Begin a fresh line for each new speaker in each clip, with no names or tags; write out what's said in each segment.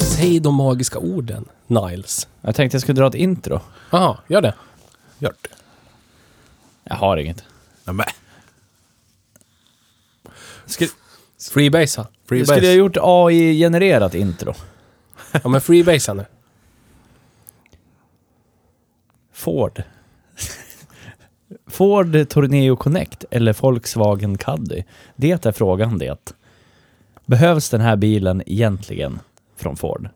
Säg de magiska orden, Niles.
Jag tänkte jag skulle dra ett intro.
Jaha, gör det.
Gör det.
Jag har inget.
Nämen.
Skri- freebasea.
Nu skulle jag
Freebase.
gjort AI-genererat intro.
Ja, men freebasea nu.
Ford. Ford Torneo Connect eller Volkswagen Caddy? Det är frågan det. Behövs den här bilen egentligen från Ford?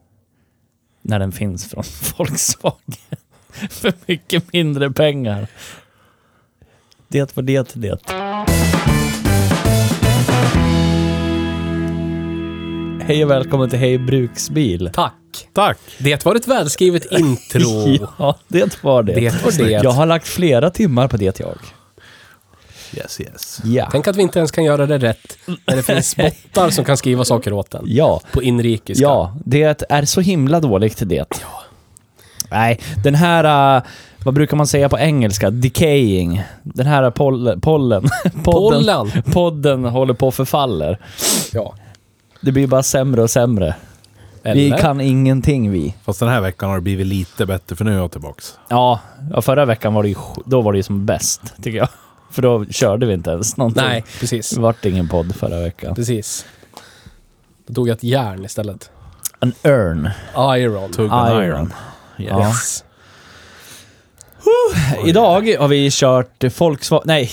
När den finns från Volkswagen. För mycket mindre pengar. Det var det det. Hej och välkommen till Hej Bruksbil.
Tack.
Tack.
Det var ett välskrivet intro.
Ja, det var det.
Det var det.
Jag har lagt flera timmar på det jag.
Yes, yes.
Ja.
Tänk att vi inte ens kan göra det rätt när det finns bottar som kan skriva saker åt en.
Ja.
På inrikiska.
Ja, det är så himla dåligt det. Nej, den här... eh, vad brukar man säga på engelska? Decaying. Den här poll, pollen. podden,
Pollen.
Podden håller på och förfaller.
Ja.
Det blir bara sämre och sämre. Vi
Eller?
kan ingenting vi.
Fast den här veckan har det blivit lite bättre för nu är jag tillbaks.
Ja, ja, förra veckan var det ju, sj- då var det ju som bäst, tycker jag. För då körde vi inte ens någonting.
Nej, precis.
Det vart ingen podd förra veckan.
Precis. Då tog jag ett järn istället.
An urn.
Iron.
Tugg and
Iron.
iron.
Ja.
Yes.
Idag har vi kört Volkswagen... Nej.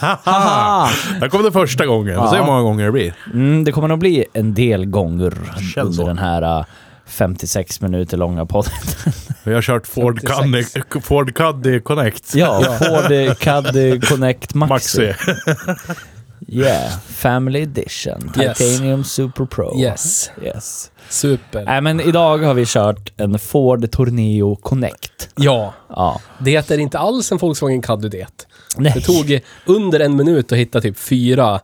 Haha.
Där kom det första gången. Vi får se hur många gånger det blir.
Mm, det kommer nog bli en del gånger
Känns
under
så.
den här äh, 56 minuter långa podden.
Vi har kört Ford
56.
Caddy, Ford Caddy Connect.
ja, Ford Caddy Connect Maxi.
Maxi.
Yeah, Family Edition.
Yes.
Titanium Super Pro.
Yes.
Yes.
Super.
Nej, men idag har vi kört en Ford Torneo Connect.
Ja.
Ja.
Det är inte alls en Volkswagen Caddy det.
Nej.
Det tog under en minut att hitta typ fyra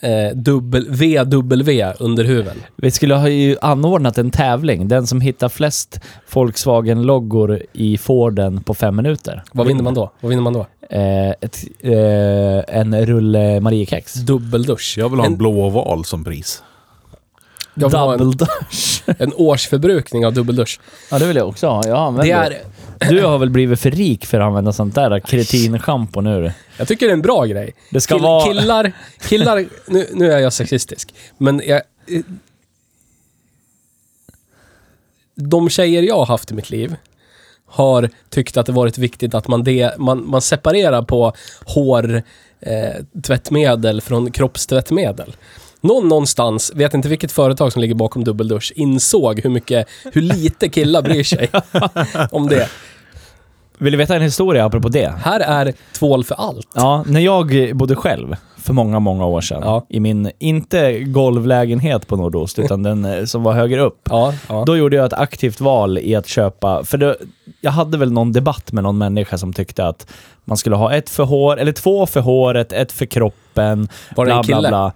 eh, dubbel, VW under huven.
Vi skulle ha ju anordnat en tävling. Den som hittar flest Volkswagen-loggor i Forden på fem minuter.
Vad vinner man då? Vad vinner man då?
Eh, ett, eh, en rulle Mariekex.
Mm. Dubbeldusch.
Jag vill ha en
En-
blå oval som pris.
Jag vill ha en,
Double dash.
en årsförbrukning av dubbeldusch.
Ja, det vill jag också ha. Jag
Det
använder det.
är,
Du har väl blivit för rik för att använda sånt där kretinschampo nu?
jag tycker det är en bra grej.
Det ska vara-
Killar, killar nu, nu är jag sexistisk, men jag... eh, De tjejer jag har haft i mitt liv har tyckt att det varit viktigt att man, de, man, man separerar på hår, eh, tvättmedel från kroppstvättmedel. Någon någonstans, vet inte vilket företag som ligger bakom dubbeldusch, insåg hur mycket, hur lite killar bryr sig om det.
Vill du veta en historia apropå det?
Här är tvål för allt.
Ja, när jag bodde själv för många, många år sedan.
Ja.
I min, inte golvlägenhet på Nordost, utan den eh, som var högre upp.
Ja, ja.
Då gjorde jag ett aktivt val i att köpa, för det, jag hade väl någon debatt med någon människa som tyckte att man skulle ha ett för hår, eller två för håret, ett för kroppen.
Var det en kille?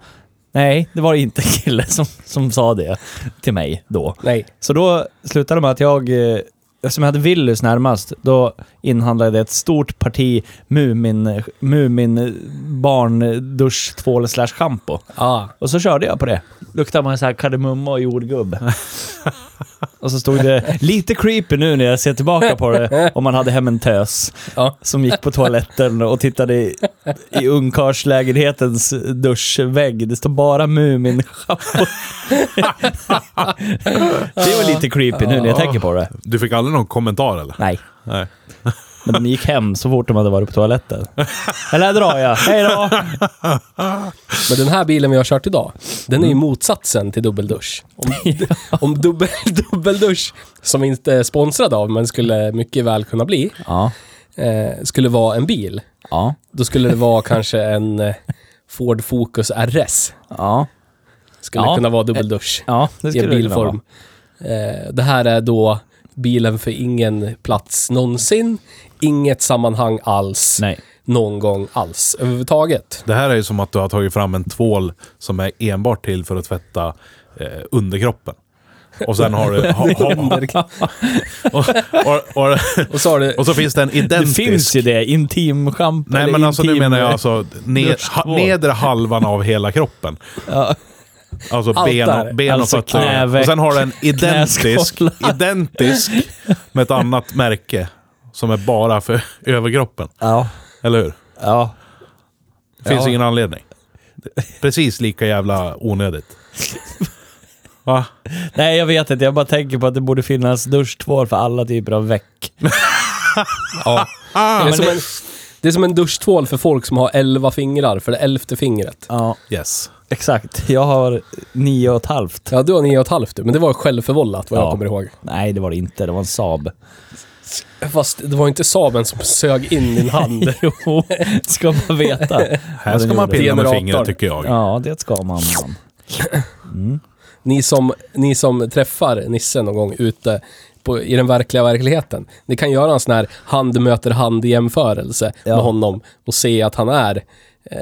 Nej, det var inte en kille som, som sa det till mig då.
Nej.
Så då slutade det med att jag, eh, eftersom jag hade Willys närmast, då inhandlade jag ett stort parti Mumin, Mumin barnduschtvål slash shampoo.
Ja.
Och så körde jag på det. Luktade man så här kardemumma och jordgubb. och så stod det lite creepy nu när jag ser tillbaka på det, om man hade hem en tös
Ja.
som gick på toaletten och tittade i, i ungkarlslägenhetens duschvägg. Det står bara mumin Det var lite creepy nu när jag tänker på det.
Du fick aldrig någon kommentar eller?
Nej.
Nej.
Men de gick hem så fort de hade varit på toaletten. Eller här drar jag. Hej då!
Men den här bilen vi har kört idag, den är
Mm.
ju motsatsen till dubbeldusch. Om, om dubbel, dubbeldusch, som vi inte är sponsrade av, men skulle mycket väl kunna bli,
Ja.
eh, skulle vara en bil.
Ja.
Då skulle det vara kanske en eh, Ford Focus RS.
Ja.
Skulle
Ja.
kunna vara dubbeldusch
Ja, det
i
skulle
en
det kunna vara.
bilform. Eh, det här är då bilen för ingen plats någonsin, inget sammanhang alls,
Nej.
någon gång alls överhuvudtaget.
Det här är ju som att du har tagit fram en tvål som är enbart till för att tvätta eh, underkroppen. Och sen har du... Ha, ha, och, och, och,
Och så har du
och så finns det en
Det
identisk...
finns ju det. Intimschampo.
Nej
eller
men alltså nu
intim-
menar jag alltså ned, ha,
duschtvål.
nedre halvan av hela kroppen. Alltså
Allt
ben,
där.
och- ben och
Alltså
fötter.
knäveck,
och sen har den identisk,
knäskålar.
identisk med ett annat märke. Som är bara för överkroppen.
Ja.
Eller hur?
Ja.
Finns
Ja.
ingen anledning. Precis lika jävla onödigt. Va?
Nej, jag vet inte. Jag bara tänker på att det borde finnas duschtvål för alla typer av väck.
Ja. det, är
men
som
det-
en, det är som en duschtvål för folk som har elva fingrar, för det elfte fingret.
Ja,
Yes.
exakt. Jag har nio och ett halvt.
Ja, du har nio och ett halvt du, men det var självförvållat vad jag
Ja.
kommer ihåg.
Nej, det var det inte. Det var en Saab.
Fast det var ju inte Saben som sög in din hand.
Jo, ska man veta.
Här ska man pilla med
Generator.
fingret tycker jag.
Ja, det ska man. man.
ni, som, ni som träffar Nisse någon gång ute på, i den verkliga verkligheten, ni kan göra en sån här hand möter hand jämförelse
Ja.
med honom och se att han är eh,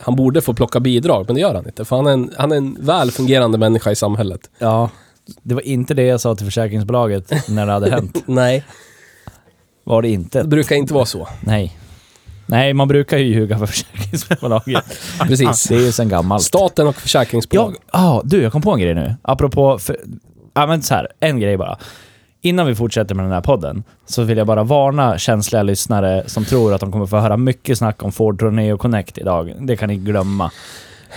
han borde få plocka bidrag, men det gör han inte. För han är en, han är en väl fungerande människa i samhället.
Ja, det var inte det jag sa till försäkringsbolaget när det hade hänt.
Nej,
Var det
det
inte?
brukar inte vara så.
Nej. Nej, man brukar ju ljuga för försäkringsbolaget.
Precis.
Det är ju sen gammalt.
Staten och försäkringsbolag.
Jag, ah, du, jag kom på en grej nu. Apropå... För, ja, men så här, en grej bara. Innan vi fortsätter med den här podden så vill jag bara varna känsliga lyssnare som tror att de kommer få höra mycket snack om Ford Torneo Connect idag. Det kan ni glömma.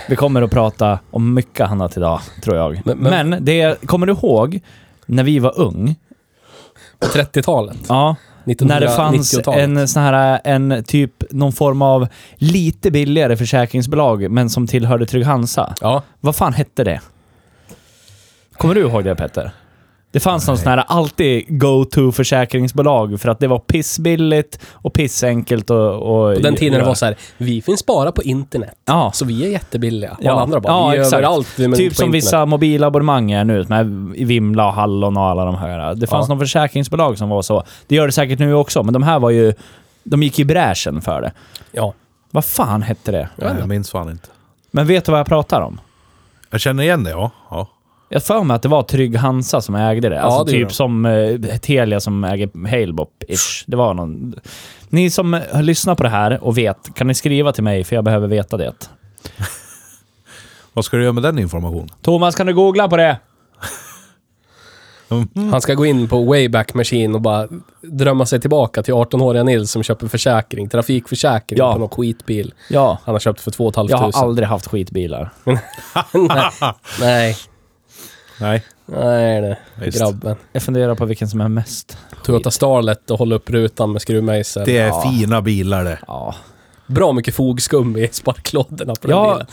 Vi kommer att prata om mycket annat idag, tror jag.
Men-
Men,
men-
det, kommer du ihåg när vi var ung?
På 30-talet.
Ja, när det fanns
1990-talet.
en sån här, en typ, någon form av lite billigare försäkringsbolag, men som tillhörde Trygg-Hansa.
Ja,
Vad fan hette det? Kommer du ihåg det Petter? Det fanns någon sån här alltid go-to-försäkringsbolag för att det var pissbilligt och pissenkelt och... och
på den tiden det var så här, vi finns bara på internet.
Ja.
Så vi är jättebilliga. Och
Ja.
alla andra bara,
Ja,
vi är
exakt.
överallt. Vi är men
typ
inte på
som
internet.
vissa mobilabonnemang är nu, med Vimla och Hallon och alla de här. Det fanns
Ja.
någon försäkringsbolag som var så. Det gör det säkert nu också, men de här var ju... De gick i bräschen för det.
Ja.
Vad fan hette det?
Nej, Jag minns fan inte.
Men vet du vad jag pratar om?
Jag känner igen det, ja. ja.
Jag för mig att det var Trygg Hansa som ägde det. Alltså
det gjorde
typ
de.
som eh, Telia som äger Halebop-ish. Det var någon... Ni som eh, lyssnar på det här och vet, kan ni skriva till mig för jag behöver veta det.
Vad ska du göra med den informationen?
Thomas, kan du googla på det?
Mm.
Han ska gå in på Wayback Machine och bara drömma sig tillbaka till 18-åriga Nils som köper försäkring, trafikförsäkring
Ja.
på någon skitbil
Ja.
han har köpt för 2 500.
Jag har aldrig haft skitbilar.
Nej,
Nej.
nej det.
Visst.
Grabben.
Jag funderar på vilken som är mest.
Toyota Starlet och hålla upp rutan med skruvmejsel.
Det är
Ja.
fina bilar det.
Ja.
Bra mycket fogskum i sparklådorna på den
Ja.
bilen.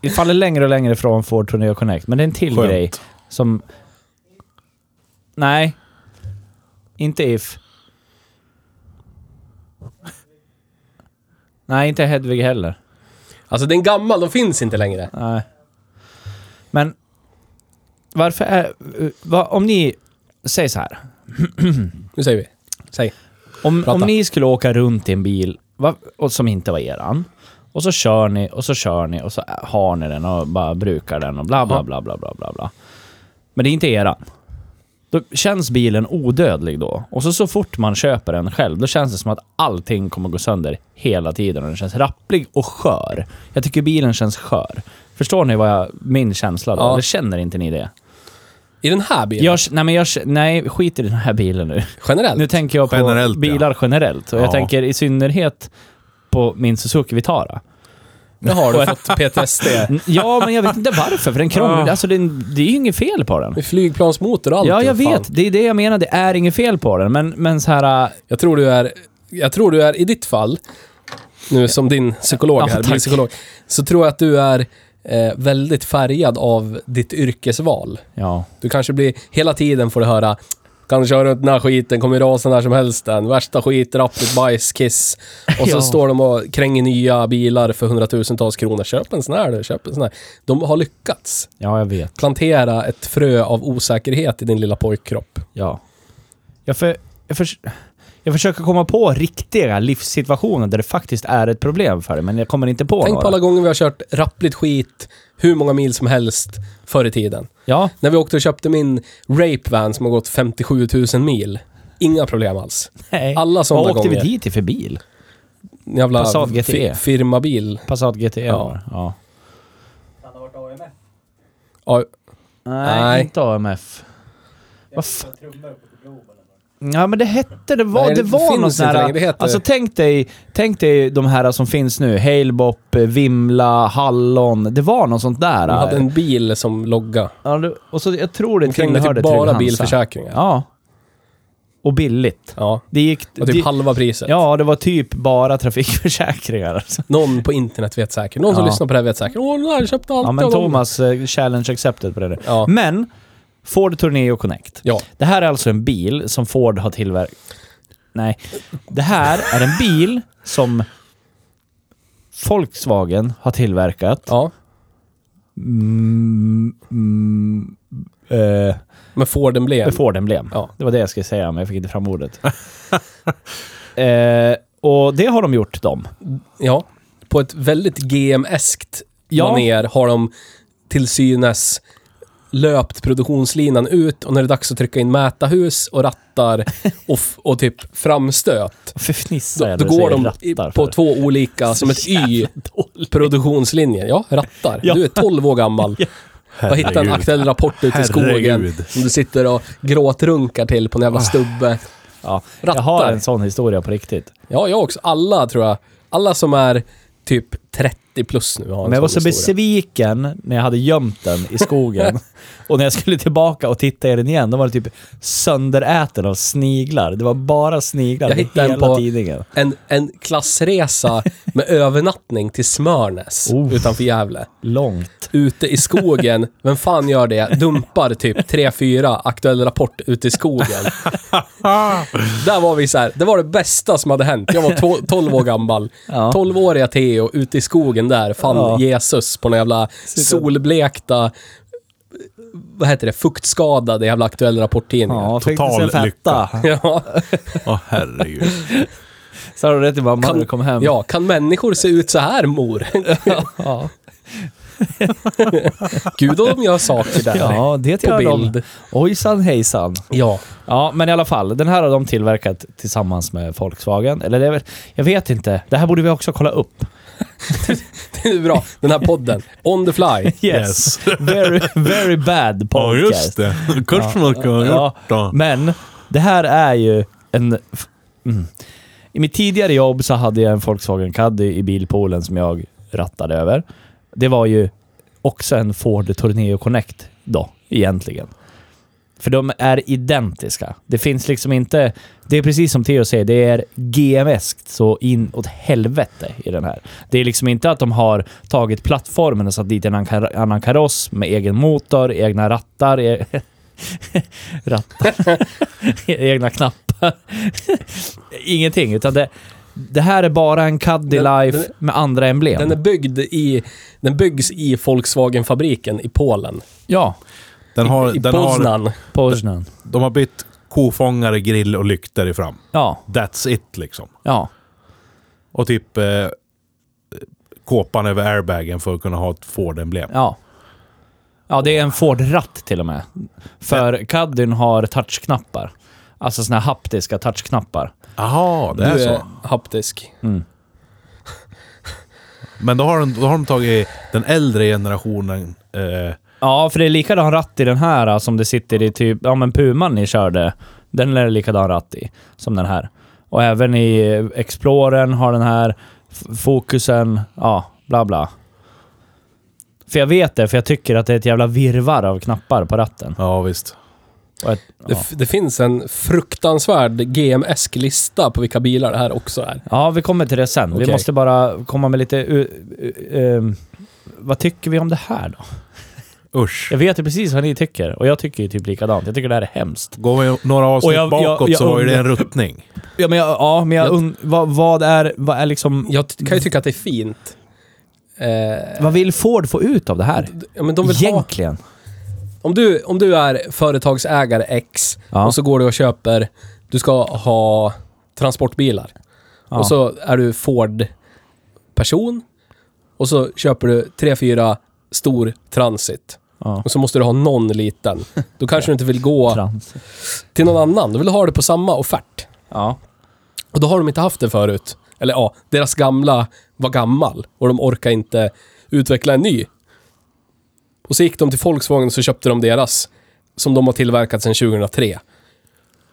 Vi faller längre och längre från Ford Torneo Connect, men det är en till
Skönt.
grej som... Nej. Inte If. Nej, inte Hedvig heller.
Alltså den är gammal, de finns inte längre.
Nej. Men varför är... eh, va- Om ni... Säg så här.
Nu säger vi. Säg.
Om,
Prata.
om ni skulle åka runt i en bil va, och som inte var eran. Och så kör ni och så kör ni och så har ni den och bara brukar den och bla bla
Ja.
bla bla bla bla. bla. Men det är inte eran. Då känns bilen odödlig då. Och så, så fort man köper den själv, då känns det som att allting kommer gå sönder hela tiden. Och den känns rapplig och skör. Jag tycker bilen känns skör. Förstår ni vad jag, min känsla då?
Ja.
Eller känner inte ni det?
I den här bilen,
Jag, nej, men jag, nej, skit i den här bilen nu.
generellt.
Nu tänker jag på
Generellt, ja.
bilar generellt och
Ja.
jag tänker i synnerhet på min Suzuki Vitara.
Nu har du fått PTSD.
Ja, men jag vet inte varför, för den krånglar. Alltså, det, det är ju inget fel på den.
Med flygplansmotor och allt.
Ja, jag
vad fan.
vet. Det är det jag menar. Det är inget fel på den. Men, men så här... äh,
Jag tror du är, jag tror du är i ditt fall, nu som din psykolog
Ja,
här,
tack.
min psykolog, så tror jag att du är eh, väldigt färgad av ditt yrkesval.
Ja.
Du kanske blir, hela tiden får du höra kan du köra runt den här skiten, kommer rasa när som helst den. Värsta skit, rappligt bajs, kiss. Och så
Ja.
står de och kränger nya bilar för hundratusentals kronor. Köp en sån här du, köp en sån här. De har lyckats
Ja, jag vet.
plantera ett frö av osäkerhet i din lilla pojkkropp.
Ja. Jag, för, jag, förs- jag försöker komma på riktiga livssituationer där det faktiskt är ett problem för dig, men jag kommer inte på
Tänk
några.
på alla gånger vi har kört rappligt skit hur många mil som helst förr i tiden.
Ja,
När vi åkte och köpte min rape van som har gått 57 000 mil. Inga problem alls.
nej.
Alla sådana
Vad åkte
gånger.
vi dit i för bil?
En Jävla
Passat GT.
fi- firmabil.
Passat GT? Ja. ja.
Ja,
Nej,
Nej.
inte AMF. Vad fan? Ja men det hette, det var,
Nej,
det
det
var
finns
någon sån
inte
här...
längre, det heter-
Alltså tänk dig, tänk dig de här som finns nu. Halebop, Vimla, Hallon. Det var något sånt där.
de hade en bil som logga.
Ja, du- och så, jag tror
De
det
krängde
tillhörde
typ bara
Trygg-Hansa.
bilförsäkringar. Ja.
Ja. Och billigt. Det gick...
Och typ
det,
halva priset.
ja, det var typ bara trafikförsäkringar. Alltså.
Någon på internet vet säkert. Någon som
Ja.
lyssnar på det här vet säkert. Åh, den där köpte allt.
Ja men
av dem."
Thomas, eh, challenge accepted på det där.
Ja.
Men, Ford Tourneo Connect.
Ja.
Det här är alltså en bil som Ford har tillverkat. Nej. Det här är en bil som Volkswagen har tillverkat.
ja.
Mm, mm, eh,
Med Forden blev.
med Ford-emblem.
Ja.
Det var det jag skulle säga, men jag fick inte fram ordet. eh, och det har de gjort, de.
Ja, på ett väldigt GM-eskt
Ja.
manér har de till synes löpt produktionslinan ut och när det är dags att trycka in mätarhus och rattar och, f- och typ framstöt,
Varför fnissar
då,
jag
då
när du
går
säger
de i,
rattar
på
för?
två olika, som ett Y, produktionslinjer. Ja, rattar.
Ja.
Du är 12 år gammal och hittar en aktuell rapport ute i skogen
Herregud.
som du sitter och gråtrunkar till på en jävla stubbe.
Ja,
Rattar.
jag har en sån historia på riktigt.
Ja, jag också. Alla tror jag. Alla som är typ 30 plus nu har en
Men jag var så
sån historia.
besviken när jag hade gömt den i skogen. och när jag skulle tillbaka och titta i den igen, då var den typ sönderäten av sniglar. Det var bara sniglar
Jag
i
hittade den
hela
på-
tidningen.
en, en klassresa med övernattning till Smörnäs
Oh.
utanför Gävle.
Långt.
Ute i skogen. Vem fan gör det? Dumpar typ 3-4 Aktuell Rapport ute i skogen. Där var vi så här. det var det bästa som hade hänt. Jag var to- 12 år gammal.
Ja.
12-åriga Theo ute i skogen där fann
Ja.
Jesus på den jävla solblekta, vad heter det, fuktskadade jävla Aktuell Rapport-tidningen.
Ja, fick
Total
sen fetta.
Ja.
Åh herregud.
Sa du det till mamma när du kom hem?
ja, kan människor se ut så här mor?
Ja,
Gud om jag har saker där.
ja det
på
gör de.
bild.
Ojsan hejsan.
Ja.
Ja, men i alla fall. Den här har de tillverkat tillsammans med Volkswagen. Eller det är väl, jag vet inte. Det här borde vi också kolla upp.
Det är bra. Den här podden. On the fly.
Yes.
very, very bad
Ja,
podcast.
just det. Kanske man kan ha gjort då.
Men det här är ju en... f- Mm. I mitt tidigare jobb så hade jag en Volkswagen Caddy i bilpoolen som jag rattade över. Det var ju också en Ford Tourneo Connect då, egentligen. För de är identiska. Det finns liksom inte... Det är precis som Theo säger, det är GMS-kt så in åt helvete i den här. Det är liksom inte att de har tagit plattformen och satt dit en annan- annan kaross med egen motor, egna rattar, e- rattar, egna knappar. Ingenting, utan det, det här är bara en Caddy
Den-
Life
den-
med andra emblem.
Den är byggd i... Den byggs i Volkswagen-fabriken i Polen.
ja,
Den har,
I
den har,
Poznan.
Poznan.
de har bytt kofångare, grill och lykter i fram.
Ja,
That's it liksom.
ja.
Och typ eh, kåpan över airbagen för att kunna ha ett Ford-emblem.
Ja. Ja, det är en Ford-ratt till och med. För Caddyn har touchknappar. Alltså såna här haptiska touchknappar.
Jaha, det
Du
är
är
så.
haptisk.
Men då har, de, då har de tagit den äldre generationen. Eh,
Ja, för det är likadan ratt i den här alltså, som det sitter i typ... Ja, men Puman ni körde. Den är likadan ratt i som den här. Och även i Explorern har den här F- fokusen. Ja, bla bla. För jag vet det, för jag tycker att det är ett jävla virvar av knappar på ratten.
Ja, visst.
Och ett,
Det,
ja.
f- det finns en fruktansvärd GMS-lista på vilka bilar det här också är.
ja, vi kommer till det sen. Vi
Okej.
måste bara komma med lite... Uh, uh, um, vad tycker vi om det här då?
Usch.
Jag vet ju precis vad ni tycker och jag tycker ju typ likadant. Jag tycker det här är hemskt.
Går vi några
Och
avsnitt
jag- jag-
bakåt
jag
så var ju det en
undrar-
ruttning.
Ja, men jag, ja, men jag
Jag-
und- vad, vad är... Vad är liksom...
Jag t- kan ju tycka att det är fint. Eh,
Vad vill Ford få ut av det här?
ja, men de vill ha,
Egentligen.
om, du, om du är företagsägare X
Ja.
och så går du och köper, du ska ha transportbilar.
Ja.
Och så är du Ford-person och så köper du tre fyra stor transit.
Ja.
Och så måste du ha någon liten. Då kanske du inte vill gå
Trans.
till någon annan. Du vill ha det på samma offert.
Ja.
Och då har de inte haft det förut. Eller ja, deras gamla var gammal och de orkar inte utveckla en ny. Och så gick de till Volkswagen och så köpte de deras, som de har tillverkat sedan 2003.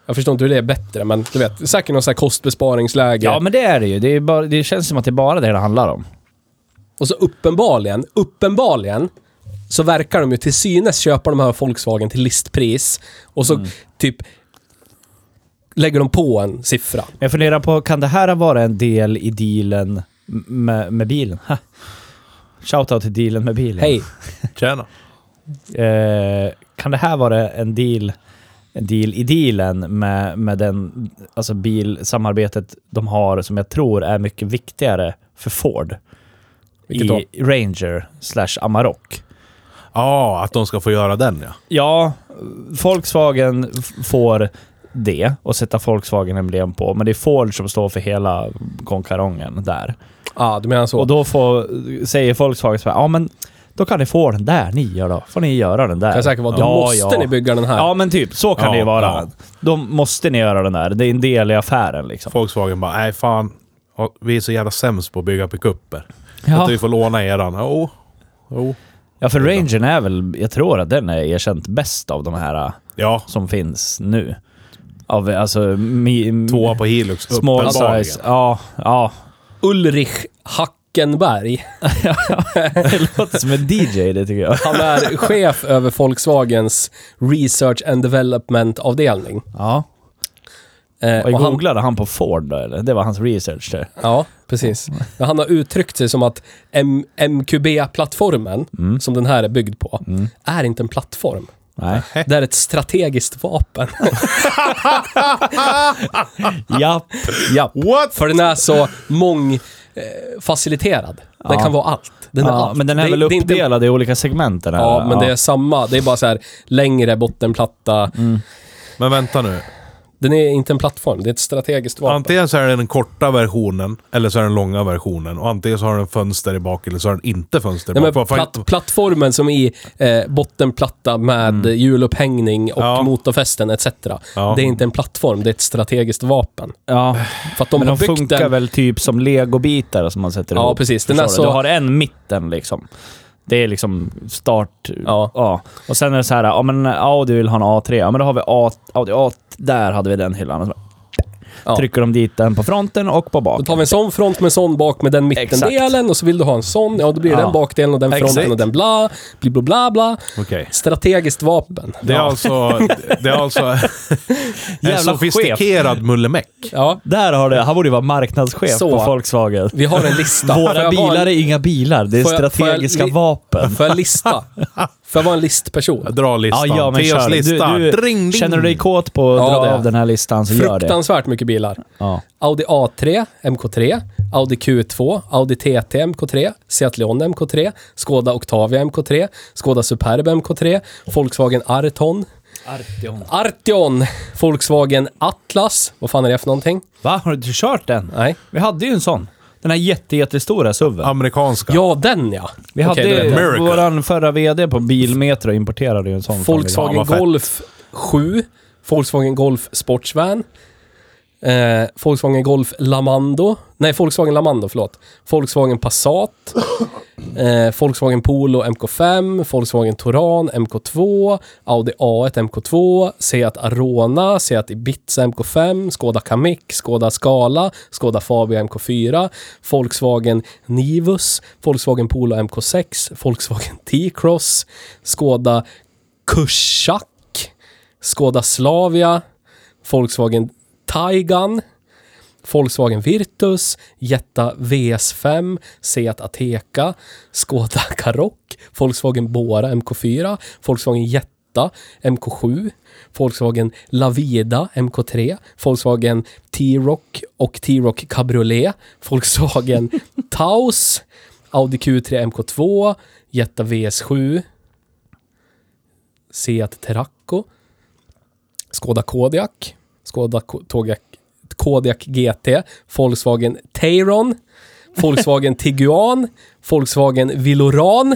Jag förstår inte hur det är bättre, men du vet, säkert någon sån här kostbesparingsläge.
ja, men det är det ju. Det, är bara, det känns som att det är bara det det handlar om.
Och så uppenbarligen, uppenbarligen, så verkar de ju till synes köpa de här Volkswagen till listpris. Och
Mm.
så typ lägger de på en siffra.
Jag funderar på, kan det här vara en del i dealen m- med, med bilen? Ha. Shoutout till dealen med bilen.
Hej,
Tjena.
Eh, kan det här vara en deal, en deal i dealen med, med den, alltså bilsamarbetet de har som jag tror är mycket viktigare för Ford?
Vilket
I
då?
Ranger slash Amarok.
Ja, att de ska få göra den ja.
Ja, Volkswagen f- får det och sätta Volkswagen-emblem på, men det är Ford som står för hela konkarongen där.
ah, du menar så.
Och då får, säger Volkswagen så här, ja men då kan ni få den där ni gör då. Får ni göra den där.
kan säkert vara, då
ja,
måste
ja.
ni bygga den här.
Ja men typ, så kan
Ja,
det ju vara.
ja.
Då måste ni göra den där. Det är en del i affären liksom.
Volkswagen bara, nej fan. Ja, Vi är så jävla sämst på att bygga pickuper.
Ja,
Att vi får låna eran. Jo. Jo.
ja för Rangern är väl, jag tror att den är erkänt bäst av de här äh,
Ja,
som finns nu. Av alltså... Mi,
tvåa på Hilux.
Small
uppenbarligen.
size. Ja, ja.
Ulrich Hackenberg.
Det låter som en DJ det tycker jag.
Han är chef över Volkswagens Research and Development-avdelning.
Ja.
Eh,
Och
och han-
googlade han på Ford då eller? Det var hans research där.
Ja, precis. Men han har uttryckt sig som att M- MQB-plattformen,
Mm.
som den här är byggd på, är inte en plattform.
Nej.
Det är ett strategiskt vapen.
Japp, japp.
What?
För den är så mångfaciliterad. Den
Ja.
kan vara allt. Den är
Ja,
allt.
men den är
Det-
väl
det inte-
uppdelad i olika segment den här?
Ja, men det är samma. Det är bara så här längre bottenplatta.
Mm.
Men vänta nu.
Den är inte en plattform, det är ett strategiskt vapen.
Antingen så är det den korta versionen eller så är det den långa versionen. Och antingen så har den fönster i bak eller så har den inte fönster i bak.
Nej, men
Vad fan-
platt, plattformen som i eh, bottenplatta med
Mm.
hjulupphängning och
Ja.
motorfästen etc.
Ja.
Det är inte en plattform, det är ett strategiskt vapen.
ja.
För att de
men
har
de
byggt
funkar
den...
väl typ som legobitar som man sätter
Ja,
ihop.
precis. Den
Den
är så-
Du har en mitten liksom. Det är liksom start...
Ja.
Och sen är det så här, ja men Audi vill ha en A3. Ja men då har vi A, Audi A... Där hade vi den hyllan. Och så
Ja.
Trycker de dit den på fronten och på
Då
baken.
tar vi en sån front med en sån bak med den mittendelen och så vill du ha en sån, ja då blir det
Ja.
den bakdelen och den fronten
Exakt.
och den bla, bli bla bla bla.
Okej.
Strategiskt vapen.
Det är alltså... Det är alltså... en
Jävla
sofistikerad mullemäck.
Ja,
Där har du, han borde ju vara marknadschef
Så.
på Volkswagen.
vi har en lista. Får jag
Våra
vara
bilar är inga bilar, det är
Får jag- får jag
strategiska
li-
vapen.
En, får jag lista? Får jag vara en listperson?
Dra listan.
Ja, ja, men kör.
lista.
Du,
Dring,
du,
ding.
känner du dig kåt på att
Ja,
dra
det.
av den här listan så gör det.
Fruktansvärt mycket bilar.
Ja.
Audi A3, MK3, Audi Q2, Audi TT MK3, Seat Leon MK3, Skoda Octavia MK3, Skoda Superb MK3, Volkswagen Arton, Artion, Volkswagen Atlas, vad fan är det för någonting?
Va? Har du kört den?
Nej.
Vi hade ju en sån. Den här jätte, jättestora SUVen.
Amerikanska.
Ja, den ja! Okej,
vi hade
då vet jag.
Miracle.
våran förra VD på Bilmetro importerade ju en sån. från USA.
Volkswagen
vad fett.
Golf 7, Volkswagen Golf Sportsvan, Eh, Volkswagen Golf Lamando. Nej, Volkswagen Lamando, förlåt. Volkswagen Passat. Eh, Volkswagen Polo MK5. Volkswagen Touran MK2. Audi A1 MK2. Seat Arona. Seat Ibiza MK5. Skoda Kamiq. Skoda Scala. Skoda Fabia MK4. Volkswagen Nivus. Volkswagen Polo MK6. Volkswagen T-Cross. Skoda Kushak. Skoda Slavia, Volkswagen Taigan, Volkswagen Virtus, Jetta VS5, Seat Ateca, Skoda Karoq, Volkswagen Bora MK4, Volkswagen Jetta MK7, Volkswagen Lavida MK3, Volkswagen T-Roc och T-Roc Cabriolet, Volkswagen Taos, Audi Q3 MK2, Jetta VS7, Seat Terraco, Skoda Kodiaq, Skoda Ko- Togiak, Kodiaq GT, Volkswagen Tayron, Volkswagen Tiguan, Volkswagen Viloran,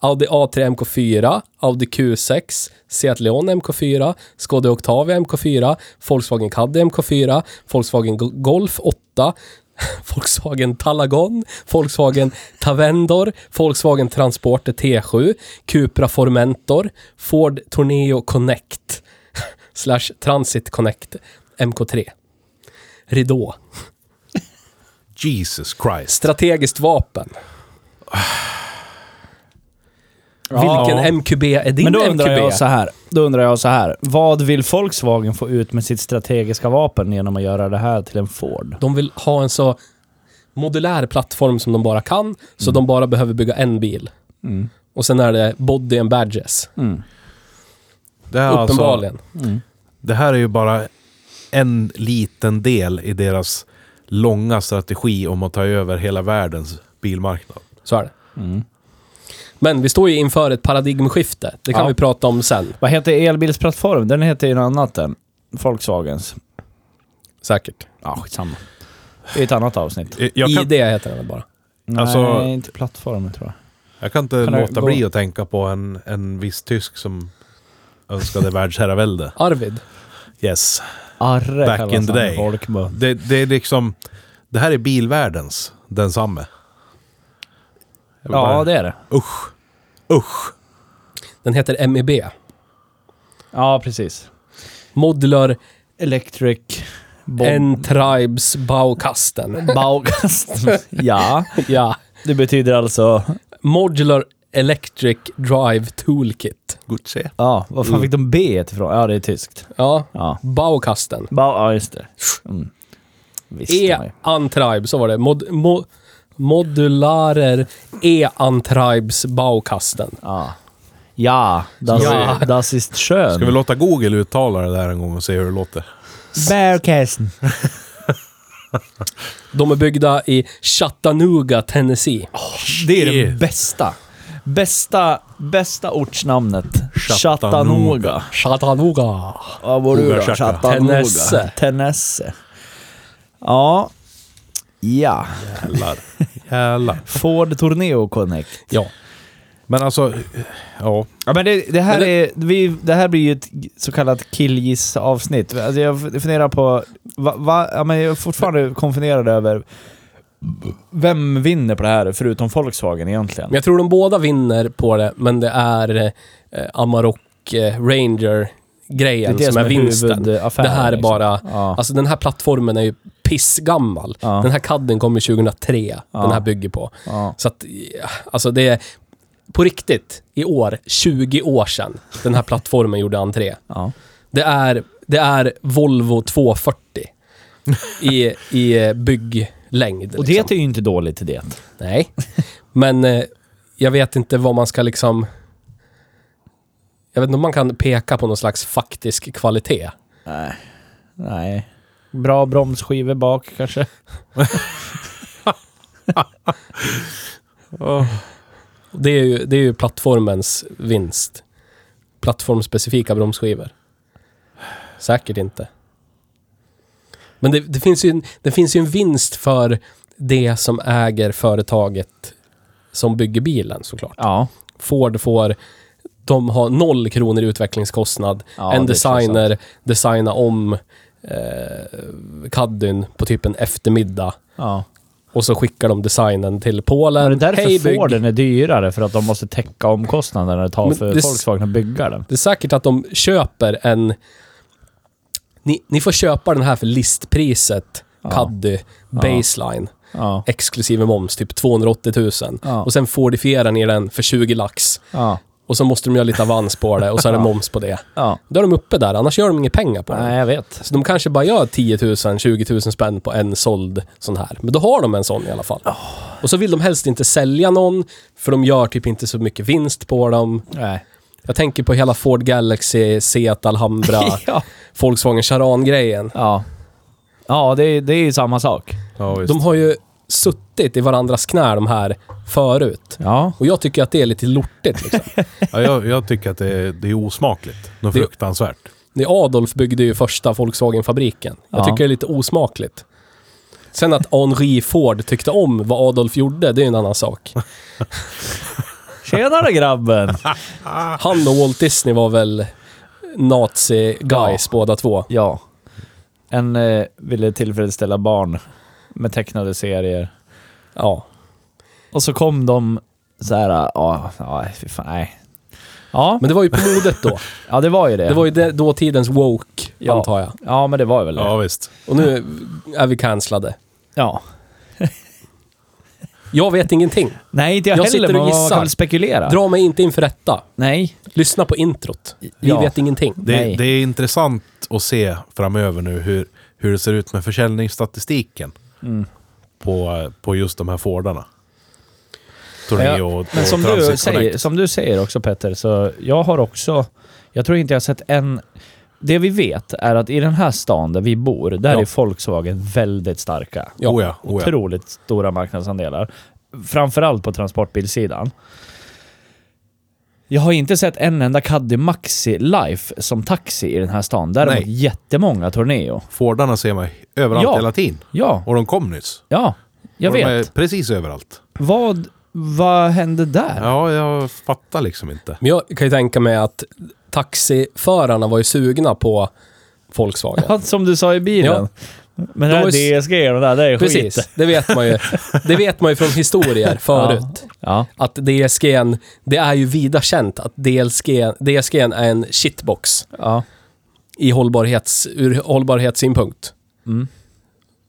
Audi A3 MK4, Audi Q6, Seat Leon MK4, Skoda Octavia MK4, Volkswagen Caddy MK4, Volkswagen Go- Golf 8, Volkswagen Talagon, Volkswagen Tavendor, Volkswagen Transporter T7, Cupra Formentor, Ford Torneo Connect, slash Transit Connect MK3. Ridå.
Jesus Christ.
Strategiskt vapen. Vilken MQB är din
Men då undrar,
MQB?
jag så här, då undrar jag så här. Vad vill Volkswagen få ut med sitt strategiska vapen genom att göra det här till en Ford?
De vill ha en så modulär plattform som de bara kan, så de bara behöver bygga en bil.
Mm.
Och sen är det body and badges.
Mm.
Det här, är alltså,
Uppenbarligen.
det här är ju bara en liten del i deras långa strategi om att ta över hela världens bilmarknad.
Så är det.
Mm.
Men vi står ju inför ett paradigmskifte. Det kan
Ja.
vi prata om sen.
Vad heter elbilsplattformen? Den heter ju något annat än Volkswagens.
Säkert.
Ja, skitsamma. Det är ett annat avsnitt.
Eh, Jag kan,
ID heter den väl bara.
Alltså-
Nej, inte plattformen tror jag.
jag kan inte
Kan det
låta
gå-
bli att tänka på en, en viss tysk som önskade världsherravälde.
Arvid.
Yes.
Arre
Back
kallas
in the
han i
day.
Folkmun.
Det, det är liksom... Det här är bilvärldens densamme. Jag vill bara-
Ja, det är det.
Usch. Usch.
Den heter E MEB.
Ja, precis.
Modular
Electric
N Tribes
Mm.
Baukasten.
Baugast. ja,
ja.
det betyder alltså...
Modular Electric Drive Toolkit.
Gott se.
Ja, var
Mm.
fan fick de B ifrån? Ja, det är tyskt.
Ja.
Ja,
Baukasten.
ba ja just det. Mm.
E.
Visste man ju.
E-Antribes, så var det. Mod, mo, modularer E-Antribes Baukasten.
Ja. Ja, das,
Ja.
das ist
Ska vi
schön.
låta Google uttala det där en gång och se hur det låter?
Bearcasten.
De är byggda i Chattanooga, Tennessee.
Det är
Yeah.
E.
det bästa. Bästa, bästa ortsnamnet.
Chattanooga.
Chattanooga.
Chattanooga.
Vad var du
Noga
då?
Chaka.
Chattanooga.
Tennesse.
Tennesse. Ja. Ja.
Jävlar. Jävlar.
Ford Torneo Connect.
Ja.
Men alltså, ja.
Ja, men det, det, här
Men
är, vi, det här blir ju ett så kallat killgiss-avsnitt. Alltså jag funderar på... Va, va, ja, men jag är fortfarande konfunderad över vem vinner på det här, förutom Volkswagen egentligen.
Men jag tror de båda vinner på det, men det är eh, Amarok eh,
Det är
Ranger-grejen
det
som, är vinsten.
huvudaffären,
Det här är
liksom.
bara...
Ja.
Alltså den här plattformen är ju pissgammal.
Ja.
Den här kadden kom ju 2003, den här bygger på.
Ja.
Så att, ja, alltså det är på riktigt i år, 20 år sedan den här plattformen gjorde entré.
Ja.
Det är, det är Volvo 240 i, i eh, bygglängd.
Och det
liksom.
är ju inte dåligt till det.
Nej, men eh, jag vet inte vad man ska liksom... Jag vet inte om man kan peka på någon slags faktisk kvalitet.
Nej. Bra bromsskivor bak kanske.
Och Det är ju, det är ju plattformens vinst. Plattformsspecifika bromsskivor. Säkert inte. Men det, det, finns ju en, det finns ju en vinst för det som äger företaget som bygger bilen såklart.
Ja.
Ford får, de har noll kronor i utvecklingskostnad.
Ja,
en
det är så
designer designa om eh, caddyn på typ en eftermiddag.
Ja.
Och så skickar de designen till Polen.
Är det därför
Hej, bygg.
Forden är dyrare? För att de måste täcka omkostnaderna det tar
Men
för
det s-
Volkswagen att bygga den?
Det är säkert att de köper en... Ni, ni får köpa den här för listpriset,
Ja.
Caddy, baseline,
Ja.
exklusive moms, typ 280 000.
Ja.
Och sen fordifierar ni den för 20 lax.
Ja.
Och så måste de göra lite avans på det och så är det moms på det.
ja.
Då är de uppe där, annars gör de inga pengar på det.
Nej, jag vet.
Så de kanske bara gör 10 000, 20 000 spänn på en såld sån här. Men då har de en sån i alla fall. Och så vill de helst inte sälja någon, för de gör typ inte så mycket vinst på dem.
Nej.
Jag tänker på hela Ford Galaxy, Seat Alhambra,
Ja.
Volkswagen Charan-grejen.
Ja, ja det, är- det är ju samma sak.
Ja, visst.
De har ju suttit i varandras knä de här förut.
Ja.
Och jag tycker att det är lite lortigt. Liksom.
ja, jag, jag tycker att det är, det är osmakligt. Något
Det-
fruktansvärt.
Det är Adolf byggde ju första Volkswagen-fabriken. Jag
Ja.
tycker det är lite osmakligt. Sen att Henry Ford tyckte om vad Adolf gjorde, det är ju en annan sak.
Tjenare grabben!
Han och Walt Disney var väl nazi-guys båda två.
Ja. En eh, ville tillfredsställa barn med tecknade serier.
Ja.
Och så kom de så här, eh, ja, ja, fy fan, nej. Ja,
Men det var ju på modet då.
ja, det var ju det.
Det var ju det- dåtidens woke,
Ja.
antar jag.
Ja, men det var väl det.
Ja, visst.
Och nu är vi cancellade.
Ja.
Jag vet ingenting.
Nej, inte jag,
Jag
heller,
sitter
men
och
man
gissar.
kan väl spekulera.
Dra mig inte inför rätta.
Nej.
Lyssna på introt. Vi
Ja.
vet ingenting.
Det,
Nej.
det är intressant att se framöver nu hur, hur det ser ut med försäljningsstatistiken
Mm.
på, på just de här Fordarna. Torneo
Ja,
och,
Men
och
som du,
Transit
säger,
Connect.
som du säger också Petter, så jag har också... Jag tror inte jag har sett en... Det vi vet är att i den här stan där vi bor, där
Ja.
är Volkswagen väldigt starka.
Ja.
Oh ja, oh ja.
Otroligt stora marknadsandelar. Framförallt på transportbilsidan. Jag har inte sett en enda Caddy Maxi Life som taxi i den här stan. Däremot
Nej.
jättemånga Torneo.
Fordarna ser man överallt
Ja.
hela tiden.
Ja,
Och de kom nyss.
ja. Jag
och
vet.
De är precis överallt.
Vad, vad hände där?
Ja, jag fattar liksom inte.
Men jag kan ju tänka mig att taxiförarna var ju sugna på Volkswagen.
Ja, som du sa i bilen. Men
De
det
var ju-
här DSG och det där, det är
Precis,
skit.
det vet man ju. Det vet man ju från historier förut.
Ja.
Att DSG'n, det är ju vida känt att DSG'n, DSG'n är en shitbox
ja.
i hållbarhets, ur hållbarhetssynpunkt.
Mm.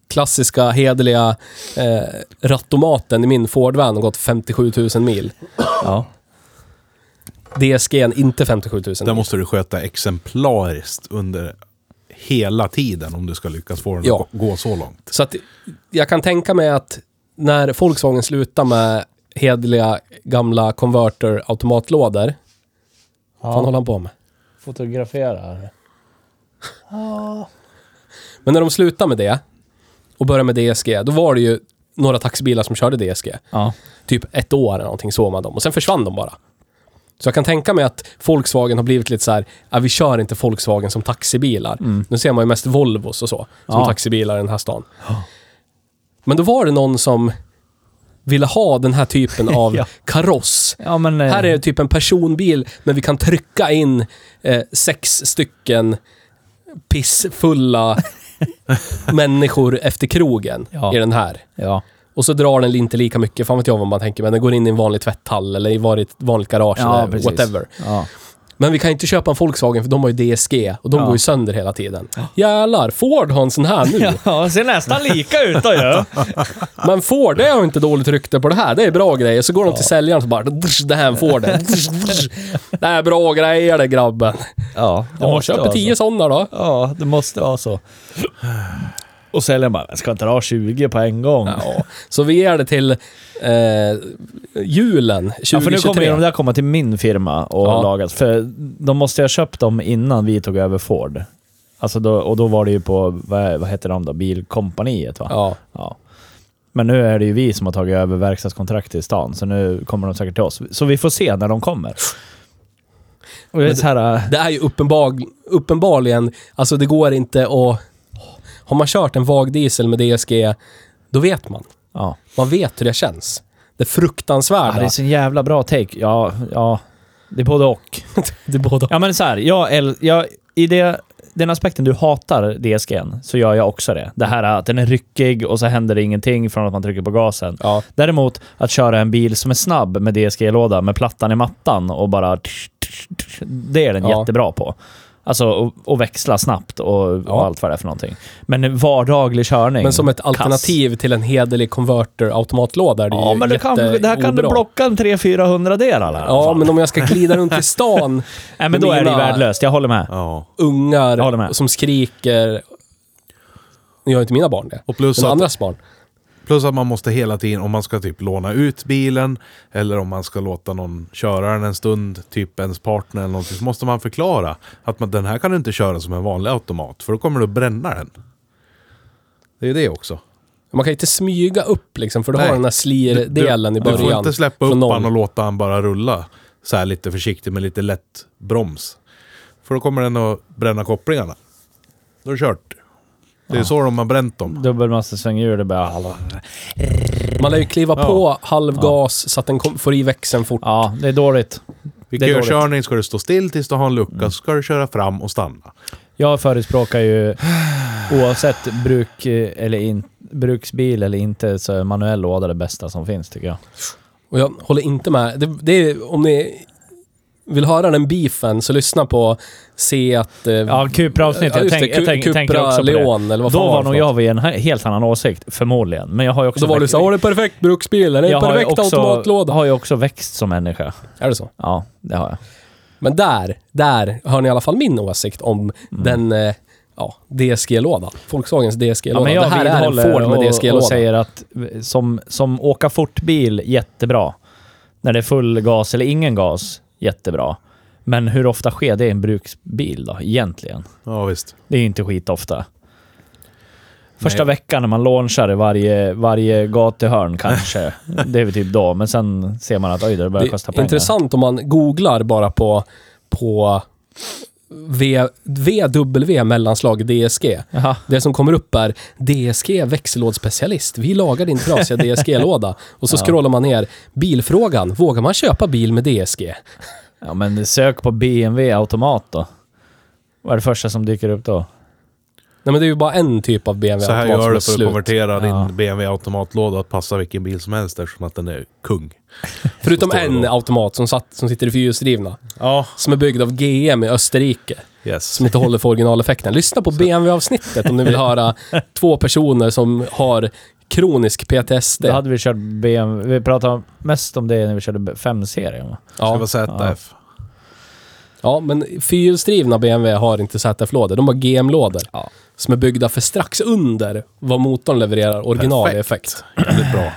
Klassiska, hederliga eh, rattomaten i min Ford-van har gått 57 000 mil.
ja.
DSG'n inte 57 000
Där
mil.
måste du sköta exemplariskt under hela tiden om du ska lyckas få den att
Ja.
gå så långt.
Så att jag kan tänka mig att när Volkswagen slutar med hederliga gamla converter-automatlådor. Vad fan håller han på med?
Fotografera här.
Men när de slutar med det och börjar med DSG, då var det ju några taxibilar som körde DSG.
Ja.
Typ ett år eller någonting såg man dem och sen försvann de bara. Så jag kan tänka mig att Volkswagen har blivit lite så här, "Ah, vi kör inte Volkswagen som taxibilar. Nu ser man ju mest Volvos och så, som
Mm. Ja.
taxibilar i den här stan. Men då var det någon som ville ha den här typen av
Ja.
kaross.
ja, men... eh,
Här är det typ en personbil, men vi kan trycka in eh, sex stycken pissfulla människor efter krogen
Ja.
i den här.
Ja.
Och så drar den inte lika mycket, fan vet jag vad man tänker, men den går in i en vanlig tvätthall eller i ett vanligt garage
Ja,
eller
precis.
whatever.
Ja.
Men vi kan ju inte köpa en Volkswagen för de har ju DSG och de
Ja.
går ju sönder hela tiden. Jävlar, Ford har en sån här nu.
ja, ser nästan lika ut då ju.
Men Ford, det har inte dåligt rykte på det här. Det är bra grejer. Så går de till säljaren och bara, "Drsch, det här är en Ford. Drsch, drsch. Det här är bra grejer det grabben.
Ja, alltså. det
Ja,
måste
köper
vara
tio
så.
sådana då.
Ja, det måste vara så. Och säljaren bara, "Jag ska inte ha 20 på en gång? Ja,
Ja. Så vi ger det till eh, julen 2023.
för nu kommer ju de där komma till min firma och
Ja.
lagas. För de måste jag ha köpt dem innan vi tog över Ford. Alltså då, och då var det ju på, vad, vad heter de då? Bilkompaniet va?
Ja.
Ja. Men nu är det ju vi som har tagit över verkstadskontrakt i stan, så nu kommer de säkert till oss. Så vi får se när de kommer. Och det är så här, äh,
Det är ju uppenbar, uppenbarligen, alltså det går inte att... Har man kört en vag diesel med DSG, då vet man.
ja.
Man vet hur det känns. Det
ja,
fruktansvärda.
ah, det är så en jävla bra take. Ja, ja. Det är både och.
det är båda.
Ja men så här, jag, äl- jag, i det den aspekten du hatar DSG'n, så gör jag också det. Det här att den är ryckig och så händer det ingenting från att man trycker på gasen.
Ja.
Däremot att köra en bil som är snabb med DSG-låda med plattan i mattan och bara... tsch, tsch, tsch, Det är den
Ja.
jättebra på. Alltså och, och växla snabbt och,
Ja.
och allt vad det är för någonting. Men vardaglig körning.
Men som ett
kass.
alternativ till en hederlig converter-automatlåda är det
Ja,
ju
men du kan, där kan du
jätteobra.
blocka en 300-400 delar i alla
Ja,
fall.
men om jag ska glida runt i stan,
Nej, men då är det ju
mina-
värdelöst. Jag håller med.
Ja.
ungar
Jag håller med.
som skriker... Nu gör inte mina barn det.
Och plus
Men
att-
andras barn.
Plus att man måste hela tiden, om man ska typ låna ut bilen eller om man ska låta någon köra den en stund, typ ens partner eller någonting, så måste man förklara att man, den här kan du inte köra som en vanlig automat, för då kommer du att bränna den. Det är det också.
Man kan ju inte smyga upp liksom, för du har
Nej.
den här slir-delen i
Du
början.
får inte släppa upp
från noll.
han och låta han bara rulla så här lite försiktigt med lite lätt broms. För då kommer den att bränna kopplingarna. Då är det kört. Det är så de har bränt dem.
Dubbelmassa svänghjul, det bara...
Man lär ju kliva
Ja.
på halv gas så att den kom, får i växeln fort.
Ja, det är dåligt.
Vid
Det är dåligt. Mm.
körning ska du stå still tills du har en lucka, så ska du köra fram och stanna.
Jag förespråkar ju, oavsett bruk eh, eller in, bruksbil eller inte, så är manuell låda det bästa som finns tycker jag.
Och jag håller inte med. Det, det är, om ni vill höra den beefen så lyssna på se att... Eh,
Ja, Cupra-avsnitt.
ja,
Jag,
just
tänk,
det,
jag, tänk,
Cupra
tänker också på det.
Leon, eller vad fan
Då
det
var nog
för
jag
något.
vid en he- helt annan åsikt, förmodligen. Men jag har ju också...
Då var du såhär, åh det är perfekt bruksbil, den är
jag
en
har ju
perfekt
också,
automatlåda.
har ju också växt som människa.
Är det så?
Ja, det har jag.
Men där, där hör ni i alla fall min åsikt
Mm.
om den eh, ja, DSG-lådan. Volkswagens
Ja,
DSG-låda.
men jag
det här är en
vidhåller
Ford med
och, och
DSG-låda.
säger att eh, som, som åka fort-bil, jättebra. När det är full gas eller ingen gas, jättebra. Men hur ofta sker det i en bruksbil då, egentligen?
Ja, visst.
Det är ju inte skitofta. Första veckan när man launchar i varje, varje gatuhörn kanske. det är väl typ då, men sen ser man att oj, det börjar
Det
kosta
är
pengar.
intressant om man googlar bara på, på v, VW mellanslag DSG.
Jaha.
Det som kommer upp är DSG växellådsspecialist. Vi lagar din trasiga DSG-låda. Och så scrollar man ner. Bilfrågan. Vågar man köpa bil med DSG?
Ja, men sök på BMW automat då. Vad är det första som dyker upp då?
Nej men det är ju bara en typ av BMW
Så här
automat som
gör
är
du för att
slut.
konvertera
Ja.
din BMW automatlåda att passa vilken bil som helst eftersom att den är kung.
Förutom
Så står det
en
då.
automat som, satt, som sitter i fyrhjulsdrivna.
Ja.
Som är byggd av GM i Österrike.
Yes.
Som inte håller för originaleffekten. Lyssna på BMW-avsnittet om ni vill höra två personer som har kronisk PTSD.
Då hade vi kört BMW. Vi pratade mest om det när vi körde 5-serien va?
Ska
Ja,
vara ZF.
ja, men fyrhjulsdrivna BMW har inte ZF-lådor. De har GM-lådor.
Ja.
Som är byggda för strax under vad motorn levererar originaleffekt.
Jävligt bra.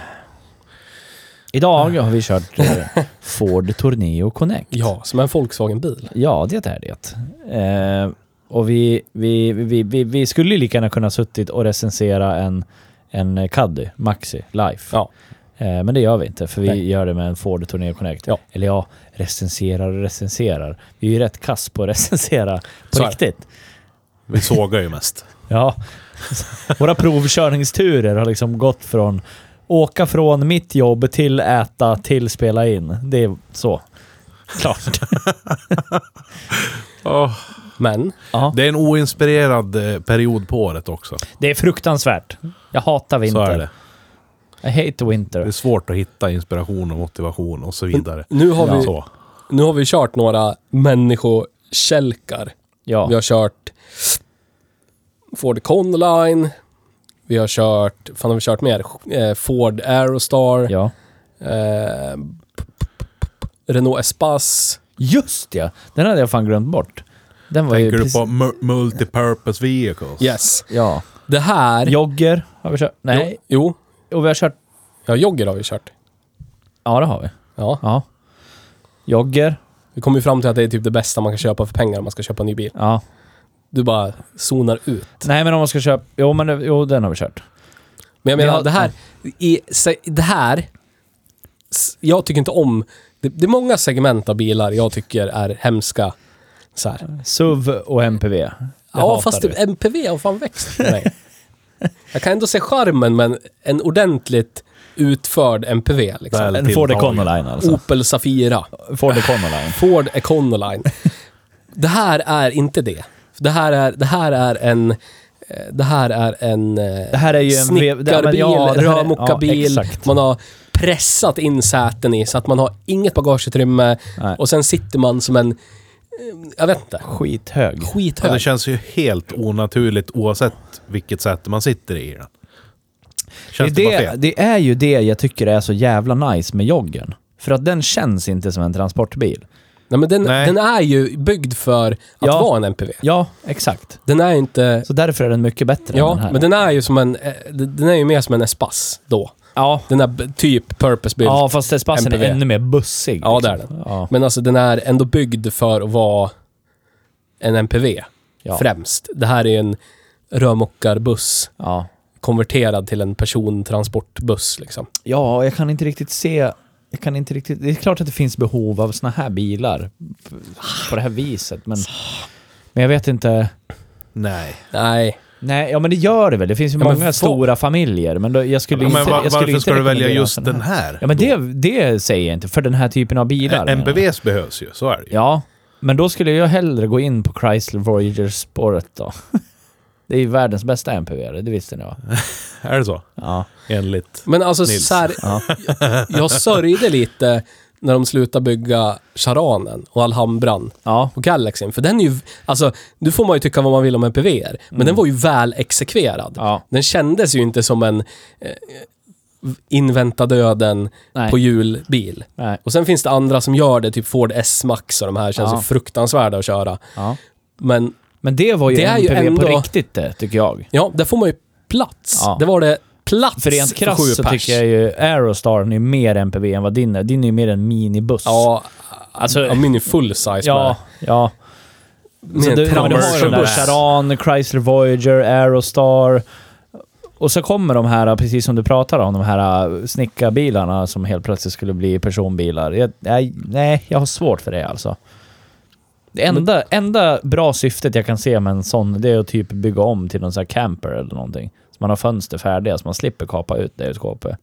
Idag har vi kört eh, Ford Torneo Connect.
Ja, som en Volkswagen-bil.
Ja, det är det. Eh, och vi, vi, vi, vi, vi skulle ju lika gärna kunna suttit och recensera en, en Caddy, Maxi, Life.
Ja.
Eh, men det gör vi inte, för vi
Nej.
gör det med en Ford Torneo Connect.
Ja.
Eller ja, recenserar och recenserar. Vi är ju rätt kass på att recensera på
Så är det.
riktigt.
Vi sågar ju mest.
Ja. Våra provkörningsturer har liksom gått från åka från mitt jobb till äta till spela in. Det är så. Klart.
Men,
Ja.
Det är en oinspirerad eh, period på året också.
Det är fruktansvärt. Jag hatar
Så är
vinter.
det.
I hate
Det är
winter.
svårt att hitta inspiration och motivation och så vidare.
nu har, vi,
Så.
nu har vi kört några människokälkar. Vi
Ja.
har kört Ford Conline. Vi har kört, fan har vi kört mer? Eh, Ford Aerostar.
ja.
Eh, p- p- p- Renault Espace.
Just ja! Den hade jag fan glömt bort. Den var
Tänker
ju
du på mu- multipurpose vehicles?
Yes.
Ja.
Det här...
Jogger har vi kört. Nej.
Jo.
Och vi har kört...
Ja, jogger har vi kört.
Ja, det har vi.
Ja.
Ja. Jogger.
Vi kom ju fram till att det är typ det bästa man kan köpa för pengar om man ska köpa en ny bil.
Ja.
Du bara zonar ut.
Nej, men om man ska köpa... Jo, men det- jo, den har vi kört.
Men jag
Vi
menar,
har-
det här... I, se, det här... s- Jag tycker inte om... Det, det är många segment av bilar jag tycker är hemska. Så här.
SUV och MPV. Det
Ja,
hatar
fast typ
du.
det, MPV har fan växt för mig. Jag kan ändå se charmen med en, en ordentligt utförd MPV. Liksom.
Väl
En Ford
tilltagen. Oh.
Econoline alltså.
Opel Safira,
Ford Econoline.
Ford Econoline. Det här är inte det. För det här är, det här är en... eh, Det här är en... eh,
Det här är ju en... vev- det-
Snickarbil,
ja, men ja, det här är- ja,
rörmokarbil.
exakt.
man har pressat in säten i så att man har inget bagageutrymme.
Nej.
Och sen sitter man som en... eh, Jag vet inte.
Skithög.
Ja, det
Skithög.
känns ju helt onaturligt oavsett vilket säte man sitter i den. Känns det,
det,
bara
är det,
fel?
det är ju det jag tycker är så jävla nice med joggen. För att den känns inte som en transportbil.
Nej, men den,
Nej.
den är ju byggd för att
Ja.
vara en MPV.
Ja, exakt.
Den är inte...
Så därför är den mycket bättre än
Ja,
den här.
men den är ju som en... eh, Den är ju mer som en Espace då.
ja.
Den är b- typ purpose-built.
ja, fast Espassen är
MPV.
ännu mer bussig.
Ja, det är den.
Ja.
Men alltså den är ändå byggd för att vara en MPV
Ja.
främst. Det här är ju en rörmokarbuss
Ja.
konverterad till en persontransportbuss liksom.
ja, och jag kan inte riktigt se... Jag kan inte riktigt... Det är klart att det finns behov av såna här bilar p- på det här viset, men... Men jag vet inte...
Nej.
Nej,
Nej, ja men det gör det väl. Det finns ju
Ja, men
många
få-
stora familjer, men då, jag skulle
Men
inte...
va-
jag skulle
varför
inte
ska du välja
rekommendera
just
sådana
den här?
Ja, men det, det säger jag inte. För den här typen av bilar. menar jag.
MPVs behövs ju, så är det ju.
Ja, men då skulle jag hellre gå in på Chrysler Voyager Sport då. Det är ju världens bästa MPV, det visste ni va?
Är det så?
Ja.
Enligt...
men alltså
Nils.
så här,
Ja.
jag sörjde lite när de slutade bygga Charanen och Alhambran
ja.
och Galaxin. För den är ju, alltså, nu får man ju tycka vad man vill om MPVer, men den var ju väl exekverad.
Mm. Ja.
Den kändes ju inte som en eh, invänta döden
Nej.
på julbil.
Nej.
Och sen finns det andra som gör det, typ Ford S-Max och de här känns
Ja.
ju fruktansvärda att köra.
ja.
Men
Men det var ju
Det är ju
MPV
ändå-
på riktigt det, tycker jag.
ja, där får man ju plats.
Ja.
Det var det plats
För rent
sju
krasst så
pers.
tycker jag ju Aerostarn är mer MPV än vad din är. Din är ju mer en minibuss.
Ja, alltså... Ja, min är full size
ja. ja.
med.
Så
Med
du,
en
men du har de där
commercial buss.
Charan, Chrysler Voyager, Aerostar. Och så kommer de här, precis som du pratar om, de här äh, snickarbilarna som helt plötsligt skulle bli personbilar. Jag, nej, nej, jag har svårt för det alltså. Det enda, enda bra syftet jag kan se med en sån, det är att typ bygga om till någon sån här camper eller någonting. Så man har fönster färdiga så man slipper kapa ut det ur skåpet.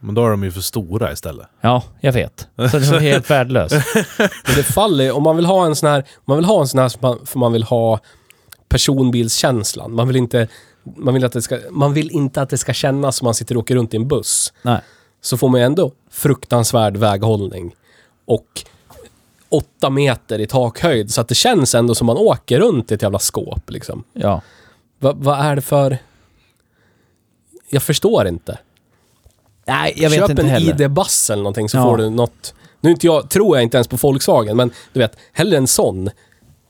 Men då är de ju för stora istället.
Ja, jag vet. Så det är helt värdelöst.
Men det faller ju- om man vill ha en sån här, om man vill ha en sån här som man- för man vill ha personbilskänslan. Man vill inte, man vill att det ska, man vill inte att det ska kännas som man sitter och åker runt i en buss.
Nej.
Så får man ju ändå fruktansvärd väghållning och åtta meter i takhöjd så att det känns ändå som man åker runt i ett jävla skåp liksom.
Ja.
Va, vad är det för... Jag förstår inte.
Nej, jag vet
Köp
inte
en
heller.
ID-bass eller någonting så
Ja.
får du något. Nu är inte jag, tror jag inte ens på Volkswagen, men du vet, hellre en sån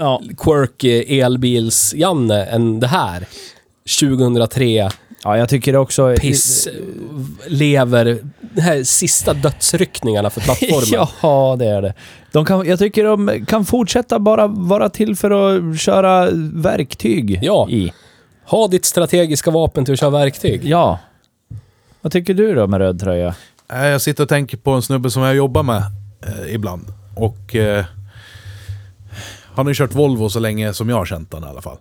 Ja.
quirky elbils-Janne än det här. 2003,
ja, jag tycker också...
piss, lever, det här sista dödsryckningarna för plattformen.
Ja, det är det. De kan, jag tycker de kan fortsätta bara vara till för att köra verktyg
Ja.
i.
Ha ditt strategiska vapen till att köra verktyg.
Ja. Vad tycker du då med röd tröja?
Nej, Jag sitter och tänker på en snubbe som jag jobbar med eh, ibland. Och eh, han har ju kört Volvo så länge som jag har känt han i alla fall.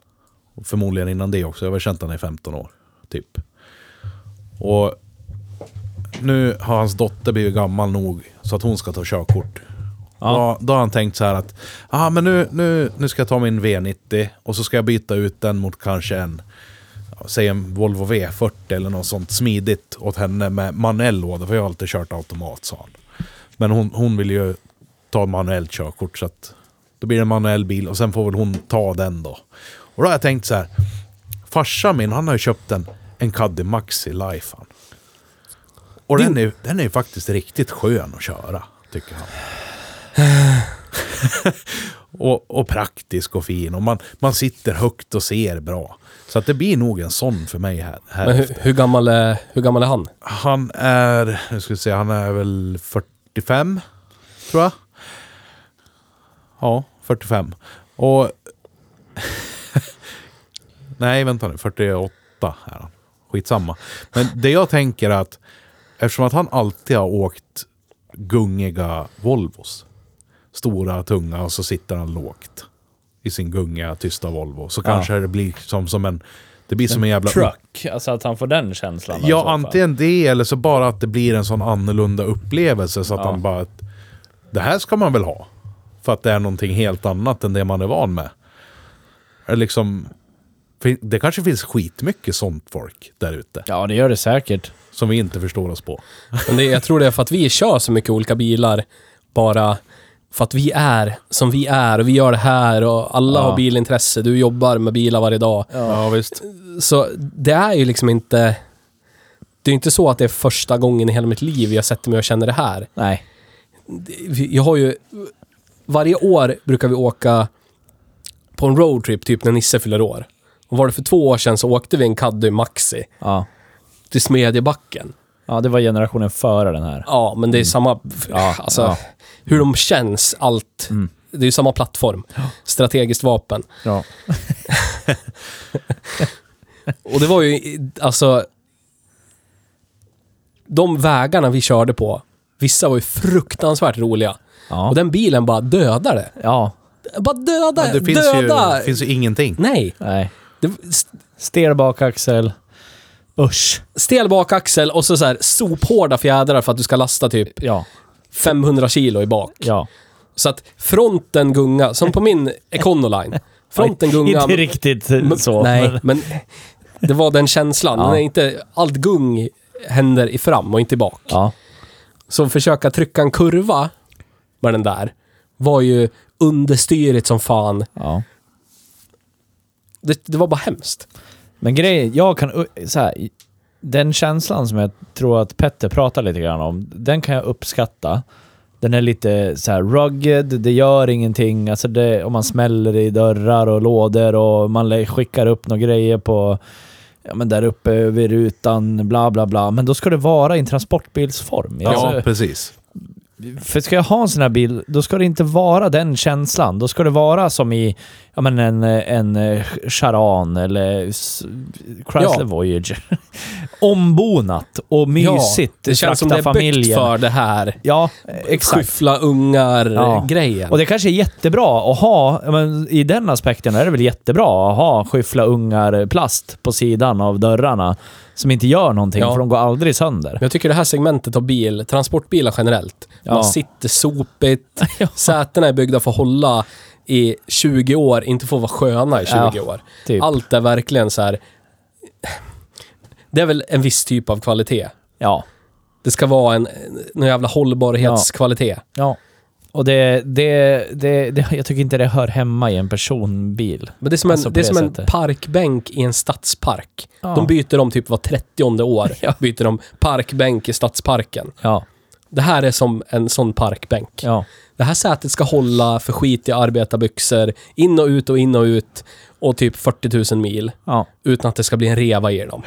Och förmodligen innan det också. Jag har väl känt han i 15 år, typ. Och nu har hans dotter blivit gammal nog så att hon ska ta körkort. Då, då har han tänkt så här att ah, men nu, nu, nu ska jag ta min V90 och så ska jag byta ut den mot kanske en ja, säg en Volvo V40 eller något sånt smidigt åt henne med manuell låda, för jag har alltid kört automat, sa han. Men hon, hon vill ju ta manuellt körkort, så att då blir det en manuell bil och sen får väl hon ta den då. Och då har jag tänkt så här, farsan min, han har ju köpt en, en Caddy Maxi Life. Han. Och den är, den är ju faktiskt riktigt skön att köra, tycker han. och, och praktisk och fin. Och man, man sitter högt och ser bra. Så att det blir nog en sån för mig här. här
Men hur, hur, gammal är, hur gammal är han?
han är, nu ska vi se, han är väl 45, tror jag. Ja, 45. Och... Nej, vänta nu, 48 är han. Skitsamma. Men det jag tänker är att eftersom att han alltid har åkt gungiga Volvos, stora, tunga, och så sitter han lågt i sin gungiga, tysta Volvo, så kanske det blir som, som en... Det blir som en jävla
Truck. Alltså att han får den känslan. i så
Ja,
fall.
antingen det eller så bara att det blir en sån annorlunda upplevelse så att han bara... att Det här ska man väl ha? För att det är någonting helt annat än det man är van med. Eller Liksom, fin- det kanske finns skitmycket sånt folk där ute
Ja, det gör det säkert.
som vi inte förstår oss på.
Men det, jag tror det är för att vi kör så mycket olika bilar. Bara för att vi är som vi är och vi gör det här och alla
Ja.
har bilintresse. Du jobbar med bilar varje dag.
Ja, visst.
Så det är ju liksom inte... Det är ju inte så att det är första gången i hela mitt liv jag sätter mig och känner det här.
Nej.
Vi- Jag har ju... Varje år brukar vi åka på en roadtrip, typ när Nisse fyller år. Och var det för två år sedan så åkte vi en Caddy Maxi
Ja.
till Smedjebacken.
ja, det var generationen före den här.
Ja, men det är samma...
Ja,
alltså,
ja.
hur de känns, allt. Det är ju samma plattform. Strategiskt vapen.
Ja.
Och det var ju, alltså... De vägarna vi körde på, vissa var ju fruktansvärt roliga.
Ja.
Och den bilen bara dödade.
ja.
Bara döda,
Men det finns
Äh, döda!
ju, finns ju ingenting.
Nej.
Nej.
Det, s-
Stel bakaxel. Usch.
stel bakaxel och så, så här sophårda fjädrar för att du ska lasta typ
Ja.
500 kilo i bak.
Ja.
Så att fronten gunga, som på min Econoline. Fronten gunga.
Inte riktigt
men-
så.
Nej,
men-
men det var den känslan.
Ja.
Den är inte, allt gung händer i fram och inte i bak.
Ja.
Så försöka trycka en kurva med den där var ju understyrigt som fan.
ja.
Det, det var bara hemskt.
Men grejen, jag kan... u- Så här, den känslan som jag tror att Petter pratar lite grann om, den kan jag uppskatta. Den är lite så här rugged, det gör ingenting. Alltså det, om man smäller i dörrar och lådor och man lä- skickar upp några grejer på... Ja men där uppe vid rutan, bla bla bla. Men då ska det vara i en transportbilsform.
Ja,
Alltså,
precis.
för ska jag ha en sån här bil, då ska det inte vara den känslan. Då ska det vara som i ja, men en, en eh, Charan eller s- Chrysler
Ja.
Voyager. Ombonat och mysigt.
det känns som det
Frakta
är byggt för det här.
Ja, exakt.
Skyffla
Ja.
ungar-grejen.
Och det kanske är jättebra att ha, ja, men i den aspekten är det väl jättebra att ha skyffla ungar-plast på sidan av dörrarna som inte gör någonting
Ja.
för de går aldrig sönder.
Men jag tycker det här segmentet av bil, transportbilar generellt,
Ja.
man sitter sopigt, sätena är byggda för att hålla i 20 år, inte få vara sköna i 20
Ja,
år.
typ.
Allt är verkligen så här. Det är väl en viss typ av kvalitet.
Ja.
Det ska vara en, en jävla hållbarhetskvalitet.
Ja. Och det, det, det, det, jag tycker inte det hör hemma i en personbil.
Men det är som en,
Alltså på
det är
det
som en
sättet.
parkbänk i en stadspark.
Ja.
De byter om typ var 30 år.
Ja.
Byter de parkbänk i stadsparken.
Ja,
Det här är som en sån parkbänk.
ja,
Det här sätet ska hålla för skit i arbetarbyxor, in och ut och in och ut och typ 40 000 mil
ja,
utan att det ska bli en reva i dem.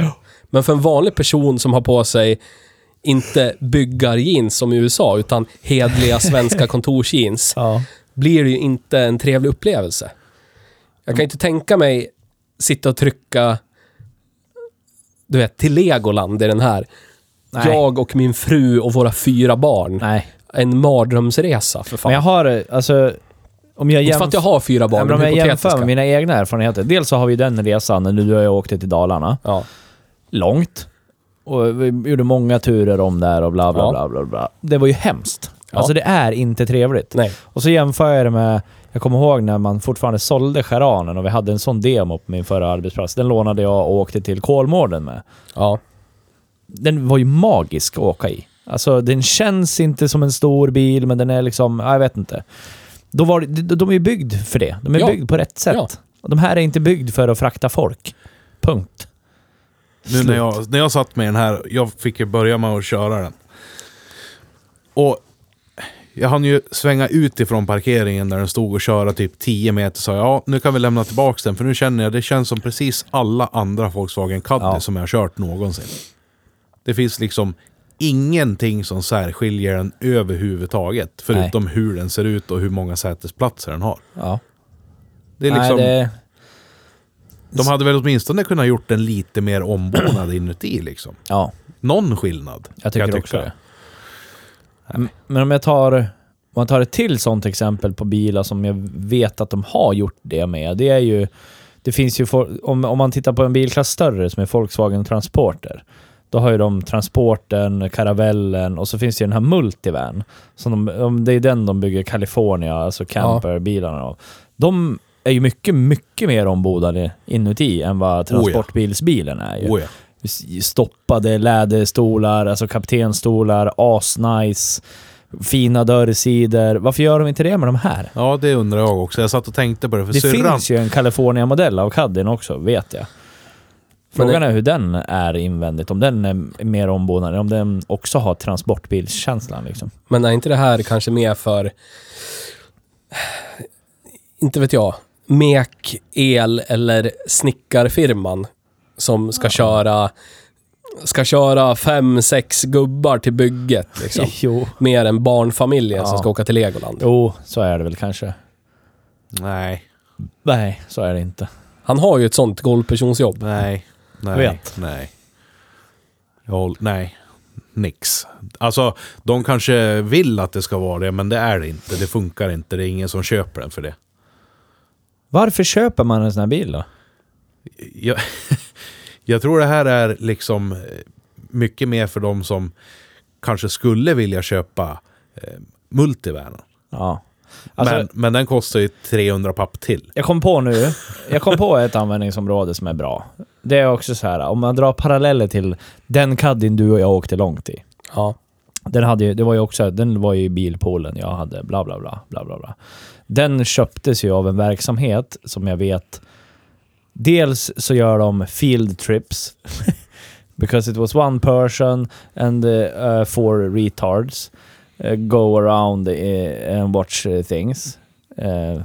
Men för en vanlig person som har på sig inte byggarjeans som i USA utan hedliga svenska kontorsjeans
ja.
blir det ju inte en trevlig upplevelse. Jag kan inte tänka mig sitta och trycka du vet, till Legoland i den här.
Nej.
Jag och min fru och våra fyra barn.
Nej.
En mardrömsresa för fan.
Men jag har, alltså... Om jag
Inte för att jag
jämför,
har fyra barn,
men om
men
jag jämför
hypotetiska.
med mina egna erfarenheter. Dels så har vi den resan när du och jag åkte till Dalarna.
Ja.
Långt. Och vi gjorde många turer om där och bla bla
Ja.
bla, bla bla. Det var ju hemskt.
Ja.
Alltså det är inte trevligt.
Nej.
Och så jämför jag det med, jag kommer ihåg när man fortfarande sålde Charanen och vi hade en sån demo på min förra arbetsplats. Den lånade jag och åkte till Kolmården med.
Ja.
Den var ju magisk att åka i. Alltså den känns inte som en stor bil, men den är liksom, ja, jag vet inte. Då var, det- de de är ju byggd för det. De är
Ja.
byggd på rätt sätt.
Ja.
Och de här är inte byggd för att frakta folk. Punkt.
Nu när jag, när jag satt med den här, jag fick ju börja med att köra den. Och jag hann ju svänga ut ifrån parkeringen där den stod och köra typ 10 meter. Sa jag, ja nu kan vi lämna tillbaka den för nu känner jag det känns som precis alla andra Volkswagen Caddy
Ja.
som jag har kört någonsin. Det finns liksom ingenting som särskiljer den överhuvudtaget. Förutom hur den ser ut och hur många sätesplatser den har.
Ja.
Det är liksom,
Nej, det,
De hade väl åtminstone kunnat gjort den lite mer ombonad inuti liksom.
ja.
någon skillnad.
Jag
kan
tycker också det. M- Men om jag tar, om jag tar ett till sånt exempel på bilar som jag vet att de har gjort det med. Det är ju, det finns ju, for- om, om man tittar på en bilklass större som är Volkswagen Transporter. Då har ju de Transporten, Caravellen och så finns det ju den här Multivan. Som de, om- det är den de bygger i California, alltså camperbilarna av. De är ju mycket, mycket mer ombodade inuti än vad transportbilsbilen är ju.
Oh, ja.
Stoppade läderstolar, alltså kaptenstolar, asnice, fina dörrsidor. Varför gör de inte det med de här?
ja, det undrar jag också. Jag satt och tänkte på det, för
det
syrran...
finns ju en California-modell av Caddien också, vet jag. Frågan är hur den är invändigt, om den är mer ombonad, om den också har transportbilskänslan liksom.
Men är inte det här kanske mer för... Inte vet jag. Mek, el eller snickarfirman som ska köra... Ska köra fem, sex gubbar till bygget liksom.
Jo.
Mer än barnfamiljen som
Ja.
ska åka till Legoland.
jo, så är det väl kanske.
Nej,
Nej, så är det inte.
Han har ju ett sånt golvpersonsjobb.
nej, nej,
Vet.
nej. Jag håll, nej, nix. Alltså, de kanske vill att det ska vara det, men det är det inte. Det funkar inte. Det är ingen som köper den för det.
Varför köper man en sån här bil då?
jag, jag tror det här är liksom eh, mycket mer för de som kanske skulle vilja köpa eh, multivanen.
Ja. Alltså,
men, men den kostar ju 300 papp till.
Jag kom på nu, jag kom på ett användningsområde som är bra. Det är också så här, om man drar paralleller till den Caddien du och jag åkte långt i.
Ja.
Den, hade ju, det var ju också, den var ju i bilpoolen jag hade, bla bla bla. bla, bla, bla. Den köptes ju av en verksamhet som jag vet... Dels så gör de field trips. because it was one person and uh, four retards. Uh, go around uh, and watch uh, things. Uh,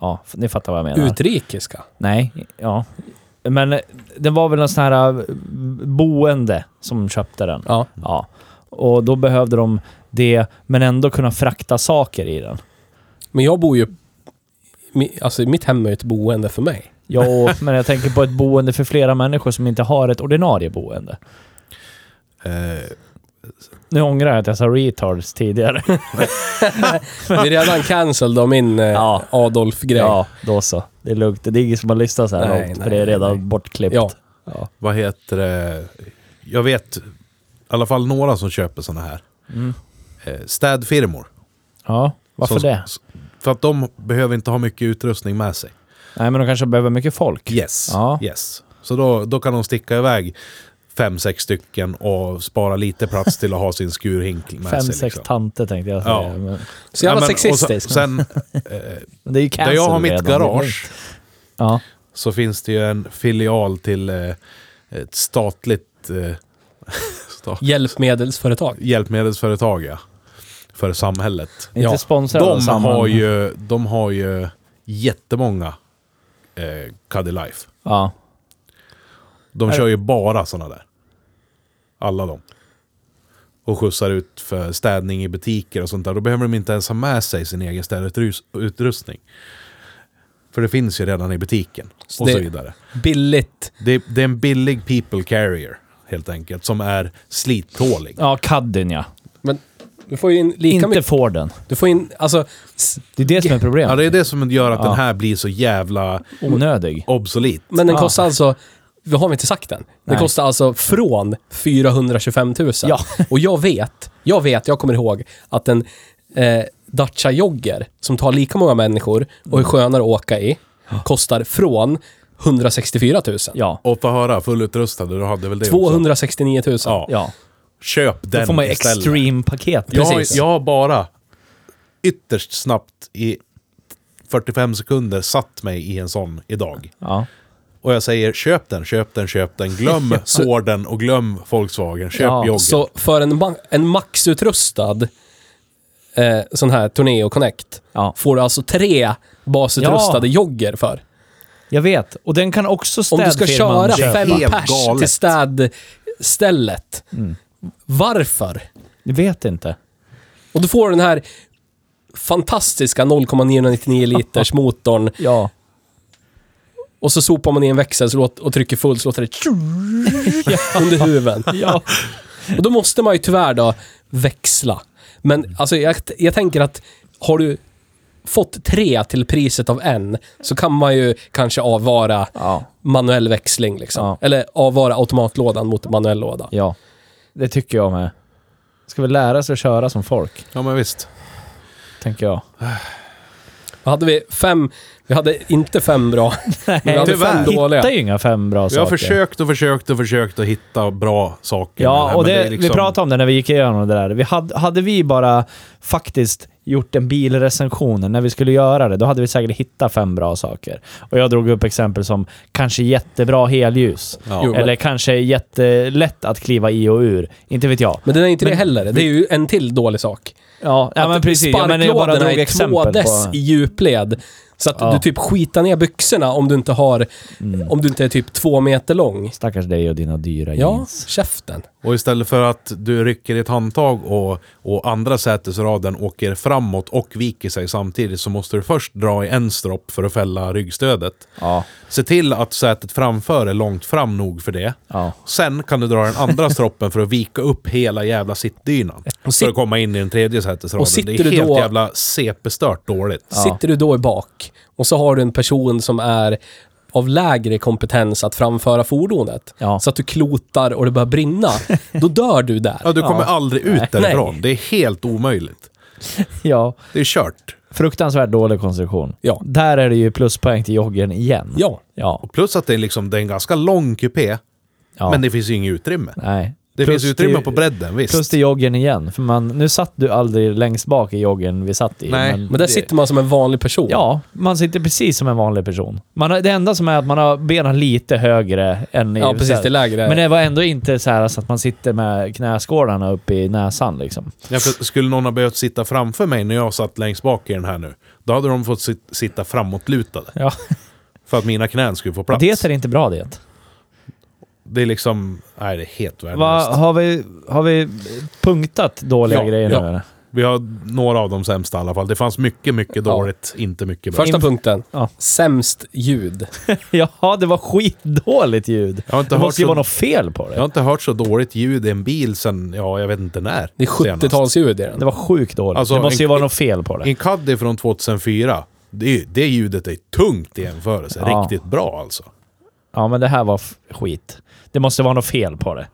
ja, ni fattar vad jag menar.
Utrikiska.
Nej, ja. Men eh, det var väl någon sån här eh, boende som köpte den.
Ja.
Mm.
Ja. Och då behövde de det, men ändå kunna frakta saker i den.
Men jag bor ju... mi- Alltså mitt hem är ju ett boende för mig.
Jo, men jag tänker på ett boende för flera människor som inte har ett ordinarie boende.
Eh,
Nu ångrar jag att jag sa retards tidigare.
Det är redan cancelled av min eh,
Ja.
Adolf-grej.
Ja, då så. Det är lugnt. Det är ingen som har lyssnat så här
Nej,
långt, för
nej,
det är redan
nej.
bortklippt.
Ja.
ja.
vad heter det? Jag vet i alla fall några som köper sådana här.
Mm.
Eh, städfirmor.
Ja, varför
som,
det?
s- För att de behöver inte ha mycket utrustning med sig.
Nej, men de kanske behöver mycket folk.
Yes.
Ja.
yes. Så då, då kan de sticka iväg fem, sex stycken och spara lite plats till att ha sin skurhink med
Fem,
sig.
sex
liksom.
tanter tänkte jag säga.
Ja.
Men,
Så jävla
men- och så-
sexistisk.
Sen, eh,
men det är ju
där jag har
cancelled
mitt
redan, det är lugnt.
garage
Ja.
så finns det ju en filial till eh, ett statligt eh, sta-
Hjälpmedelsföretag.
hjälpmedelsföretag, ja. För samhället.
Inte
Ja,
sponsrad av
De
Sandman.
har, ju, de har ju jättemånga eh, Caddy Life.
Ja.
De
Är-
kör ju bara sådana där. Alla de. Och skjutsar ut för städning i butiker och sånt där. Då behöver de inte ens ha med sig sin egen städutrustning. För det finns ju redan i butiken.
Så
och
det-
så vidare.
Billigt.
Det, det är en billig people carrier, helt enkelt. Som är slittålig.
Ja, Caddien ja.
Men du får ju in lika
Inte
mycket.
Forden.
Du får in, alltså... s-
Det är det som är
Ja,
problemet.
det är det som gör att
Ja.
den här blir så jävla
Onödig.
obsolit.
Men den
Ja.
kostar alltså... Vi har vi inte sagt den. Den
Nej.
kostar alltså från 425 000.
Ja.
Och jag vet, jag vet, jag kommer ihåg att en eh, Dacia Jogger som tar lika många människor och är skönare att åka i kostar från 164 000.
Ja.
Och få höra, fullutrustade, du hade väl det också?
269 000.
Ja.
Ja.
Köp den
Då får man ju
istället.
extreme-paket.
Jag, har-
Precis.
jag har bara ytterst snabbt i 45 sekunder satt mig i en sån idag.
Ja.
Och jag säger köp den, köp den, köp den. Glöm Forden och glöm Volkswagen. Köp
Ja,
joggen.
Så för en, ma- en maxutrustad eh, sån här Torneo Connect
Ja.
får du alltså tre basutrustade
Ja.
jogger för.
Jag vet. Och den kan också
Om du ska
städfirman
köra
köper.
fem
Helt
pers
galet.
till städstället,
Mm.
varför?
Jag vet inte.
Och du får den här fantastiska 0,999 liters motorn
Ja.
och så sopar man i en växel så låt, och trycker fullt så låter det tjurr under huven.
Ja.
Och då måste man ju tyvärr då växla. Men
Mm.
alltså jag, jag tänker att har du fått tre till priset av en så kan man ju kanske avvara
Ja.
manuell växling liksom.
Ja.
Eller avvara automatlådan mot manuell låda.
ja. Det tycker jag med. Ska vi lära sig att köra som folk,
Ja, men visst.
tänker jag.
Vad hade vi? Fem... Vi hade inte fem bra. Men vi hade
tyvärr.
fem dåliga.
Hittar ju inga fem bra
Jag har
saker.
försökt och försökt och försökt att hitta bra saker. med
Ja,
här,
och
men
det,
är liksom-
vi pratade om det när vi gick igenom det där. Vi hade, hade vi bara faktiskt gjort en bilrecension när vi skulle göra det, då hade vi säkert hittat fem bra saker. Och jag drog upp exempel som kanske jättebra helljus.
Ja.
Jo, men-
Eller kanske jättelätt att kliva i och ur. Inte vet jag.
Men det är inte det heller. Det är ju en till dålig sak.
Ja, ja men precis. Ja, men jag bara
Sparklådorna
drog
är
exempel på...
tvådes i djupled. Så att
Ja. Mm.
du typ skitar ner byxorna om du inte har... Om du inte är typ två meter lång.
Stackars dig och dina dyra
Ja,
jeans.
käften.
Och istället för att du rycker i ett handtag och, och andra sätesraden åker framåt och viker sig samtidigt så måste du först dra i en stropp för att fälla ryggstödet.
Ja.
Se till att sätet framför är långt fram nog för det.
ja.
Sen kan du dra den andra stroppen för att vika upp hela jävla sittdynan.
sit-
för att komma in i den tredje sätesraden.
Och sitter
det
du
är helt
då-
jävla CP-stört dåligt.
Sitter du då i bak och så har du en person som är av lägre kompetens att framföra fordonet.
Ja.
Så att du klotar och det börjar brinna. Då dör du där.
Ja, du kommer aldrig ut därifrån. Det är helt omöjligt.
ja.
Det är kört.
Fruktansvärt dålig konstruktion.
Ja.
Där är det ju pluspoäng till joggen igen.
Ja.
Ja.
Plus att det är, liksom, det är en ganska lång kupé,
ja.
men det finns ju inget utrymme.
Nej.
Det
Plus
finns utrymme
till-
på bredden, visst.
Plus till joggen igen. För man, nu satt du aldrig längst bak i joggen vi satt i.
Nej,
Men där
det-
sitter man som en vanlig person.
Ja, man sitter precis som en vanlig person. Man har, det enda som är att man har benen lite högre än i...
Ja, precis. Det är lägre.
Men det var ändå inte så här så att man sitter med knäskålarna upp i näsan liksom.
Ja, för skulle någon ha behövt sitta framför mig när jag satt längst bak i den här nu, då hade de fått sit- sitta framåtlutade.
Ja.
För att mina knän skulle få plats.
Det är inte bra det.
Det är liksom... Nej, det är helt
Va,
värdelöst.
har, vi, har vi punktat dåliga
Ja,
grejer
ja.
nu eller?
Vi har några av de sämsta i alla fall. Det fanns mycket, mycket
Ja.
dåligt, inte mycket bra.
Första punkten.
Ja.
Sämst ljud.
Jaha, det var skitdåligt ljud.
Jag har, inte
Det
hört
måste ju vara
så,
något fel på
jag har
det.
inte hört så dåligt ljud i en bil sen, ja, jag vet inte när.
Det är 70-talsljud i den.
Det var sjukt dåligt.
Alltså,
det måste ju
en-
vara något fel på det.
En Caddy från 2004, det, är- det ljudet är tungt i jämförelse.
Ja.
Riktigt bra alltså.
Ja, men det här var f- skit. Det måste vara något fel på det.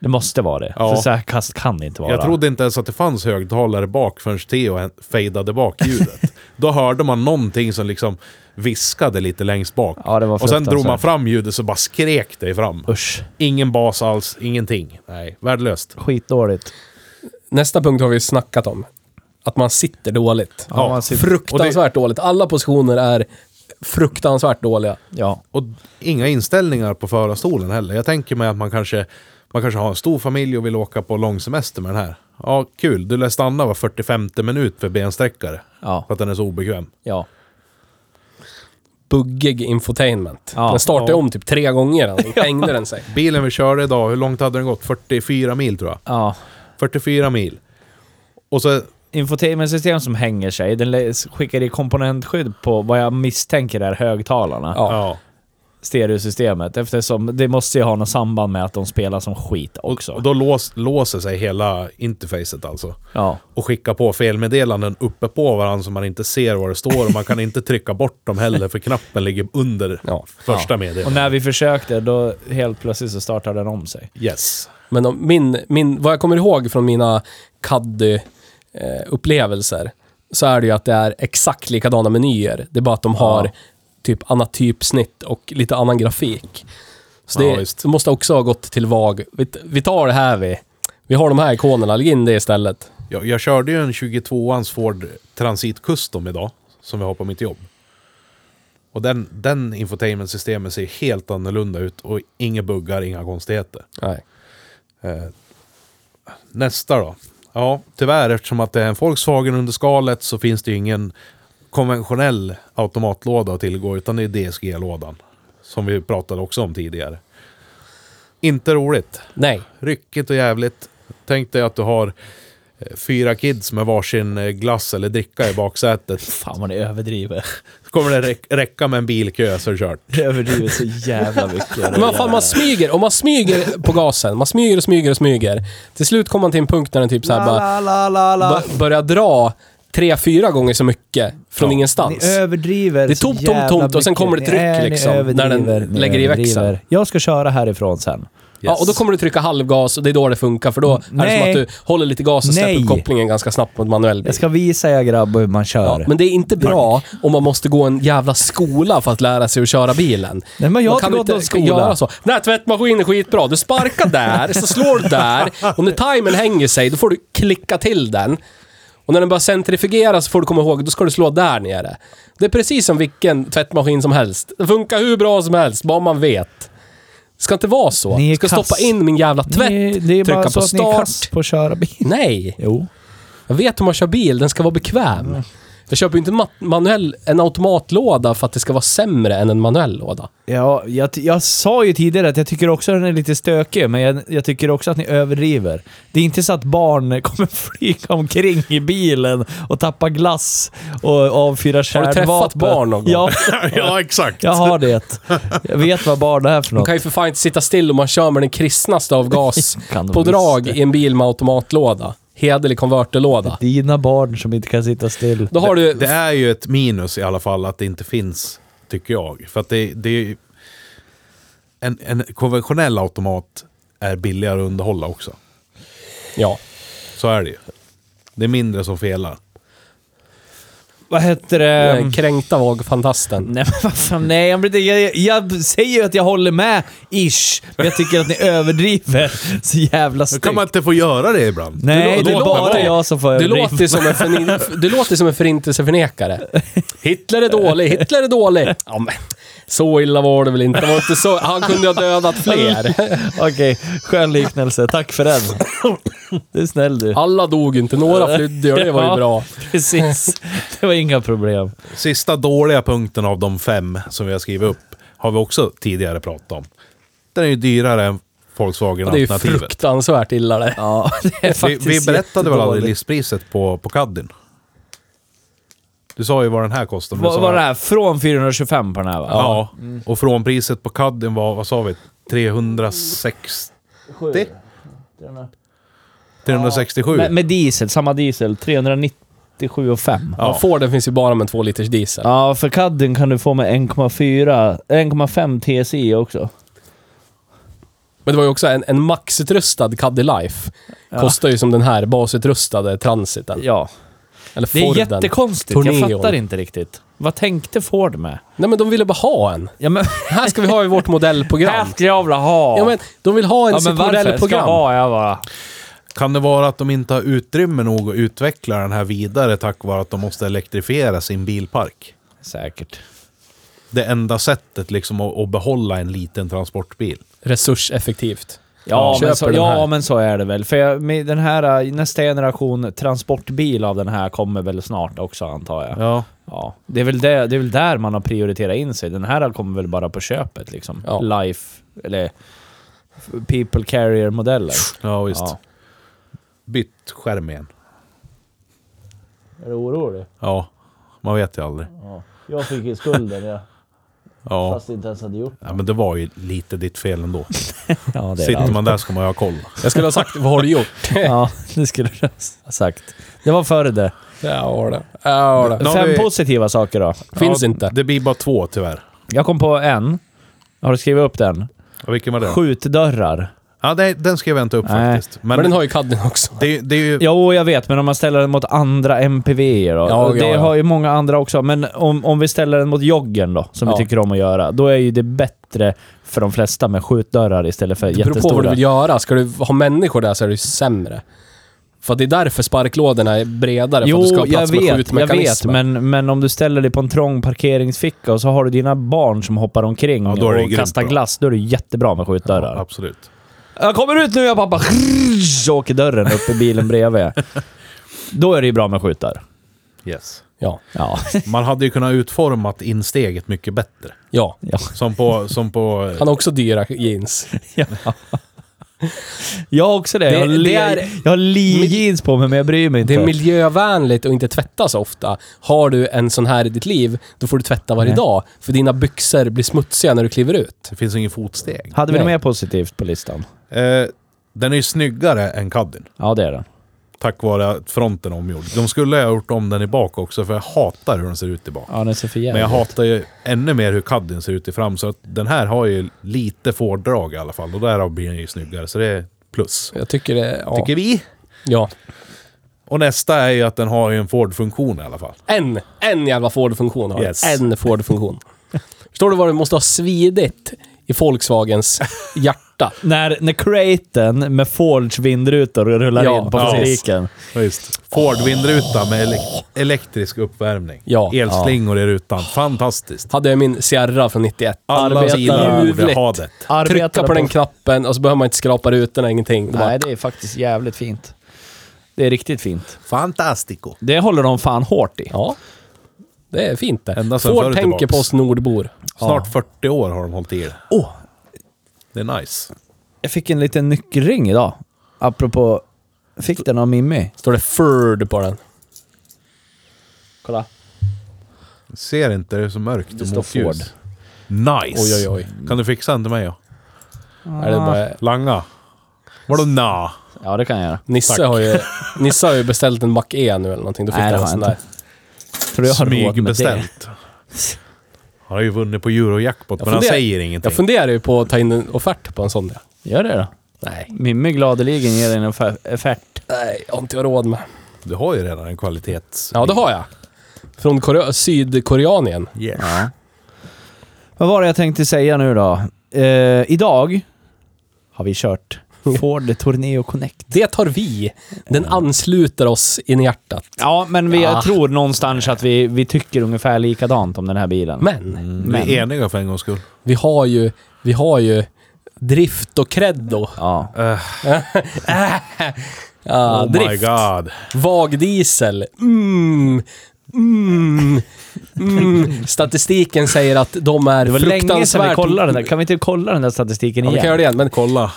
Det måste vara det.
Ja.
För så här kast kan det inte vara.
Jag trodde inte ens att det fanns högtalare bak förrän Theo en- fejdade bak ljudet. Då hörde man någonting som liksom viskade lite längst bak.
Ja, det var
och sen drog man
fruktansvärt.
fram ljudet så bara skrek det fram.
Usch.
Ingen bas alls, ingenting. Nej, värdelöst.
Skitdåligt.
Nästa punkt har vi snackat om. Att man sitter dåligt.
Ja, man sitter-
Fruktansvärt dåligt. Alla positioner är fruktansvärt dåliga.
Ja.
Och inga inställningar på förarstolen heller. Jag tänker mig att man kanske, man kanske har en stor familj och vill åka på långsemester med den här. Ja, kul. Du lär stanna var 45 minut för bensträckare.
Ja.
För att den är så obekväm.
Ja.
Buggig infotainment.
Ja.
den startade
Ja.
om typ tre gånger. Alltså. Hängde den sig.
Bilen vi körde idag, hur långt hade den gått? 44 mil tror jag.
ja.
44 mil. Och så...
Infotainmentsystem som hänger sig. Den lä- skickar i komponentskydd på vad jag misstänker är högtalarna.
Ja.
Ja.
Stereosystemet. Eftersom det måste ju ha något samband med att de spelar som skit också.
Och då lås, låser sig hela interfacet alltså.
ja.
Och skickar på felmeddelanden uppe på varandra så man inte ser vad det står och man kan inte trycka bort dem heller för knappen ligger under
Ja.
första
Och
meddelandet.
när vi försökte, då helt plötsligt så startade den om sig.
Yes.
Men om, min, min, vad jag kommer ihåg från mina CAD-upplevelser så är det ju att det är exakt likadana menyer. Det är bara att de har typ annat typsnitt och lite annan grafik. Så det,
Ja, visst.
det måste också ha gått till VAG. Vi, vi tar det här vi. Vi har de här ikonerna, lägg in det istället.
Jag, jag körde ju en 22ans Ford Transit Custom idag, som vi har på mitt jobb. Och den, den infotainmentsystemet ser helt annorlunda ut och inga buggar, inga konstigheter.
Nej.
Eh, nästa då. Ja, tyvärr eftersom att det är en Volkswagen under skalet så finns det ju ingen konventionell automatlåda att tillgå utan det är DSG-lådan. Som vi pratade också om tidigare. Inte roligt.
Nej.
Ryckigt och jävligt. Tänk dig att du har eh, fyra kids med varsin eh, glass eller dricka i baksätet.
Fan vad det överdriver.
Kommer det räck- räcka med en bilkö så är det kört.
Det överdriver så jävla mycket.
Men vad fan, man smyger. Om man smyger på gasen. Man smyger och smyger och smyger. Till slut kommer man till en punkt där den typ så här bara
La, la, la, la.
bör- börjar dra tre, fyra gånger så mycket från
Ja.
ingenstans.
Ni överdriver
Det är
så
tomt, tomt,
jävla
tomt och sen
mycket.
kommer det tryck
Nej, ni
liksom, när den
överdriver, ni
lägger i
överdriver.
växeln.
Jag ska köra härifrån sen.
Ja, och då kommer du trycka halvgas och det är då det funkar, för då är det som
Nej.
att du håller lite gas och släpper
Nej.
upp kopplingen ganska snabbt mot manuell bil.
Jag ska visa er grabbar hur man kör.
Ja, men det är inte bra om man måste gå en jävla skola för att lära sig att köra bilen.
Nej, men jag
Man
har
kan
inte gått någon skola.
Göra så. Den här tvättmaskinen är skitbra. Du sparkar där, så slår du där. Och när timern hänger sig, då får du klicka till den. Och när den börjar centrifugera så får du komma ihåg, då ska du slå där nere. Det är precis som vilken tvättmaskin som helst. Det funkar hur bra som helst, bara man vet. Det ska inte vara så.
Ni är
Du ska
kass.
stoppa in min jävla tvätt,
Ni- det är
trycka
bara
på
så att ni är
start.
kass på att köra bil.
Nej!
Jo.
Jag vet hur man kör bil, den ska vara bekväm.
Mm.
Jag köper ju inte ma- manuell, en automatlåda för att det ska vara sämre än en manuell låda.
Ja, jag, jag sa ju tidigare att jag tycker också att den är lite stökig, men jag, jag tycker också att ni överdriver. Det är inte så att barn kommer flyga omkring i bilen och tappa glass och avfyra
Har
kärnvapen.
du träffat barn någon gång?
Ja,
ja, exakt.
jag har det. Jag vet vad barn är för
De
något.
kan ju för fan inte sitta still om man kör med den kristnaste av gas
Kan de
på
visst
drag
det.
i en bil med automatlåda. Hederlig konverterlåda.
Dina barn som inte kan sitta still.
Då har du...
Det är ju ett minus i alla fall att det inte finns, tycker jag. För att det, det är ju- en, en konventionell automat är billigare att underhålla också.
Ja.
Så är det ju. Det är mindre som felar.
Vad heter det?
Den Eh, Kränkta vagfantasten.
Nej men vad fan, nej. Jag, blir- jag, jag säger ju att jag håller med, ish. Men jag tycker att ni överdriver så jävla
Då
styggt.
kan man inte få göra det ibland.
Nej,
Du
det är
låter-
bara jag som får
Du
överdriva.
låter, som en förni- du låter som en förintelseförnekare. Hitler är dålig, Hitler är dålig. Ja, men, så illa var det väl inte. Det var inte så, han kunde ha dödat fler.
Okej, skön liknelse. Tack för den. Du är snäll du.
Alla dog inte, några flydde och det var ju
Ja,
bra.
Precis. Det var inga problem.
Sista dåliga punkten av de fem som vi har skrivit upp har vi också tidigare pratat om. Den är ju dyrare än
Det är ju
Volkswagen-alternativet.
fruktansvärt illa det.
Ja, det är
Vi,
faktiskt
vi berättade väl aldrig
jättedåligt.
listpriset på, på Caddien? Du sa ju vad den här kostar. men du
Vad
sa-
var det här? Från 425 på den här va?
Ja, och frånpriset på Caddien var, vad sa vi, 360? 367?
Med, med diesel, samma diesel. 397 och 5.
Ja. Forden finns ju bara med en två liters diesel.
Ja, för Cadden kan du få med 1,4 1,5 TSI E också.
Men det var ju också en, en maxutrustad Caddy Life. Kostar ju som den här basutrustade Transiten.
Ja.
Eller
Det är
Forden.
jättekonstigt.
Torneon.
Jag fattar inte riktigt. Vad tänkte Ford med?
Nej men de ville bara ha en.
Ja, men...
Här ska vi ha i vårt modellprogram.
skulle jag vilja ha!
Ja men, de vill ha en i
Ja,
sitt
men varför? Ska
modellprogram.
ha jag bara.
Kan det vara att de inte har utrymme nog att utveckla den här vidare tack vare att de måste elektrifiera sin bilpark?
Säkert.
Det enda sättet liksom att, att behålla en liten transportbil.
Resurseffektivt.
Ja,
Köper
men så,
den här.
ja, men så är det väl. För jag, med den här, eh, nästa generation transportbil av den här kommer väl snart också antar jag. Ja. Det, är väl det, det är väl där man har prioriterat in sig. Den här kommer väl bara på köpet liksom.
Ja.
Life, eller f- People Carrier-modellen.
Ja, visst.
Ja.
Bytt skärm igen.
Är du orolig?
Ja, man vet ju aldrig.
Ja. Jag fick ju skulden jag,
Ja.
jag inte ens hade gjort
ja, men det var ju lite ditt fel ändå.
Ja, det är
Sitter
allt.
man där ska man ju ha koll.
Jag skulle ha sagt, vad har du gjort?
Ja, det skulle du ha sagt. Det var före det.
ja, var det. Ja, var det.
Nu har
Fem
vi-
positiva saker då.
Finns
Ja,
inte.
Det blir bara två tyvärr.
Jag kom på en. Har du skrivit upp den?
Ja, Vilken var det?
Skjutdörrar.
Ja, det, den skrev jag inte upp
Nej.
faktiskt.
Men den har ju Caddyn också.
det, det är ju...
Jo, jag vet, men om man ställer den mot andra MPV då.
Ja, ja,
det
ja.
har ju många andra också, men om, om vi ställer den mot joggen då, som
Ja.
vi tycker om att göra, då är ju det bättre för de flesta med skjutdörrar istället för
Det beror på vad du
jättestora.
vill göra. Ska du ha människor där så är det ju sämre. För det är därför sparklådorna är bredare, för att du ska
Jo,
ha
jag
plats med
vet, jag vet,
skjutmekanismer.
men, men om du ställer dig på en trång parkeringsficka och så har du dina barn som hoppar omkring
Ja, då är det
och
grymt
kastar
bra.
glass, då är det jättebra med skjutdörrar.
Ja, absolut.
Jag kommer ut nu jag pappa! Så åker dörren upp i bilen bredvid. Då är det ju bra med skjutar.
Yes.
Ja.
Ja.
Man hade ju kunnat utformat insteget mycket bättre.
ja.
ja.
Som på... Som på
Han har också dyra jeans.
Jag har också det. jag har,
Det-
li-
det är-
jag har li jeans på mig men jag bryr mig inte.
Det är miljövänligt och inte tvätta så ofta. Har du en sån här i ditt liv, då får du tvätta varje
Nej.
dag. För dina byxor blir smutsiga när du kliver ut.
det finns ingen fotsteg.
Hade vi
Nej.
något mer positivt på listan?
Eh, den är ju snyggare än Caddyn.
Ja, det är den.
tack vare att fronten är omgjord. De skulle ha gjort om den i bak också, för jag hatar hur den ser ut i bak.
Ja, den ser för
Men jag
jävligt.
hatar ju ännu mer hur caddien ser ut i fram, så att den här har ju lite fårdrag i alla fall. Och därav blir den ju snyggare, så det är plus.
Jag tycker det... Ja.
Tycker vi.
ja.
Och nästa är ju att den har ju en Ford-funktion i alla fall.
En, en jävla Ford-funktion har den.
Yes.
En Ford-funktion. Förstår du vad det måste ha svidit i Volkswagens hjärta?
När, när craten med Forge vindrutor rullar
Ja,
in på
ja.
fabriken.
Ja, Visst. Ford-vindruta med elek- elektrisk uppvärmning.
Ja.
Elslingor i rutan. Fantastiskt.
Hade jag min Sierra från 91.
Alla
Arbetarna
bilar borde
ljuvligt.
ha det.
Trycka på den knappen och så behöver man inte skrapa rutorna, ingenting. Det bara,
Nej, det är faktiskt jävligt fint. Det är riktigt fint.
Fantastico.
Det håller de fan hårt i.
ja. Det är fint det.
Ända sedan
Ford
förr
tänker
tillbaks.
på oss nordbor.
Snart 40 år har de hållit i det.
Åh,
Det är nice.
jag fick en liten nyckelring idag. Apropå... Fick den av Mimmi.
Står det Ford på den. Kolla.
Jag Ser inte, det är så mörkt
Det
och
står
motljus.
Ford.
Nice!
Oj, oj, oj.
Kan du fixa en till mig då?
Är
Ah.
det bara,
Langa. Vadå na?
Ja, det kan jag göra.
Nisse,
Tack.
har ju, Nisse har ju beställt en Mac-E nu eller någonting. Då fick
Nej, det
han en sån
har jag
där.
inte. Tror du jag har råd med det?
Smygbeställt. Han har ju vunnit på Eurojackpot, men han
funderar-
säger ingenting.
Jag funderar ju på att ta in en offert på en sån där.
Gör det då.
Nej.
Mimmi gladeligen ger dig en offert- offert.
Nej, jag har inte råd med.
Du har ju redan en kvalitets...
Ja, det har jag. Från Korea, Sydkoreanien.
Yeah.
Vad var det jag tänkte säga nu då? Eh, idag har vi kört Ford Torneo Connect.
Det har vi. Den ansluter oss in i hjärtat.
Ja, men vi,
Ja.
jag tror någonstans att vi, vi tycker ungefär likadant om den här bilen. Mm.
Men
Men-
Vi är eniga för en gångs skull.
vi har ju, vi har ju drift och creddo.
Ja.
Ja,
oh my
drift.
god.
Vag diesel. Mm. Mm. Mm. Statistiken säger att de är
Det var länge sedan vi
fruktansvärt...
kollade den där. Kan vi inte kolla den där statistiken
Ja, vi
igen?
kan göra det igen, men
Kolla.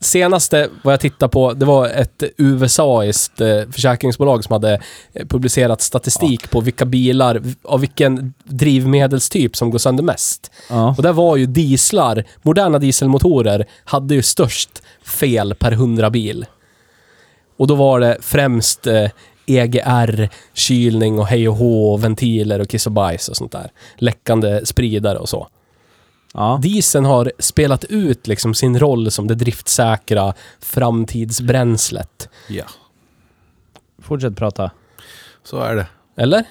Senaste vad jag tittade på, det var ett USA-iskt eh, försäkringsbolag som hade eh, publicerat statistik på vilka bilar, v- av vilken drivmedelstyp som går sönder mest.
Ja.
Och där var ju dieslar, moderna dieselmotorer, hade ju störst fel per 100 bil. Och då var det främst eh, EGR, kylning och hej och hå, ventiler och kiss och bajs och sånt där. Läckande spridare och så.
Ja.
Dieseln har spelat ut liksom sin roll som det driftsäkra framtidsbränslet.
Ja,
Fortsätt prata.
så är det.
Eller?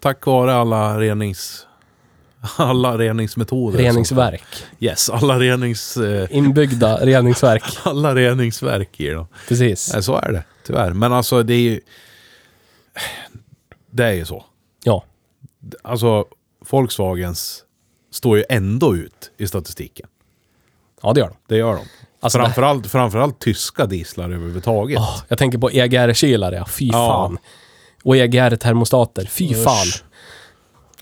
Tack vare alla renings... Alla reningsmetoder. Alltså.
Reningsverk.
Yes, alla renings... eh,
Inbyggda reningsverk.
Alla reningsverk i dem.
Precis.
Nej, så är det. Tyvärr. Men alltså det är ju... Det är ju så.
Ja.
Alltså, Volkswagens står ju ändå ut i statistiken.
Ja, det gör de.
Det gör de.
Alltså, Ah,
framförallt, framförallt tyska dieslar överhuvudtaget.
Åh, jag tänker på EGR-kylare, ja. Fy
Ja.
fan. Och EGR-termostater, fy
Usch.
fan.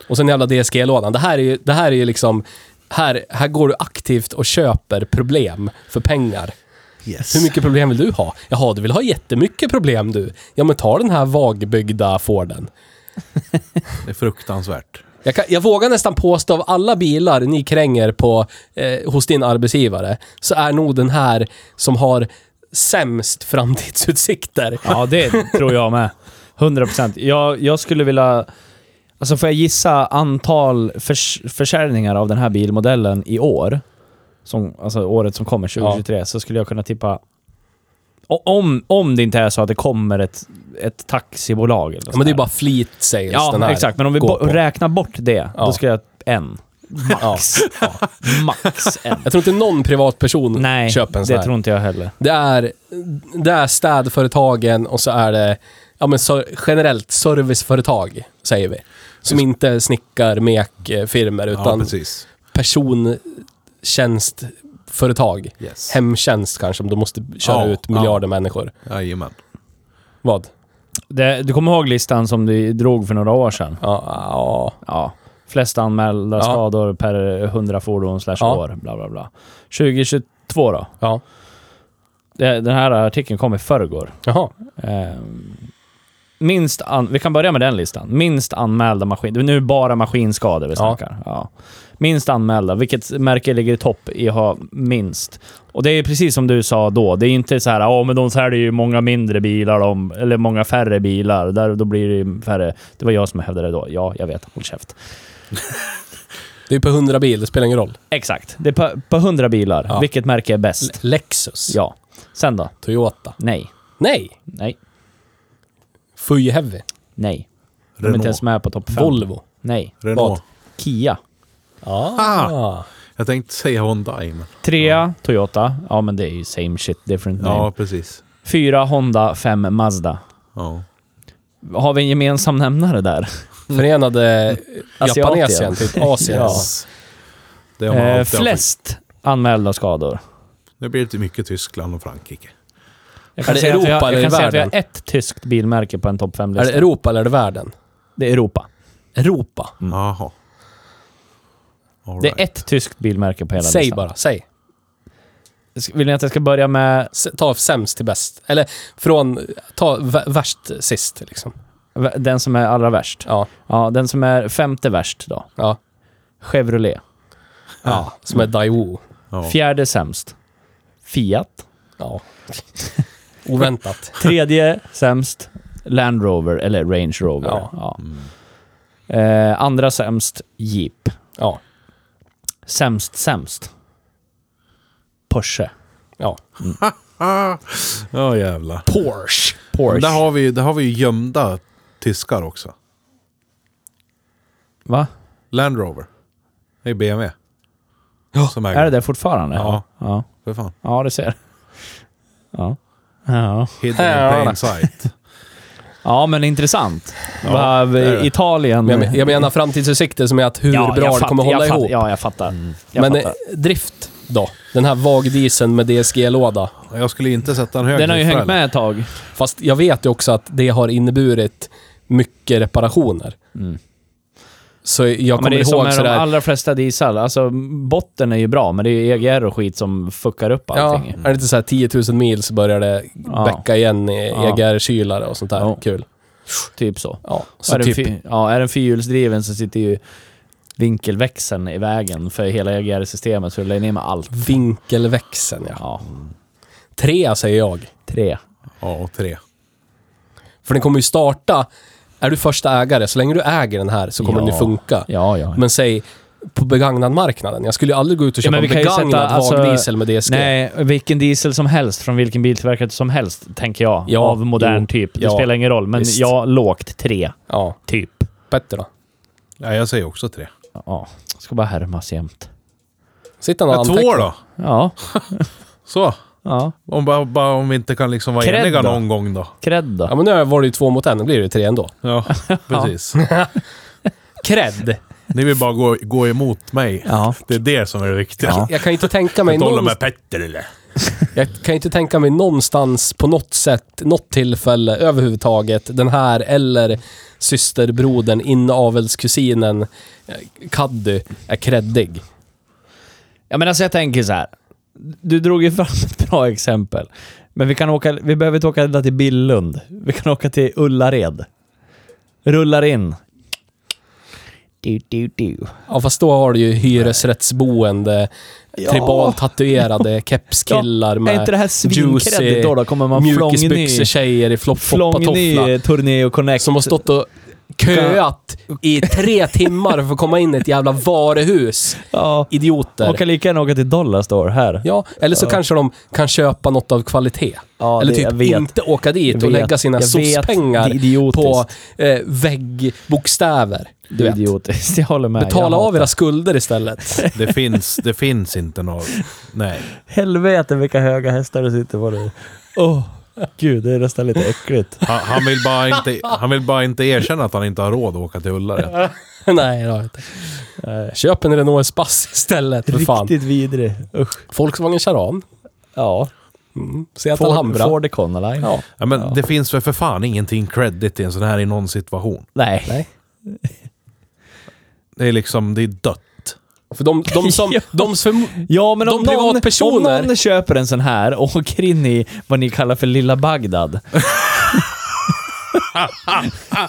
Och sen jävla DSG-lådan. Det här är ju, det här är ju liksom... Här, här går du aktivt och köper problem för pengar.
Yes.
Hur mycket problem vill du ha? Jaha, du vill ha jättemycket problem du. Ja, men ta den här vagbyggda Forden.
Det är fruktansvärt.
Jag, kan, jag vågar nästan påstå av alla bilar ni kränger på, eh, hos din arbetsgivare, så är nog den här som har sämst framtidsutsikter.
Ja, det tror jag med. 100 procent. Jag, jag skulle vilja... Alltså får jag gissa antal förs försäljningar av den här bilmodellen i år? Som, alltså året som kommer, 2023, så skulle jag kunna tippa... O- Om, om det inte är så att det kommer ett, ett taxibolag eller
Ja, men det är
sådär.
bara fleet sales
Ja,
den här
exakt. Men om vi
går
bo-
på.
räknar bort det,
Ja.
då skulle jag... En. Max. Max en.
Jag tror inte någon privatperson
Nej,
köper en sån
det
här.
tror inte jag heller.
Det är, det är städföretagen och så är det ja, men ser- generellt serviceföretag, säger vi. Som inte snickar mekfirmer
Ja,
utan
precis.
persontjänstföretag.
Yes.
Hemtjänst kanske, om du måste köra
Ja,
ut
ja.
miljarder människor.
Jajamän.
Vad?
Det, du kommer ihåg listan som du drog för några år sedan?
Ja, ja.
Ja. Flest anmälda
Ja.
skador per 100 fordon slash
Ja.
år. Bla, bla, bla. 2022 då?
ja.
Det- Den här artikeln kom i förrgår.
Jaha.
Ehm, minst an, vi kan börja med den listan. Minst anmälda maskin... Nu är det bara maskinskador vi snackar. Ja. Minst anmälda, vilket märke ligger i topp i att ha minst. Och det är precis som du sa då. Det är inte så här, ja men de säljer ju många mindre bilar, de, eller många färre bilar. Där, då blir det ju färre. Det var jag som hävdade det då. Ja, jag vet. Håll käft.
Det är på 100 bil, det spelar ingen roll.
Exakt. Det är på, på 100 bilar.
Ja.
Vilket märke är bäst?
Lexus.
Ja. Sen då?
Toyota.
Nej.
Nej!
Nej.
Fuji Heavy.
Nej. De är
Renault.
inte ens med på topp 5.
Volvo.
Nej.
Renault.
Vad?
Kia.
Ja.
Ah. Jag tänkte säga Hyundai, men...
Trea, Toyota. Ja, men det är ju same shit, different
Ja,
name.
precis.
Fyra, Honda. Fem, Mazda.
Ja.
Har vi en gemensam nämnare där?
Mm. Förenade
Asiatien.
Japanesien, typ Asien.
Ja.
Det har man
Eh,
alltid haft.
flest anmälda skador.
Nu blir det lite mycket Tyskland och Frankrike.
Jag kan,
Är det
säga,
Europa
att vi har,
eller
jag kan
i
säga att vi har
världen?
ett tyskt bilmärke på en topp
Är det
5-lista.
Europa eller är det världen?
Det är Europa.
Europa.
Jaha. All
Mm. Det
right.
är ett tyskt bilmärke på hela
Säg
listan.
bara, säg.
S- Vill ni att jag ska börja med
S- Ta sämst till bäst. Eller från, ta v- värst sist liksom.
v- den som är allra värst?
Ja,
Ja, den som är femte värst då.
ja.
Chevrolet.
ja. Som är Daewoo.
ja.
Fjärde sämst. Fiat.
Ja. Oväntat.
Tredje sämst. Land Rover, eller Range Rover.
Ja. Mm.
Ja. Eh, andra sämst. Jeep.
Ja.
Sämst sämst. Porsche.
ja.
Ah. Ja, jävlar.
Porsche.
Men
Porsche.
Där har, vi, ju- där har vi ju gömda tyskar också.
Va?
Land Rover. Det är BMW.
Ja,
Som äger.
Är det det fortfarande?
Ja.
Ja,
För fan.
ja det ser. Ja. Ja.
Hidden in plain sight.
ja, men intressant.
Ja,
Vad-
det är det.
Italien.
Men jag, men- jag menar framtidsutsikter som är att hur
Ja,
bra
jag
det
fatt-
kommer
jag
hålla
fatt-
ihop.
Ja, jag fattar. Jag
men
fattar.
eh, drift då? Den här vagdieseln med DSG-låda.
Jag skulle inte sätta en hög
Den har ju
siffra,
hängt
eller?
med ett tag.
Fast jag vet ju också att det har inneburit mycket reparationer.
Mm.
Så jag
Ja, men
kommer
det är som
ihåg
med de
sådär...
allra flesta diesel. Alltså, botten är ju bra, men det är ju EGR och skit som fuckar upp
Ja,
allting.
är det inte såhär 10 000 mil så börjar det
Ja.
bäcka igen i
Ja.
EGR-kylare och sånt där.
Ja.
Kul.
Typ så.
Ja,
är,
så
den
typ...
fy- ja, är den fyrhjulsdriven så sitter ju vinkelväxeln i vägen för hela EGR-systemet, så det lägger ner med allt.
Vinkelväxeln, ja.
Ja,
Tre säger jag.
tre.
Ja, och tre.
För den kommer ju starta... Är du första ägare, så länge du äger den här så kommer
Ja.
den ju funka.
Ja, ja.
Men säg, på begagnadmarknaden. Jag skulle ju aldrig gå ut och
Ja,
köpa
men
en
vi kan ju
begagnad
sätta, alltså,
vagdiesel med DSG.
Nej, vilken diesel som helst från vilken biltillverkare som helst, tänker jag.
Ja,
av modern
jo,
typ. Det
ja,
spelar ingen roll, men
visst.
ja, lågt tre,
Ja,
typ.
Petter då?
Ja, jag säger också tre.
Ja, ska bara härmas jämt.
Sitter han och
Ja, två
antecknar?
då?
Ja,
Så.
ja.
Om, bara, bara, om vi inte kan liksom vara
Cred
eniga
då?
någon gång då.
Cred då.
Ja, men nu var det ju två mot en. Nu blir det ju tre ändå.
Ja, precis.
Cred.
Ni vill bara gå, gå emot mig.
Ja.
Det är det som är det viktiga.
Ja.
Jag kan ju inte tänka mig
Inte hålla
någonstans...
med Petter eller?
Jag kan ju inte tänka mig någonstans på något sätt, något tillfälle överhuvudtaget, den här eller systerbrodern, inavelskusinen, eh, Caddy, är kreddig.
Ja, men alltså jag tänker så här. Du drog ju fram ett bra exempel. Men vi, kan åka, vi behöver inte åka ända till Billund. Vi kan åka till Ullared. Rullar in. Du, du, du.
Ja, fast då har du ju hyresrättsboende, tribaltatuerade kepskillar
Är inte det
med
här
juicy
svinkreddigt då? Då kommer man flångny...
mjukisbyxor-tjejer i flopp-floppa-tofflar
Flångny Tourneo Connect.
som har stått och köat i tre timmar för att komma in i ett jävla varuhus.
Ja.
Idioter.
Man kan lika gärna åka till Dollar Store här.
Ja, eller så kanske de kan köpa något av kvalitet.
Ja,
eller
det- jag
typ
vet.
inte åka dit
Jag
och
vet.
lägga sina
Jag vet. Det är
SOS-pengar
idiotiskt.
på eh, väggbokstäver.
Du är idiotiskt. Jag håller med.
Betala
jag
av era
hatar.
skulder istället.
Det finns, det finns inte något. Nej.
Helvete vilka höga hästar du sitter på nu. Åh, gud. Det är nästan lite äckligt.
Han, han, vill bara inte, han vill bara inte erkänna att han inte har råd att åka till Ullared.
Nej, det har jag inte. Eh, Köp en Renault Espace istället, för fan.
Riktigt vidrig. Usch.
Volkswagen Charan.
Ja.
Mm. Seat
Ford,
Alhambra.
Ford Econoline.
Ja.
Ja, men Det finns väl för fan ingenting credit i en sån här i någon situation.
Nej.
Nej.
Det är liksom, det är dött.
För de, de som...
Ja.
de som
Ja, men
De
om någon, om
privatpersoner-
någon köper en sån här och åker in i vad ni kallar för lilla Bagdad.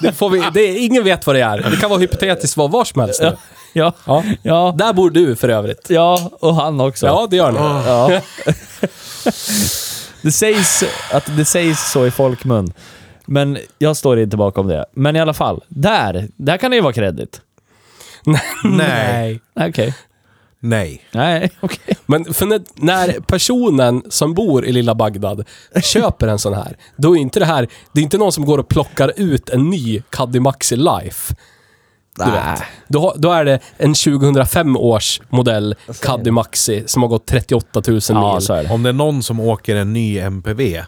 Det får vi, det är, ingen vet vad det är. Det kan vara hypotetiskt vad var som helst nu.
Ja,
Ja.
ja,
Där bor du för övrigt.
ja, Ah. och han också.
Ja, det gör ni.
Ja. det, sägs att det sägs så i folkmun. Men jag står inte bakom det. Men i alla fall, där, där kan det ju vara kredit.
Nej.
Okej.
Nej.
Nej, okej.
Men för när, när personen som bor i lilla Bagdad köper en sån här, då är inte det här, det är inte någon som går och plockar ut en ny Caddy Maxi Life. Du vet. Då, har- då är det en 2005 års modell Caddy Maxi som har gått 38 000
Ja,
mil.
så är det.
Om det är någon som åker en ny MPV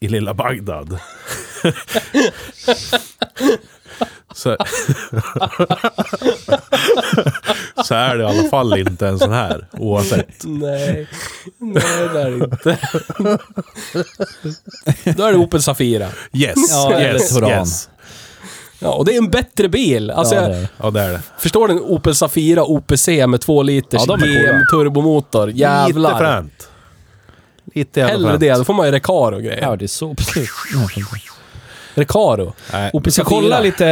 i lilla Bagdad. så, så är det i alla fall inte en sån här. Oavsett.
Nej, nej det är det inte. då är det Opel Safira.
Yes,
Ja, eller
yes,
Touran.
yes.
Ja, och det är en bättre bil. Alltså,
Ja, det är
jag,
det.
Ja, det är det.
förstår du en Opel Safira OPC med 2 liters
Ja, de är coola.
GM turbomotor? Jävlar.
Lite fränt. Lite jävla
Hellre
fränt.
det, då får man ju Recaro och grejer.
Ja, det är så precis.
Recaro.
Nej.
Opel
Vi ska
Safira.
kolla lite...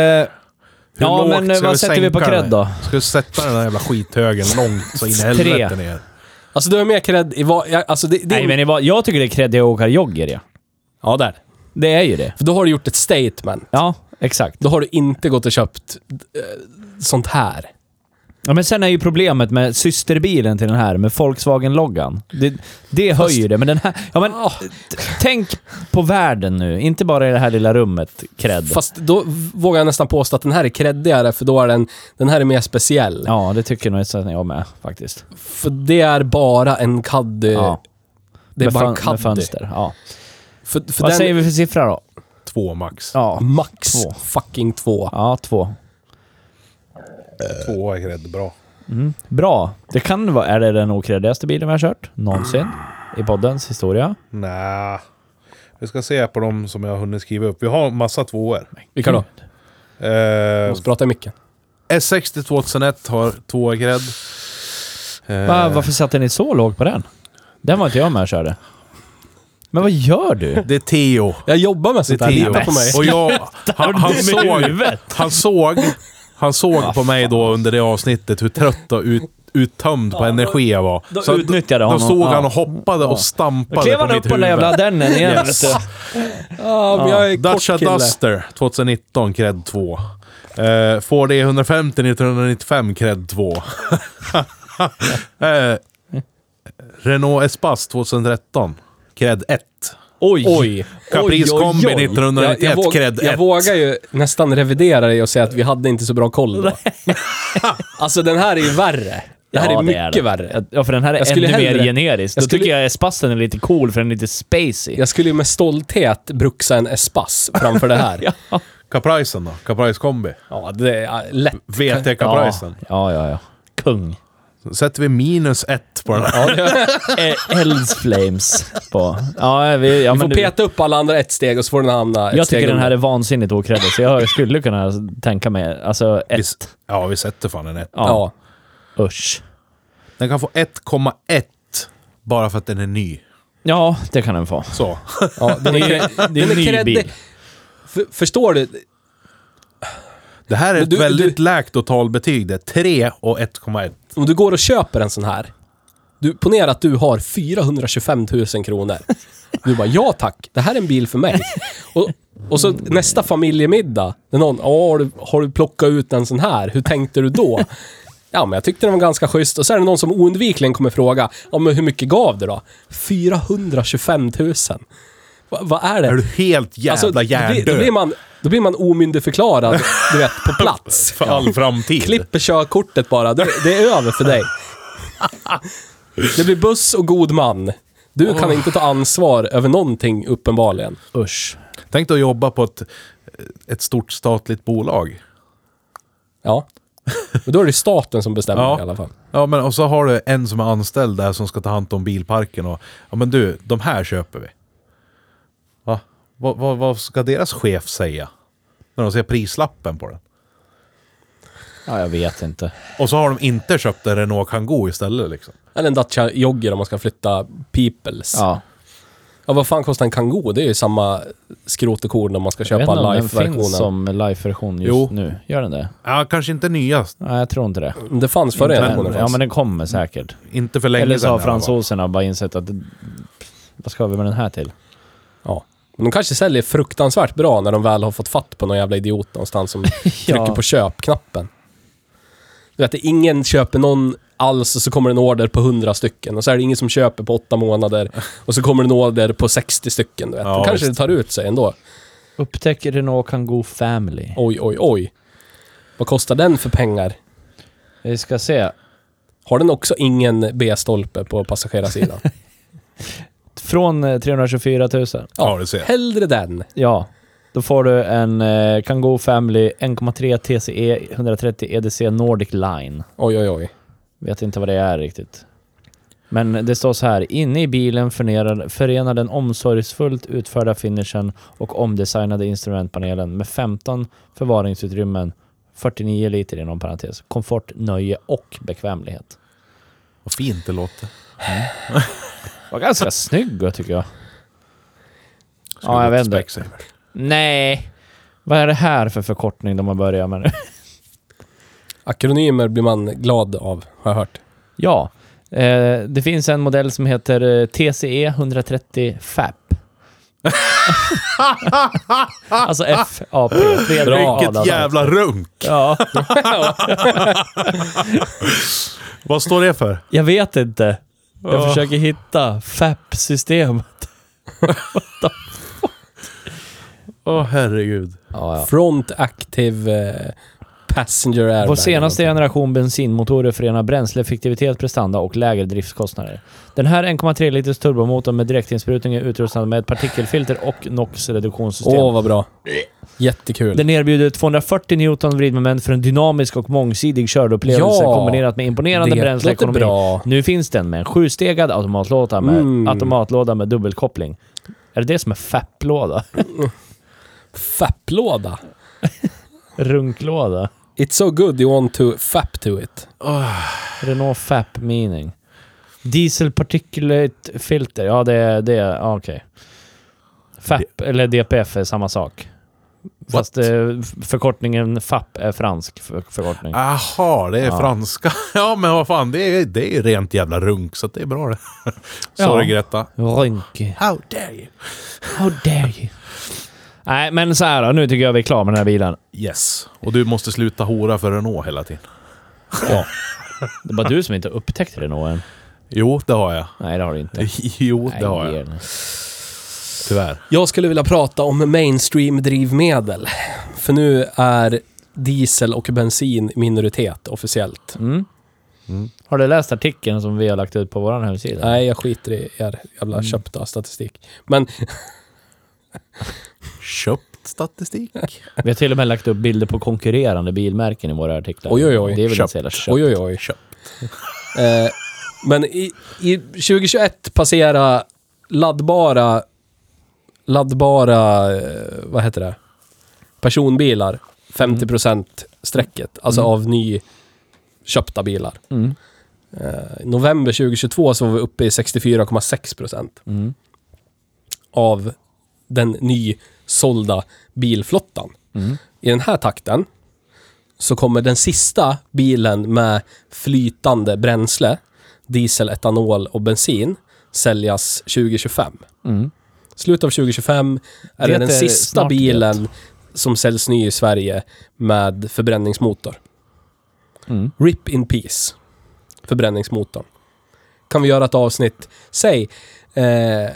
Hur
Ja,
lågt
men eh,
ska
vad sätter vi på
sänka
cred
den?
då?
Ska du sätta den här jävla skithögen långt så in i
Tre.
helvete ner?
Alltså du har mer cred i vad... ja, Alltså, det, det,
Nej, men det var- jag tycker det är kredit att åka jogger, ja.
Ja, där.
Det är ju det.
För då har du gjort ett statement.
Ja, exakt.
Då har du inte gått och köpt eh, sånt här.
Ja, men sen är ju problemet med systerbilen till den här, med Volkswagen-loggan. Det, det höjer det, men den här... Ja, men
Ah,
t- tänk på världen nu, inte bara i det här lilla rummet, cred.
fast då v- vågar jag nästan påstå att den här är creddigare, för då är den... Den här är mer speciell.
Ja, det tycker nog jag- jag med faktiskt.
För det är bara en caddy.
Ja,
Det är
med,
bara
fön-
en
med
caddy.
fönster. Ja.
För, för
Vad
den
säger vi för Mm. siffra då?
Två max.
Ja,
max
Två.
fucking två.
ja två.
Två är rätt bra.
Mm. Bra. Det kan vara... Är det den okreddigaste bilen vi har kört någonsin i poddens historia?
Nej. Vi ska se på dem som jag har hunnit skriva upp. Vi har massa tvåor.
Vilka då?
Mm.
Jag
Eh,
måste prata i micken.
S60 2001 har två i cred. Eh,
Va, varför satte ni så lågt på den? Den var inte jag med och körde. Men vad gör du?
Det är Theo.
Jag jobbar med
Det är
sånt här,
Theo.
lita på mig.
Och jag, han, han, såg, han såg... Han såg på mig då under det avsnittet hur trött och ut, uttömd på energi jag var.
då
Så att-
utnyttjade
Då
honom.
såg
Ja.
han och hoppade och
Då
stampade
klev
på
han upp
mitt
på den där jävla
huvud.
dennen igen.
Yes.
Vet du.
Ja, men jag är
Dacia
kort kille.
Duster 2019, cred 2. Eh, Ford E150 1995, cred 2. eh, Renault Espace 2013, cred 1.
Oj! oj. oj,
Caprice
oj.
Kombi
Jag-
1991,
jag våg-
cred
Jag
ett.
vågar ju nästan revidera dig och säga att vi hade inte så bra koll då. alltså den här är ju värre. Det här
Ja,
är mycket
det.
värre.
Ja, för den här
Jag
är
skulle
ännu mer
hellre-
generisk. Då
jag skulle-
tycker jag Espassen är lite cool, för den är lite spacey.
Jag skulle ju med stolthet bruxa en Espace framför det här. ja.
Capricen då? Caprice Kombi?
det är ja, lätt.
VT
ja.
Capricen.
ja, ja, ja. Kung.
Sätter vi minus 1 på den här.
Ja, Eldsflames Eh, på... Ja, vi, ja,
Vi får
men du-
peta upp alla andra ett steg och så får den hamna ett
jag
steg
tycker den här är
under.
vansinnigt okreddig, så jag skulle kunna tänka mig... Alltså,
Vi
ett...
s- Ja, vi sätter fan en 1.
Ja.
Usch.
Den kan få 1,1 bara för att den är ny.
Ja, det kan den få.
Så.
ja. Den är, ju-
Det är
den
en ny
creddig.
bil.
För- Förstår du?
Det här är
Men
ett
du-
väldigt lägt totalbetyg. Det är 3 och 1,1.
Om du går och köper en sån här. Du, ponera att du har 425 000 kronor. Du bara, ja tack, det här är en bil för mig. Och, och så nästa familjemiddag, när någon, ja har, du- har du plockat ut en sån här? Hur tänkte du då? Ja, men jag tyckte den var ganska schysst. Och så är det någon som oundvikligen kommer fråga, ja men hur mycket gav du då? 425 000. Va, vad är det?
Är du helt jävla
Alltså, då blir,
hjärndöd?
då, blir man, då blir man omyndigförklarad, du vet, på plats.
för all framtid.
Klipper körkortet bara. Det, det är över för dig. Det blir buss och god man. Du kan inte ta ansvar över någonting, uppenbarligen.
Usch.
Tänk dig att jobba på ett, ett stort statligt bolag.
Ja. Men då är det staten som bestämmer
Ja.
i alla fall.
Ja, men och så har du en som är anställd där som ska ta hand om bilparken och ja men du, de här köper vi. Va? Vad, vad, vad ska deras chef säga? När de ser prislappen på den.
Ja, jag vet inte.
Och så har de inte köpt en Renault Kangoo istället liksom.
Eller en Dacia Jogger om man ska flytta peoples.
Ja.
Ja, vad fan kostar en Kangoo? Det är ju samma skrot och korn om man ska
Jag vet inte
köpa
om den finns
life-versionen.
som live-version just
Jo.
nu. Gör den det?
Ja, kanske inte nyast.
Nej, jag tror inte det.
Det fanns förr i
Inte
versionen.
än. Ja,
fanns.
men den kommer säkert.
Inte för länge
Eller så
sedan.
har
i alla fall.
fransoserna bara insett att vad ska vi med den här till?
Ja. Men de kanske säljer fruktansvärt bra när de väl har fått fatt på någon jävla idiot någonstans som trycker på köpknappen. Du vet, det är ingen köper någon alls och så kommer en order på 100 stycken. Och så är det ingen som köper på 8 månader. Och så kommer en order på 60 stycken. Du vet.
Ja,
Då kanske
visst.
det tar ut sig ändå.
Upptäck Renault Kangoo Family.
Oj, oj, oj. Vad kostar den för pengar?
Vi ska se.
Har den också ingen B-stolpe på passagerarsidan?
Från eh, 324 000.
Ja, du ser.
Hellre den.
Ja. Då får du en eh, Kangoo Family 1,3 TCE 130 EDC E Nordic Line.
Oj, oj, oj.
Vet inte vad det är riktigt. Men det står så här. Inne i bilen förenar, förenar den omsorgsfullt utförda finishen och omdesignade instrumentpanelen med 15 förvaringsutrymmen, 49 liter inom parentes, komfort, nöje och bekvämlighet.
Vad fint det låter.
Var ganska snygg tycker jag.
Ska
Ja, jag
gå
vet
till
inte.
Specsavers.
Nej! Vad är det här för förkortning de har börjat med nu?
Akronymer blir man glad av, har jag hört.
Ja, eh, det finns en modell som heter eh, TCE 130 FAP. alltså FAP. tredje
Bra,
raden.
Vilket jävla runk!
Ja,
Vad står det för?
jag vet inte. Jag
Ja.
försöker hitta FAP-system.
Åh herregud.
Ja, ja.
Front Active eh, Passenger Airbag.
Vår senaste generation bensinmotorer förenar bränsleeffektivitet, prestanda och lägre driftskostnader. Den här 1,3 liters turbomotorn med direktinsprutning är utrustad med ett partikelfilter och NOx-reduktionssystem.
Åh, vad bra. Jättekul.
Den erbjuder 240 Newton vridmoment för en dynamisk och mångsidig körupplevelse
Ja,
kombinerat med imponerande
det
bränsleekonomi.
låter bra.
Nu finns den med en sjustegad automatlåda med,
Mm.
automatlåda med dubbelkoppling. Är det det som är FAP-låda?
Fapplåda.
Runklåda?
It's so good you want to fap to it.
Renault FAP meaning. Diesel particulate filter. Ja, det är... Det, är- ja, okej. FAP eller DPF är samma sak. Fast eh, förkortningen FAP är fransk för- förkortning.
Ah.
Aha, det är
Ja.
franska. Ja, men vad fan, det är, det är rent jävla runk, så att det är bra det. Sorry
Ja.
Greta.
Rynke.
How dare you?
How dare you? Nej, men så här då. Nu tycker jag vi är klara med den här bilen.
Yes. Och du måste sluta hora för Renault hela tiden.
Det var du som inte upptäckte det nog än.
Jo, det har jag.
Nej, det har du inte.
Jo,
Nej,
det har jag.
ger den.
Tyvärr.
Jag skulle vilja prata om mainstream-drivmedel. För nu är diesel och bensin minoritet officiellt.
Mm. Har du läst artikeln som vi har lagt ut på vår hemsida?
Nej, jag skiter i er jävla köpta statistik. Men
Köpt statistik.
Vi har till och med lagt upp bilder på konkurrerande bilmärken i våra artiklar.
Oj, oj, oj.
Det är väl
Köpt.
inte så jävla köpt.
Oj, oj, oj. Eh, men i, i 2021 passera laddbara, laddbara, eh, vad heter det, personbilar 50% strecket, alltså av nyköpta bilar.
Mm.
Eh, i november 2022 så var vi uppe i 64,6%
Mm.
av den nysålda bilflottan.
Mm.
I den här takten så kommer den sista bilen med flytande bränsle, diesel, etanol och bensin, säljas 2025.
Mm.
Slutet av 2025 är det,
Det
den
är
sista
snart det.
bilen som säljs ny i Sverige med förbränningsmotor.
Mm.
RIP in peace. Förbränningsmotorn. Kan vi göra ett avsnitt, säg, eh, jag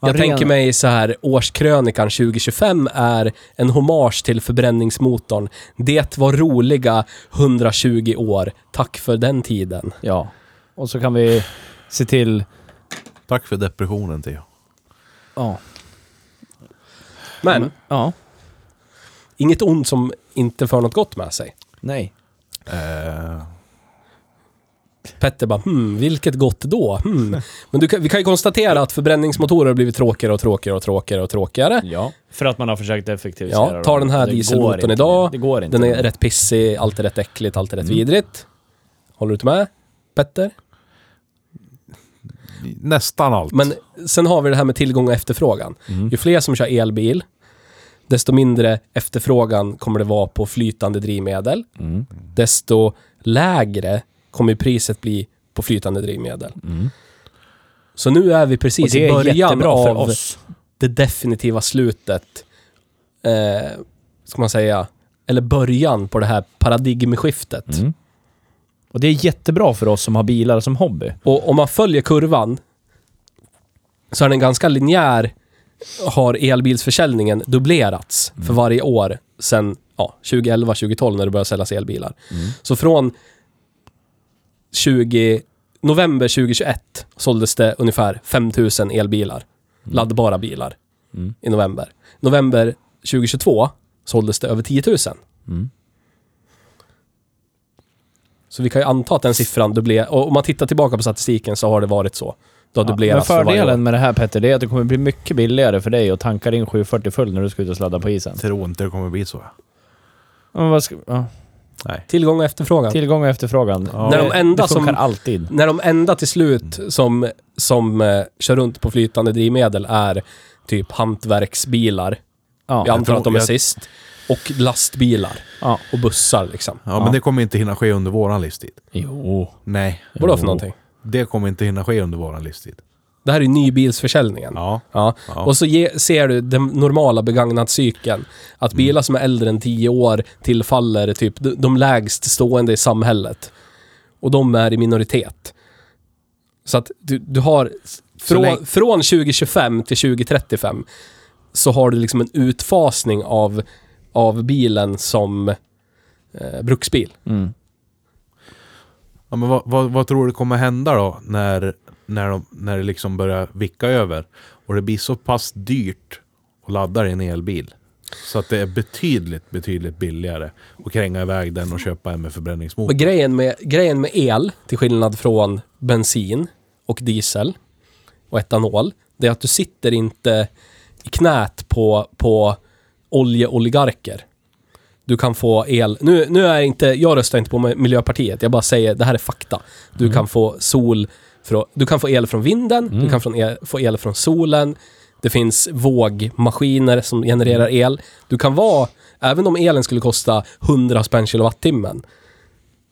ren-
tänker mig så här, årskrönikan 2025 är en hommage till förbränningsmotorn. Det var roliga 120 år, tack för den tiden.
Ja. Och så kan vi se till...
Tack för depressionen, Theo.
Ja.
Men,
Ja.
inget ont som inte för något gott med sig.
Nej.
Eh,
Petter bara, hmm, vilket gott då? Hmm. Men du kan, vi kan ju konstatera att förbränningsmotorer har blivit tråkigare och tråkigare och tråkigare och tråkigare.
Ja. För att man har försökt effektivisera
Ja, ta
dem.
den här
Det går
dieselmotorn
inte.
idag.
Det går inte. Mm.
Den är rätt pissig, allt är rätt äckligt, allt är rätt vidrigt. Håller du inte med, Petter?
nästan allt.
Men sen har vi det här med tillgång och efterfrågan.
Mm.
Ju fler som kör elbil, desto mindre efterfrågan kommer det vara på flytande drivmedel.
Mm.
Desto lägre kommer ju priset bli på flytande drivmedel.
Mm.
Så nu är vi
Och
precis
det
i
är
början
jättebra för
av
oss.
det definitiva slutet, eh, ska man säga, eller början på det här paradigmskiftet.
Mm. Och det är jättebra för oss som har bilar som hobby.
Och om man följer kurvan så är den ganska linjär, har elbilsförsäljningen dubblerats
Mm.
för varje år sedan ja, 2011, 2012 när det började säljas elbilar.
Mm.
Så från 20, november 2021 såldes det ungefär 5000 elbilar, laddbara bilar,
Mm.
i november. November 2022 såldes det över 10 000.
Mm.
Så vi kan ju anta att den siffran dubblerar. Och om man tittar tillbaka på statistiken så har det varit så. Det har
Ja, men
dubblerats för varje år.
fördelen med det här Petter, det är att det kommer bli mycket billigare för dig att tanka din 740 full när du ska ut och sladda på isen.
Jag tror inte det kommer bli så.
Ja, Men vad ska, ja.
Nej.
Tillgång och efterfrågan.
Tillgång och efterfrågan.
Ja.
När de
Det-
enda
det funkar
som-
alltid.
När de enda till slut som, som eh, kör runt på flytande drivmedel är typ hantverksbilar.
Ja,
jag antar
tror-
att de är
jag-
sist. Och lastbilar.
Ja.
Och bussar liksom.
Ja, men det kommer inte hinna ske under våran livstid.
Jo.
Nej,
Vadå för
Jo.
någonting?
det kommer inte hinna ske under våran livstid.
Det här är ju nybilsförsäljningen.
Ja.
Ja.
Ja.
Och så ge, ser du den normala begagnatcykeln. Att
Mm.
bilar som är äldre än 10 år tillfaller typ de, de lägst stående i samhället. Och de är i minoritet. Så att du, du har
länge-
från, från 2025 till 2035 så har du liksom en utfasning av, av bilen som eh, bruksbil.
Mm.
Ja, men vad, vad, vad tror du kommer hända då när, när, de, när det liksom börjar vicka över och det blir så pass dyrt att ladda i en elbil så att det är betydligt, betydligt billigare att kränga iväg den och köpa en med
Och
förbränningsmotor.
grejen med, grejen med el, till skillnad från bensin och diesel och etanol, det är att du sitter inte i knät på, på oljeoligarker. Du kan få el. Nu, nu är jag inte, jag röstar inte på Miljöpartiet, jag bara säger det här är fakta. Du kan få sol, från, du kan få el från vinden, du kan från el, få el från solen. Det finns vågmaskiner som genererar el. Du kan vara, även om elen skulle kosta 100 spänn kilowattimmen,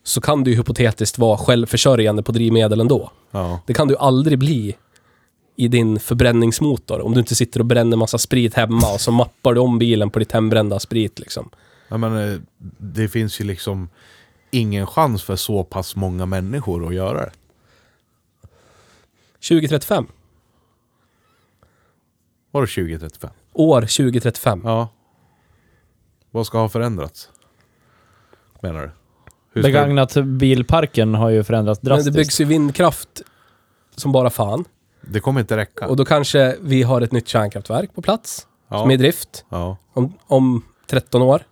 så kan du ju hypotetiskt vara självförsörjande på drivmedel ändå.
Ja.
Det kan du aldrig bli i din förbränningsmotor om du inte sitter och bränner massa sprit hemma och så mappar du om bilen på ditt hembrända sprit liksom.
Ja, men, eh, det finns ju liksom ingen chans för så pass många människor att göra det.
2035.
Var det 2035?
År 2035.
Ja. Vad ska ha förändrats? Menar du? Hur ska-
Begagnat bilparken har ju förändrats
Men
drastiskt.
det byggs ju vindkraft som bara fan.
Det kommer inte räcka.
Och då kanske vi har ett nytt kärnkraftverk på plats
ja.
som är i drift
ja.
om, om 13 år.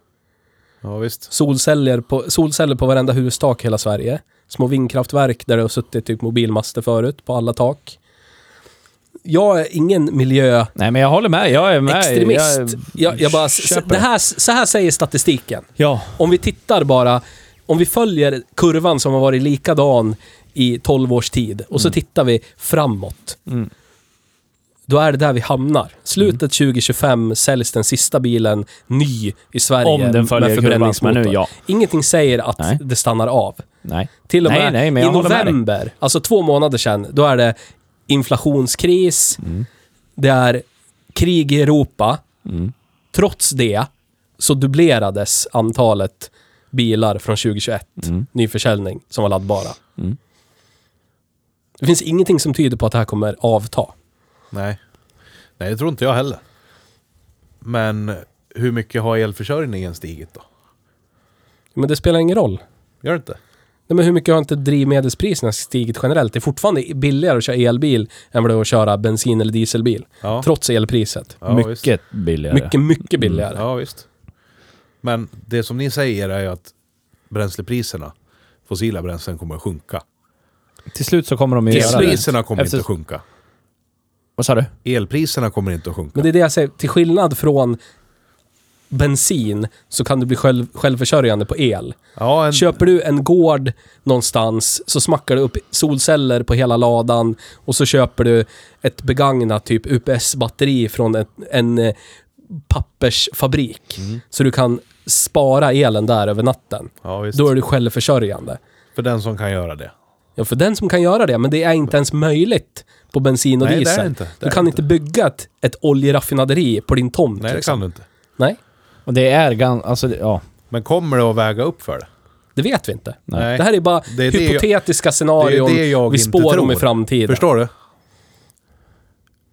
ja, visst.
Solceller på, solceller på varenda hustak i hela Sverige. Små vindkraftverk där det har suttit typ mobilmaster förut på alla tak. Jag är ingen miljöextremist.
Nej, men jag håller med. Jag är med.
Jag, jag, bara, s-
köper
det här, så här säger statistiken.
Ja.
Om vi tittar bara, om vi följer kurvan som har varit likadan i 12 års tid och så tittar vi framåt.
Mm.
Då är det där vi hamnar. Slutet 2025 säljs den sista bilen ny i Sverige
Om den följer
med
kurvan som är
förbränningsmotor.
nu, ja.
Ingenting säger att
Nej.
det stannar av.
Nej.
Till och
Nej,
med
nej, men
i
jag håller med dig.
november, alltså två månader sedan, då är det inflationskris, det är krig i Europa.
Mm.
Trots det så dubblerades antalet bilar från 2021, nyförsäljning, som var laddbara.
Mm.
Det finns ingenting som tyder på att det här kommer avta.
Nej. Nej, det tror inte jag heller. Men hur mycket har elförsörjningen stigit då?
Men det spelar ingen roll.
Gör det inte?
Nej, men hur mycket har inte drivmedelspriserna stigit generellt? Det är fortfarande billigare att köra elbil än vad det är att köra bensin eller dieselbil.
Ja.
Trots elpriset.
Ja, Visst.
Mycket billigare.
Mycket, mycket billigare.
Ja, visst. Men det som ni säger är ju att bränslepriserna, fossila bränslen kommer att sjunka.
Till slut så kommer de ju göra det.
Elpriserna kommer
Efter-
inte att sjunka.
Vad sa du?
Elpriserna kommer inte att sjunka.
Men det är det jag säger, till skillnad från bensin så kan du bli själv, självförsörjande på el.
Ja, en,
Köper du en gård någonstans så smackar du upp solceller på hela ladan och så köper du ett begagnat typ UPS-batteri från ett, en eh, pappersfabrik. Så du kan spara elen där över natten.
ja, visst.
Då är du självförsörjande.
För den som kan göra det.
Ja, för den som kan göra det, men det är inte ens möjligt på bensin och
Nej, det är
diesel.
det inte. Det
du
är
kan
det
inte bygga ett, ett oljeraffinaderi på din tomt.
Nej, det
liksom.
kan du inte.
Nej,
Och det är ganska, alltså det- ja.
Men kommer det att väga upp för det?
det vet vi inte.
Nej.
Det här är bara
Det är det jag-
hypotetiska
det
scenarion
är det jag
vi
inte
spår om
tror.
i framtiden.
Förstår du?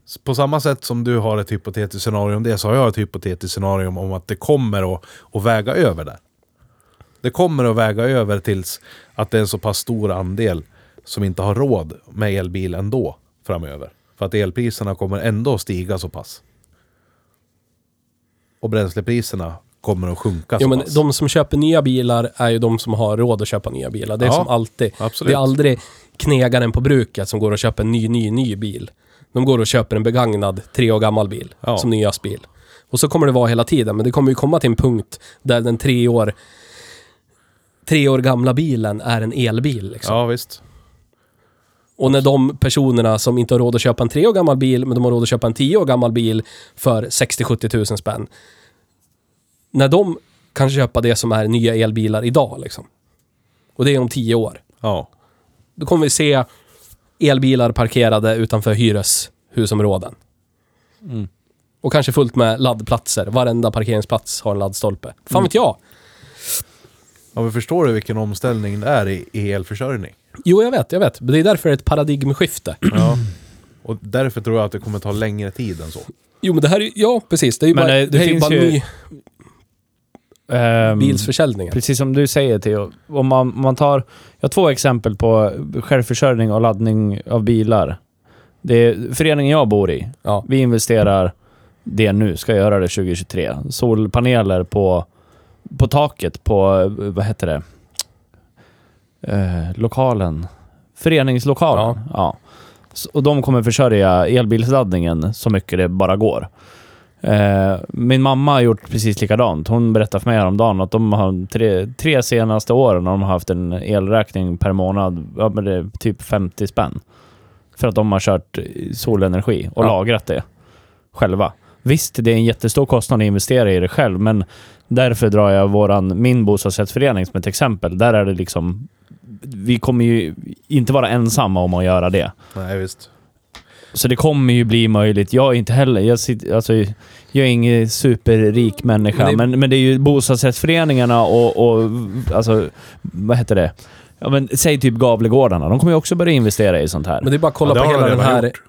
S- På samma sätt som du har ett hypotetiskt scenario om det så har jag ett hypotetiskt scenario om att det kommer att, att väga över där. Det kommer att väga över tills att det är en så pass stor andel som inte har råd med elbil ändå framöver. För att elpriserna kommer ändå att stiga så pass. Och bränslepriserna kommer att sjunka
Jo,
så
men
pass.
de som köper nya bilar är ju de som har råd att köpa nya bilar. Det är
Ja,
som alltid.
absolut.
Det är aldrig knegaren på bruket som går och köper en ny, ny, ny bil. De går och köper en begagnad, tre år gammal bil
Ja.
som nyaste bil. Och så kommer det vara hela tiden, men det kommer ju komma till en punkt där den tre år, tre år gamla bilen är en elbil. Liksom.
Ja, visst.
Och när de personerna som inte har råd att köpa en tre år gammal bil, men de har råd att köpa en tio år gammal bil för 60-70 tusen spänn. När de kan köpa det som är nya elbilar idag, liksom. Och det är om tio år.
Ja.
Då kommer vi se elbilar parkerade utanför hyreshusområden.
Mm.
Och kanske fullt med laddplatser. Varenda parkeringsplats har en laddstolpe. Fan vet jag?
ja, men förstår du vilken omställning det är i i elförsörjning?
Jo, jag vet, jag vet. Men Det är därför det är ett paradigmskifte.
Ja. Mm. Och därför tror jag att det kommer ta längre tid än så.
Jo, men det här är ju... Ja, precis. Det är ju
Men,
bara,
eh,
det
det
är ju
finns
bara
ju-
ny
Ehm,
bilsförsäljningen.
Precis som du säger Theo, om man, om man tar, jag har två exempel på självförsörjning och laddning av bilar. Det är föreningen jag bor i,
Ja.
vi investerar det nu, ska göra det 2023. Solpaneler på, på taket på, eh, vad heter det, eh, lokalen, föreningslokalen. Ja. S- Och de kommer försörja elbilsladdningen så mycket det bara går. Eh, min mamma har gjort precis likadant. Hon berättade för mig häromdagen att de har tre, tre senaste åren har de haft en elräkning per månad, ja, men det är typ 50 spänn. För att de har kört solenergi och
Ja.
lagrat det själva. Visst, det är en jättestor kostnad att investera i det själv, men därför drar jag våran, min bostadsrättsförening som ett exempel. Där är det liksom... Vi kommer ju inte vara ensamma om att göra det.
Nej, visst.
Så det kommer ju bli möjligt. Jag är inte heller... Jag, sitter, alltså, jag är ingen superrik människa,
Men
men
det-
det, men, det är ju bostadsrättsföreningarna och, och... Alltså, vad heter det? Ja, men, säg typ Gavlegårdarna. De kommer ju också börja investera i sånt här.
Men det är bara att kolla
Ja, det
på
har
hela
de
den
redan
här...
gjort.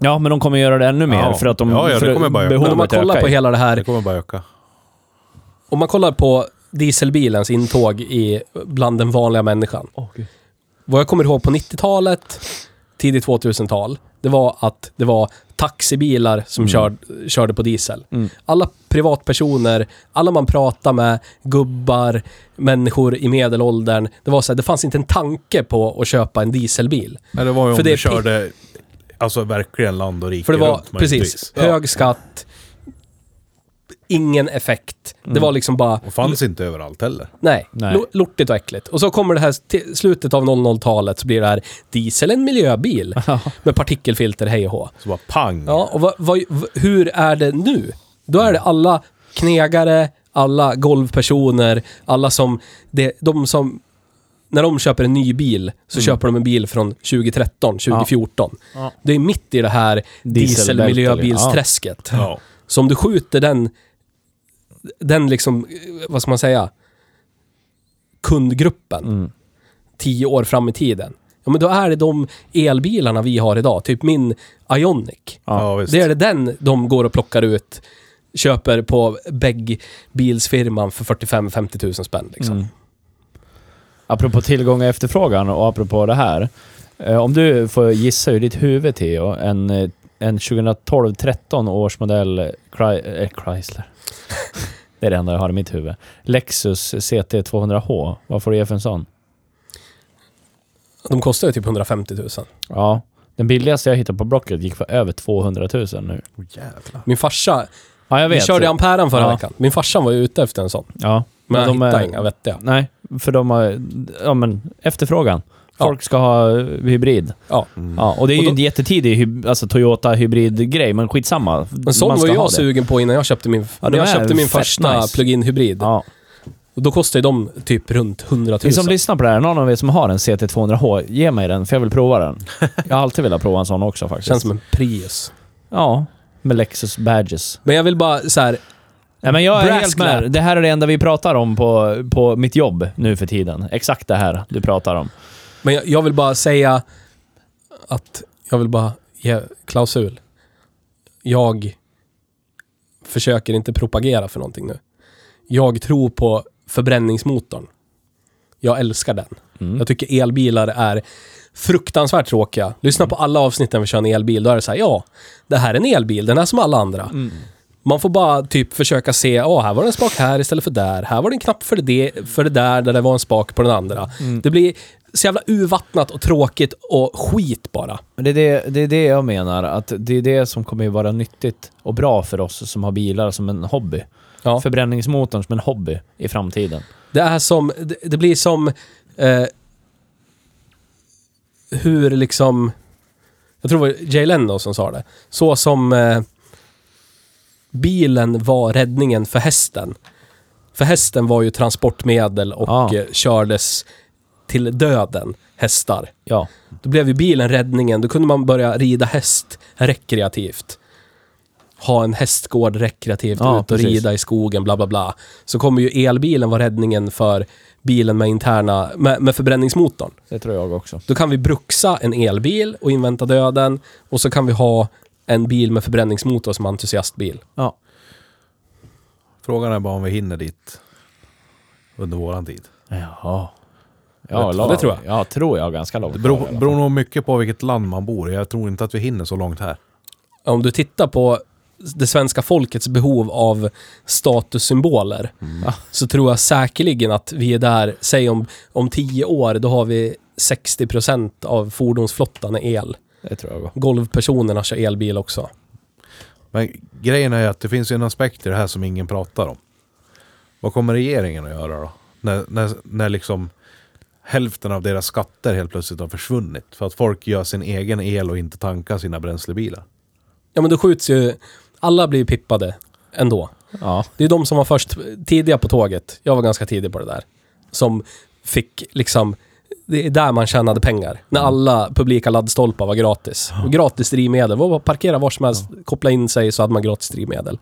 ja, men de kommer göra det ännu mer
Ja.
för att de...
Ja, ja, det
för att
kommer bara öka.
Men om man
behovet
kollar
ökar
på
ju.
hela det
Det
här...
kommer bara öka.
Om man kollar på dieselbilens intåg i, bland den vanliga människan. Vad jag kommer ihåg på 90-talet, tidigt 2000-tal, det var att det var taxibilar som
Mm.
körd, körde på diesel. Alla privatpersoner, alla man pratade med, gubbar, människor i medelåldern. Det var så här, det fanns inte en tanke på att köpa en dieselbil.
Nej, det var ju
För
om
det är
du körde alltså verkligen land och rike
För det var,
runt,
precis,
möjligtvis. Ja.
hög skatt, ingen effekt.
Mm.
Det var liksom bara,
Och fanns inte överallt heller.
nej,
Nej.
lo- lortigt och äckligt. Och så kommer det här, till slutet av 00-talet så blir det här, diesel en miljöbil med partikelfilter, hej och hå.
Så bara pang!
Ja, och vad, vad, v- hur är det nu? Då är det alla knegare, alla golvpersoner, alla som, det, de som, när de köper en ny bil så köper de en bil från 2013, 2014. Det är mitt i det här
Dieselbälte,
dieselmiljöbilsträsket.
Ja.
Så om du skjuter den, den liksom, eh, vad ska man säga, kundgruppen
Mm.
tio år fram i tiden. Ja, men då är det de elbilarna vi har idag, typ min Ionic.
Ja, visst.
Det är det den de går och plockar ut, köper på bilsfirman för 45-50 tusen spänn. Liksom.
Mm. Apropå tillgång och efterfrågan och apropå det här. Eh, om du får gissa ur ditt huvud Theo, en, eh, en 2012-13 års modell Chry- eh, Chrysler. det är det enda jag har i mitt huvud. Lexus CT200H. Vad får du ge för en sån?
De kostar ju typ 150 000.
Ja, den billigaste jag hittade på Blocket gick för över 200 000 nu.
Åh, jävlar.
Min farsa
Ja, jag
Vi
vet.
körde Amperan förra
Ja.
veckan. Min farsan var ju ute efter en sån.
Ja.
Men
Ja,
jag
de
hittade
är-
inga vettiga.
Nej, för de har... Ja, men efterfrågan.
Ja.
Folk ska ha eh, hybrid.
Ja.
Ja, och det är
Mm. Och
ju
då-
en jättetidig hy- alltså, Toyota hybridgrej, men skitsamma.
Men sån
Man
var
ska ha
jag
det.
sugen på innan jag köpte min,
Ja, de
när jag
är
köpte min
fett
första
nice.
plug-in hybrid.
Ja.
Och då kostar ju de typ runt 100
Ni
000.
som lyssnar på det här, någon av er som har en CT200H, ge mig den, för jag vill prova den. Jag har alltid velat prova en sån också faktiskt.
Känns som en Prius.
Ja, med Lexus badges.
Men jag vill bara så här,
Nej, men jag är
Brass
helt
clap.
med. Det här är det enda vi pratar om på, på mitt jobb nu för tiden. Exakt det här du pratar om.
men jag, jag vill bara säga att jag vill bara ge klausul. Jag försöker inte propagera för någonting nu. Jag tror på förbränningsmotorn. Jag älskar den.
Mm.
Jag tycker elbilar är fruktansvärt tråkiga. Lyssna på alla avsnitten vi kör en elbil. Då är det så här, ja, det här är en elbil. Den är som alla andra. Man får bara typ försöka se, ja, här var det en spak här istället för där. Här var det en knapp för det, för det där, där det var en spak på den andra. Det blir så jävla urvattnat och tråkigt och skit bara.
Men det, är det, det är det jag menar, att det är det som kommer ju vara nyttigt och bra för oss som har bilar som en hobby.
Ja.
Förbränningsmotorn som en hobby i framtiden.
Det är som, det, det blir som eh, hur liksom, jag tror det var Jay Leno som sa det, så som eh, bilen var räddningen för hästen. För hästen var ju transportmedel och
Ja.
eh, kördes till döden, hästar.
Ja.
Då blev ju bilen räddningen, då kunde man börja rida häst rekreativt. Ha en hästgård rekreativt,
Ja,
ut och
precis.
rida i skogen, bla bla bla. Så kommer ju elbilen vara räddningen för bilen med interna, med, med förbränningsmotorn.
Det tror jag också.
Då kan vi bruxa en elbil och invänta döden och så kan vi ha en bil med förbränningsmotor som entusiastbil.
Ja.
Frågan är bara om vi hinner dit under våran tid.
Jaha.
Det-
Ja, lång-
det tror jag.
Ja, tror jag ganska långt.
Det beror, beror nog mycket på vilket land man bor i. Jag tror inte att vi hinner så långt här.
Om du tittar på det svenska folkets behov av statussymboler så tror jag säkerligen att vi är där, säg om, om tio år, då har vi 60% av fordonsflottan är el.
Det tror jag.
Golvpersonerna kör elbil också.
Men grejen är ju att det finns ju en aspekt i det här som ingen pratar om. Vad kommer regeringen att göra då? När, när, när liksom hälften av deras skatter helt plötsligt har försvunnit. För att folk gör sin egen el och inte tankar sina bränslebilar.
Ja men då skjuts ju, alla blir ju pippade ändå.
Ja.
Det är de som var först, tidiga på tåget, jag var ganska tidig på det där, som fick liksom, det är där man tjänade pengar. När
Mm.
alla publika laddstolpar var gratis. Och gratis drivmedel, det var bara att parkera var som helst, koppla in sig så hade man gratis drivmedel.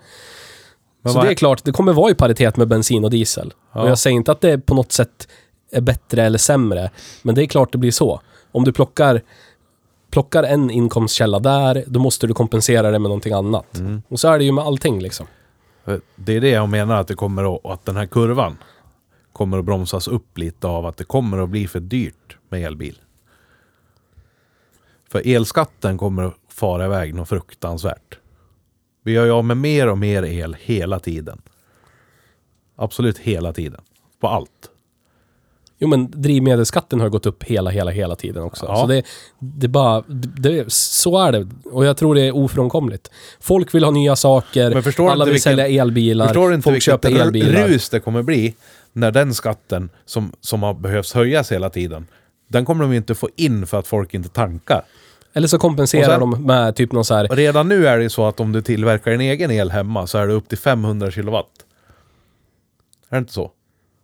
Men
så
vad-
det är klart, det kommer vara i paritet med bensin och diesel. Och jag säger inte att det på något sätt är bättre eller sämre, men det är klart det blir så. Om du plockar, plockar en inkomstkälla där, då måste du kompensera det med någonting annat.
Mm.
Och så är det ju med allting liksom.
Eh, Det är det jag menar att det kommer att, att den här kurvan kommer att bromsas upp lite av att det kommer att bli för dyrt med elbil. För elskatten kommer att fara iväg något fruktansvärt. Vi gör ju av med mer och mer el hela tiden. Absolut hela tiden. På allt.
Jo, men drivmedelsskatten har gått upp hela, hela, hela tiden också.
Ja.
Så det, det är bara, det, det, så är det. Och jag tror det är ofrånkomligt. Folk vill ha nya saker,
Men förstår du
alla
inte
vill
vilken-
sälja elbilar,
Förstår du inte
folk
vilket
köper
r-
elbilar.
rus det kommer bli när den skatten som, som har behövts höjas hela tiden, den kommer de ju inte få in för att folk inte tankar.
Eller så kompenserar
Och sen-
de med typ någon så här,
Och Redan nu är det ju så att om du tillverkar en egen el hemma så är det upp till 500 kilowatt. Är det inte så?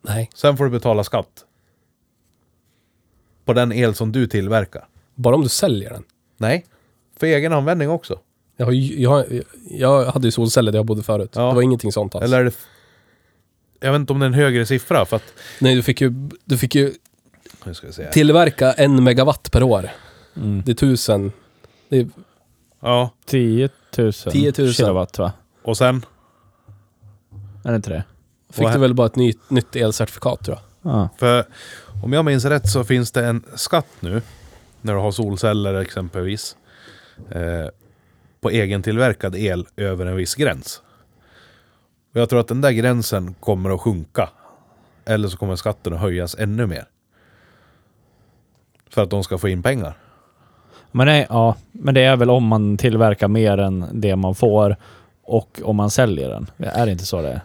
nej,
Sen får du betala skatt. På den el som du tillverkar.
bara om du säljer den.
Nej, för egen användning också.
Jag, har, ju- jag, har- jag hade ju solceller där jag bodde förut.
Ja.
Det var ingenting sånt alls.
Eller är det... f- Jag vet inte om det är en högre siffra för att...
Nej, du fick ju, du fick ju
Nu ska vi se. här.
tillverka en megawatt per år.
Mm.
Det är tusen, det är
Ja,
10 000,
10 000.
kilowatt va?
och sen?
Är det inte det?
Fick
Och-
du väl bara ett ny, nytt elcertifikat tror jag.
Ja.
För om jag minns rätt så finns det en skatt nu. När du har solceller exempelvis. Eh, på egentillverkad el över en viss gräns. Och jag tror att den där gränsen kommer att sjunka. Eller så kommer skatten att höjas ännu mer. För att de ska få in pengar.
Men, nej, ja. Men det är väl om man tillverkar mer än det man får och om man säljer den. Är det inte så det är?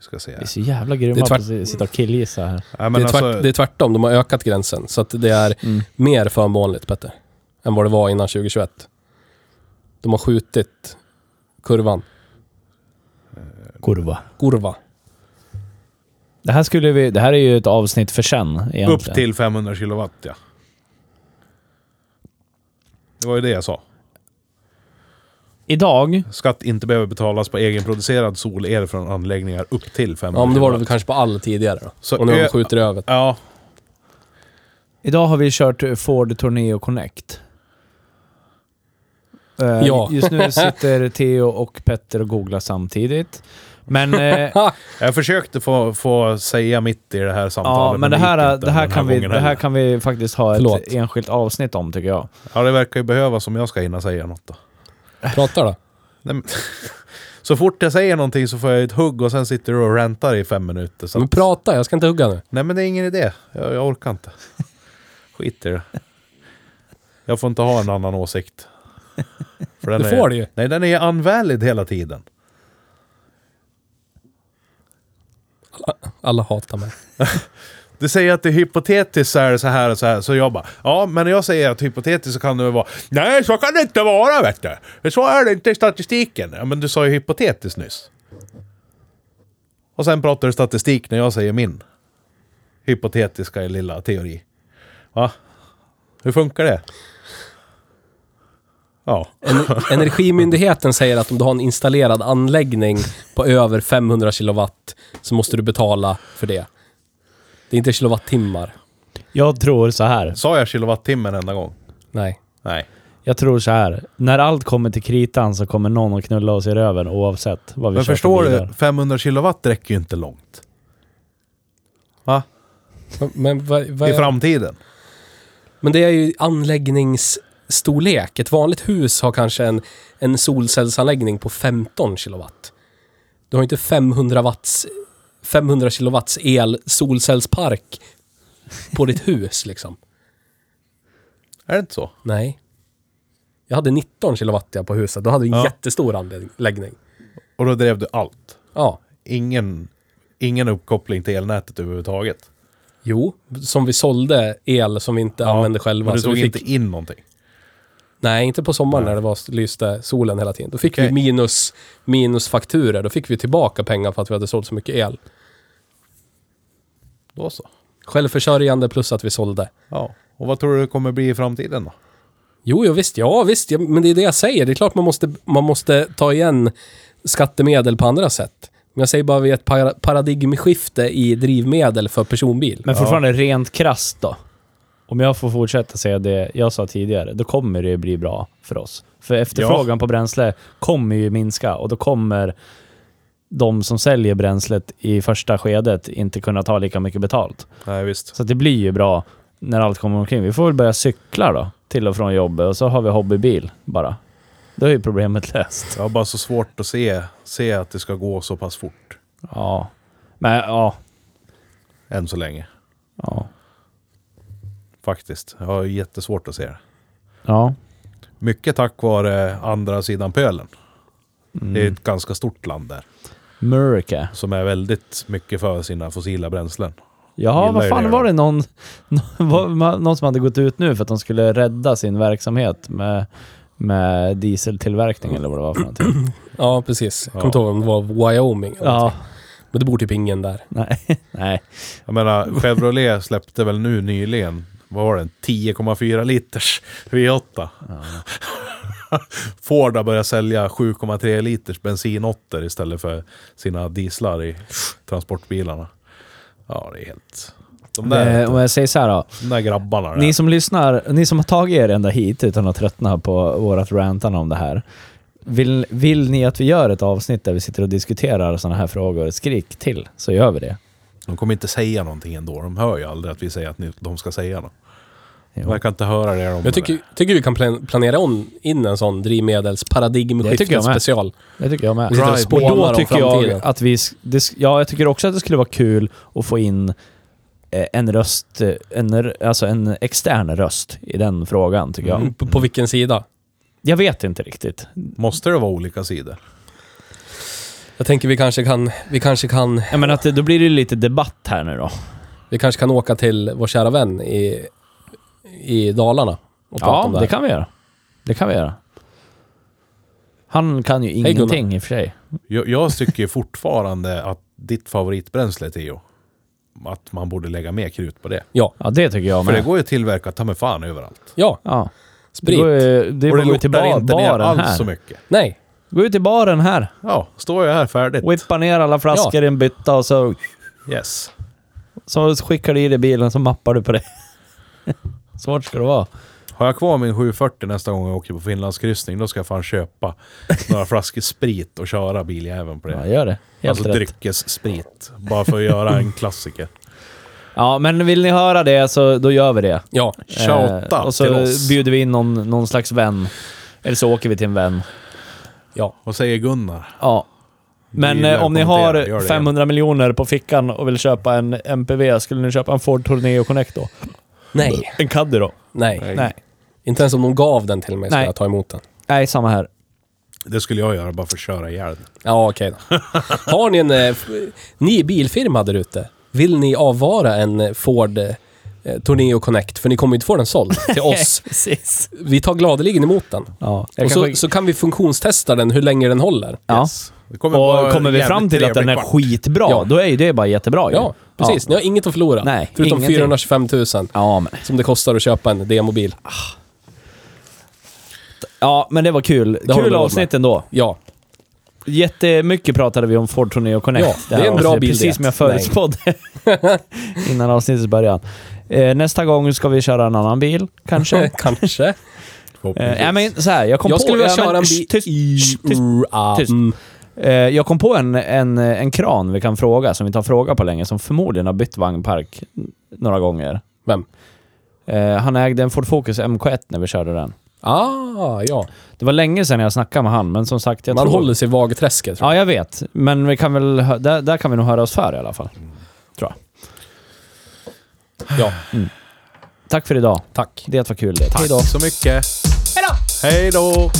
Ska säga.
Vi är så jävla grymma
tvärt-
på att sitta och killgissa här.
Ja,
Det
men
är, tvärt,
alltså,
det är tvärtom, de har ökat gränsen. Så att det är
Mm.
mer förmånligt, Petter, än vad det var innan 2021. De har skjutit kurvan.
Kurva.
Kurva.
Det här, skulle vi, det här är ju ett avsnitt för sen egentligen.
upp till 500 kilowatt, ja. Det var ju det jag sa.
Idag,
Skatt inte behöver betalas på egenproducerad solel från anläggningar upp till 500
Ja, men det var det väl
kilowatt.
kanske på all tidigare då.
Så
och nu har
ö-
de skjuter över.
Ja,
idag har vi kört Ford Torneo Connect. Eh,
Ja.
Just nu sitter Theo och Petter och googlar samtidigt. Men, eh,
jag försökte få, få säga mitt i det här samtalet.
ja, men det,
gick
här,
inte
det, här
den
kan vi,
gången
det här
heller.
kan vi faktiskt ha
Förlåt.
ett enskilt avsnitt om tycker jag.
Ja, det verkar ju behövas om jag ska hinna säga något då.
Prata då.
Nej, men, så fort jag säger någonting så får jag ett hugg och sen sitter du och rantar i fem minuter. Så
Men
att,
prata, jag ska inte hugga nu.
nej men det är ingen idé. Jag, jag orkar inte. Skit i det. Jag får inte ha en annan åsikt. För den
Du
är-
får det ju.
Nej, den är unvalid hela tiden.
Alla hatar mig.
Du säger att det är hypotetiskt så är det så här och så här. Så jag bara, ja men när jag säger att hypotetiskt så kan det väl vara, nej så kan det inte vara vet du. Så är det inte i statistiken. Ja men du sa ju hypotetiskt nyss. Och sen pratar du statistik när jag säger min. Hypotetiska lilla teori. Va? Hur funkar det? Ja.
Ener- Energimyndigheten säger att om du har en installerad anläggning på över 500 kilowatt så måste du betala för det. Det är inte kilowattimmar.
Jag tror så här.
Sa jag kilowattimmen enda gång?
Nej.
Nej.
Jag tror så här. När allt kommer till kritan så kommer någon att knulla oss i röven oavsett vad vi
Men
kör för
förstår du,
bilar.
500 kilowatt räcker ju inte långt. Va?
Men- Men, vad, vad
I
är,
framtiden.
men det är ju anläggningsstorlek. Ett vanligt hus har kanske en, en solcellsanläggning på 15 kilowatt. Du har ju inte 500 watts 500 kilowatts el solcellspark på ditt hus liksom.
Är det inte så?
Nej. Jag hade 19 kilowatt jag på huset. Då hade vi en
Ja.
jättestor anläggning.
Och då drev du allt.
Ja.
Ingen, ingen uppkoppling till elnätet överhuvudtaget.
Jo, som vi sålde el som vi inte använde själva.
Men du
så
tog
vi fick,
inte in någonting.
Nej, inte på sommaren när det var, lyste solen hela tiden. Då fick vi
Okej.
minus, minus fakturer. Då fick vi tillbaka pengar för att vi hade sålt så mycket el.
Då så.
Självförsörjande plus att vi sålde.
Ja. Och vad tror du det kommer bli i framtiden då?
Jo, jo visst. Ja, visst. Ja, men det är det jag säger. Det är klart man måste, man måste ta igen skattemedel på andra sätt. Men jag säger bara vi är ett para- paradigmskifte i drivmedel för personbil.
Men fortfarande rent krasst då. Om jag får fortsätta säga det jag sa tidigare, då kommer det bli bra för oss. För efterfrågan på bränsle kommer ju minska och då kommer de som säljer bränslet i första skedet inte kunna ta lika mycket betalt.
Nej, visst.
Så att det blir ju bra när allt kommer omkring. Vi får väl börja cykla då, till och från jobbet och så har vi hobbybil bara. Då är ju problemet löst.
Jag har bara så svårt att se, se att det ska gå så pass fort.
Ja. Men ja.
Än så länge.
Ja.
Faktiskt. Jag har jättesvårt att se det.
ja.
Mycket tack vare andra sidan pölen. Det
Mm.
är ett ganska stort land där.
America.
Som är väldigt mycket för sina fossila bränslen.
Ja,
Gillar
vad
ju
fan
det
var
då.
det någon, var- var- någon som hade gått ut nu för att de skulle rädda sin verksamhet med, med dieseltillverkning eller vad det var för någonting?
Ja, precis. Jag
Ja.
kommer inte ihåg om det var Wyoming. eller
Ja,
Men det bor typ ingen där.
nej. nej.
Jag menar, Chevrolet släppte väl nu nyligen, vad var den, 10,4 liters V8. Ford har börjat sälja 7,3 liters bensinåttor istället för sina dieslar i transportbilarna. Ja, det är helt... De där,
Eh, Om jag säger så här då.
de där grabbarna. där.
Ni som lyssnar, ni som har tagit er ända hit utan att tröttna på vårat rantande om det här. Vill, vill ni att vi gör ett avsnitt där vi sitter och diskuterar sådana här frågor, skrik till så gör vi det.
De kommer inte säga någonting ändå. De hör ju aldrig att vi säger att ni, de ska säga något.
Jo.
De kan inte höra det. De
Jag tycker, tycker vi kan plan- planera om in en sån
Det tycker jag med.
drivmedelsparadigmskiftet-special.
Det tycker jag med.
Vi sitter och
Och
spånar
då
om
tycker jag
framtiden.
att vi... sk- Det, sk- ja, jag tycker också att det skulle vara kul att få in eh, en röst, eh, en, r- alltså en extern röst i den frågan tycker jag.
På, på Mm. vilken sida?
Jag vet inte riktigt.
Måste det vara olika sidor?
Jag tänker vi kanske kan, vi kanske kan,
Jag menar att det- då blir det ju lite debatt här nu då.
vi kanske kan åka till vår kära vän i, i Dalarna och prata om det
Ja,
här.
det kan vi göra. Det kan vi göra. Han kan ju
Gunnar.
ingenting i och för sig.
Jag, jag tycker fortfarande att ditt favoritbränsle, Theo, att man borde lägga mer krut på det.
Ja,
Ja, det tycker jag
För det
med.
går ju att tillverka ta mig fan överallt.
ja,
Ja. Det
sprit.
går ju, det
Och
går
det
ju till
luktar
bar,
inte ner
baren
alls så
här.
mycket.
Nej,
Gå ut till baren här.
Ja, står jag här färdigt.
Whippa ner alla flaskor i en bytta och så,
Yes.
så skickar du i dig bilen så mappar du på det. Svårt ska det vara.
Har jag kvar min 740 nästa gång jag åker på Finlandskryssning, då ska jag fan köpa några flaskor sprit och köra biljäveln på det.
Ja, gör det. Helt
alltså
rätt.
dryckessprit. Bara för att göra en klassiker.
Ja, men vill ni höra det så då gör vi det.
ja.
Shouta
Eh, Och så
till oss.
bjuder vi in någon, någon slags vän. Eller så åker vi till en vän.
Ja,
Vad säger Gunnar?
Ja. Men
gillar
eh, om ni
att kommentera. Gör
har
det
500 miljoner på fickan och vill köpa en MPV, skulle ni köpa en Ford Tourneo Connect då?
nej,
En Caddy då?
nej.
Nej.
Inte ens om de gav den till mig skulle
Nej.
jag ta emot den.
Nej, samma här.
Det skulle jag göra bara för att köra ihjäl den.
Ja, okej då. Har ni en... eh, f- Ni är bilfirma där ute. Vill ni avvara en eh, Ford eh, Torneo Connect? För ni kommer ju inte få den såld till oss.
Precis.
Vi tar gladeligen emot den.
Ja.
Och så,
kanske-
så kan vi funktionstesta den hur länge den håller.
ja.
Yes. Det kommer vara
Och kommer vi
jävligt
fram till att den är
trevlig kvart.
skitbra,
Ja.
då är ju det bara jättebra ju.
Ja, precis. Ni har inget att förlora.
Nej,
förutom
ingenting.
425 000
Ja, men,
som det kostar att köpa en demobil.
ja, men det var kul.
har vi
kul
råd
avsnitt ändå.
Ja,
Jättemycket pratade vi om Ford Tourneo Connect.
Ja, det är
här
en bra
avsnittet,
bil det.
Precis som jag förutspådde innan avsnittets början. Eh, nästa gång ska vi köra en annan bil, kanske.
kanske.
Eh,
Förhoppningsvis.
nej, men så här, jag kom
Jag
på...
skulle vilja
ja,
köra en
men,
bil...
sh, tyst, sh, tyst. tyst.
Mm.
Eh, jag kom på en, en, en kran vi kan fråga, som vi inte har frågat på länge, som förmodligen har bytt vagnpark några gånger.
Vem?
Eh, han ägde en Ford Focus MK1 när vi körde den.
Ah, ja.
Det var länge sedan jag snackade med han, men som sagt... Jag
Man
tror...
håller sig i vagträsket. tror jag.
Ja, jag vet. Men vi kan väl, hö- där, där kan vi nog höra oss för i alla fall. Tror jag.
Ja,
Tack för idag.
tack.
Eh, Det var kul det.
Tack så mycket. Hej då!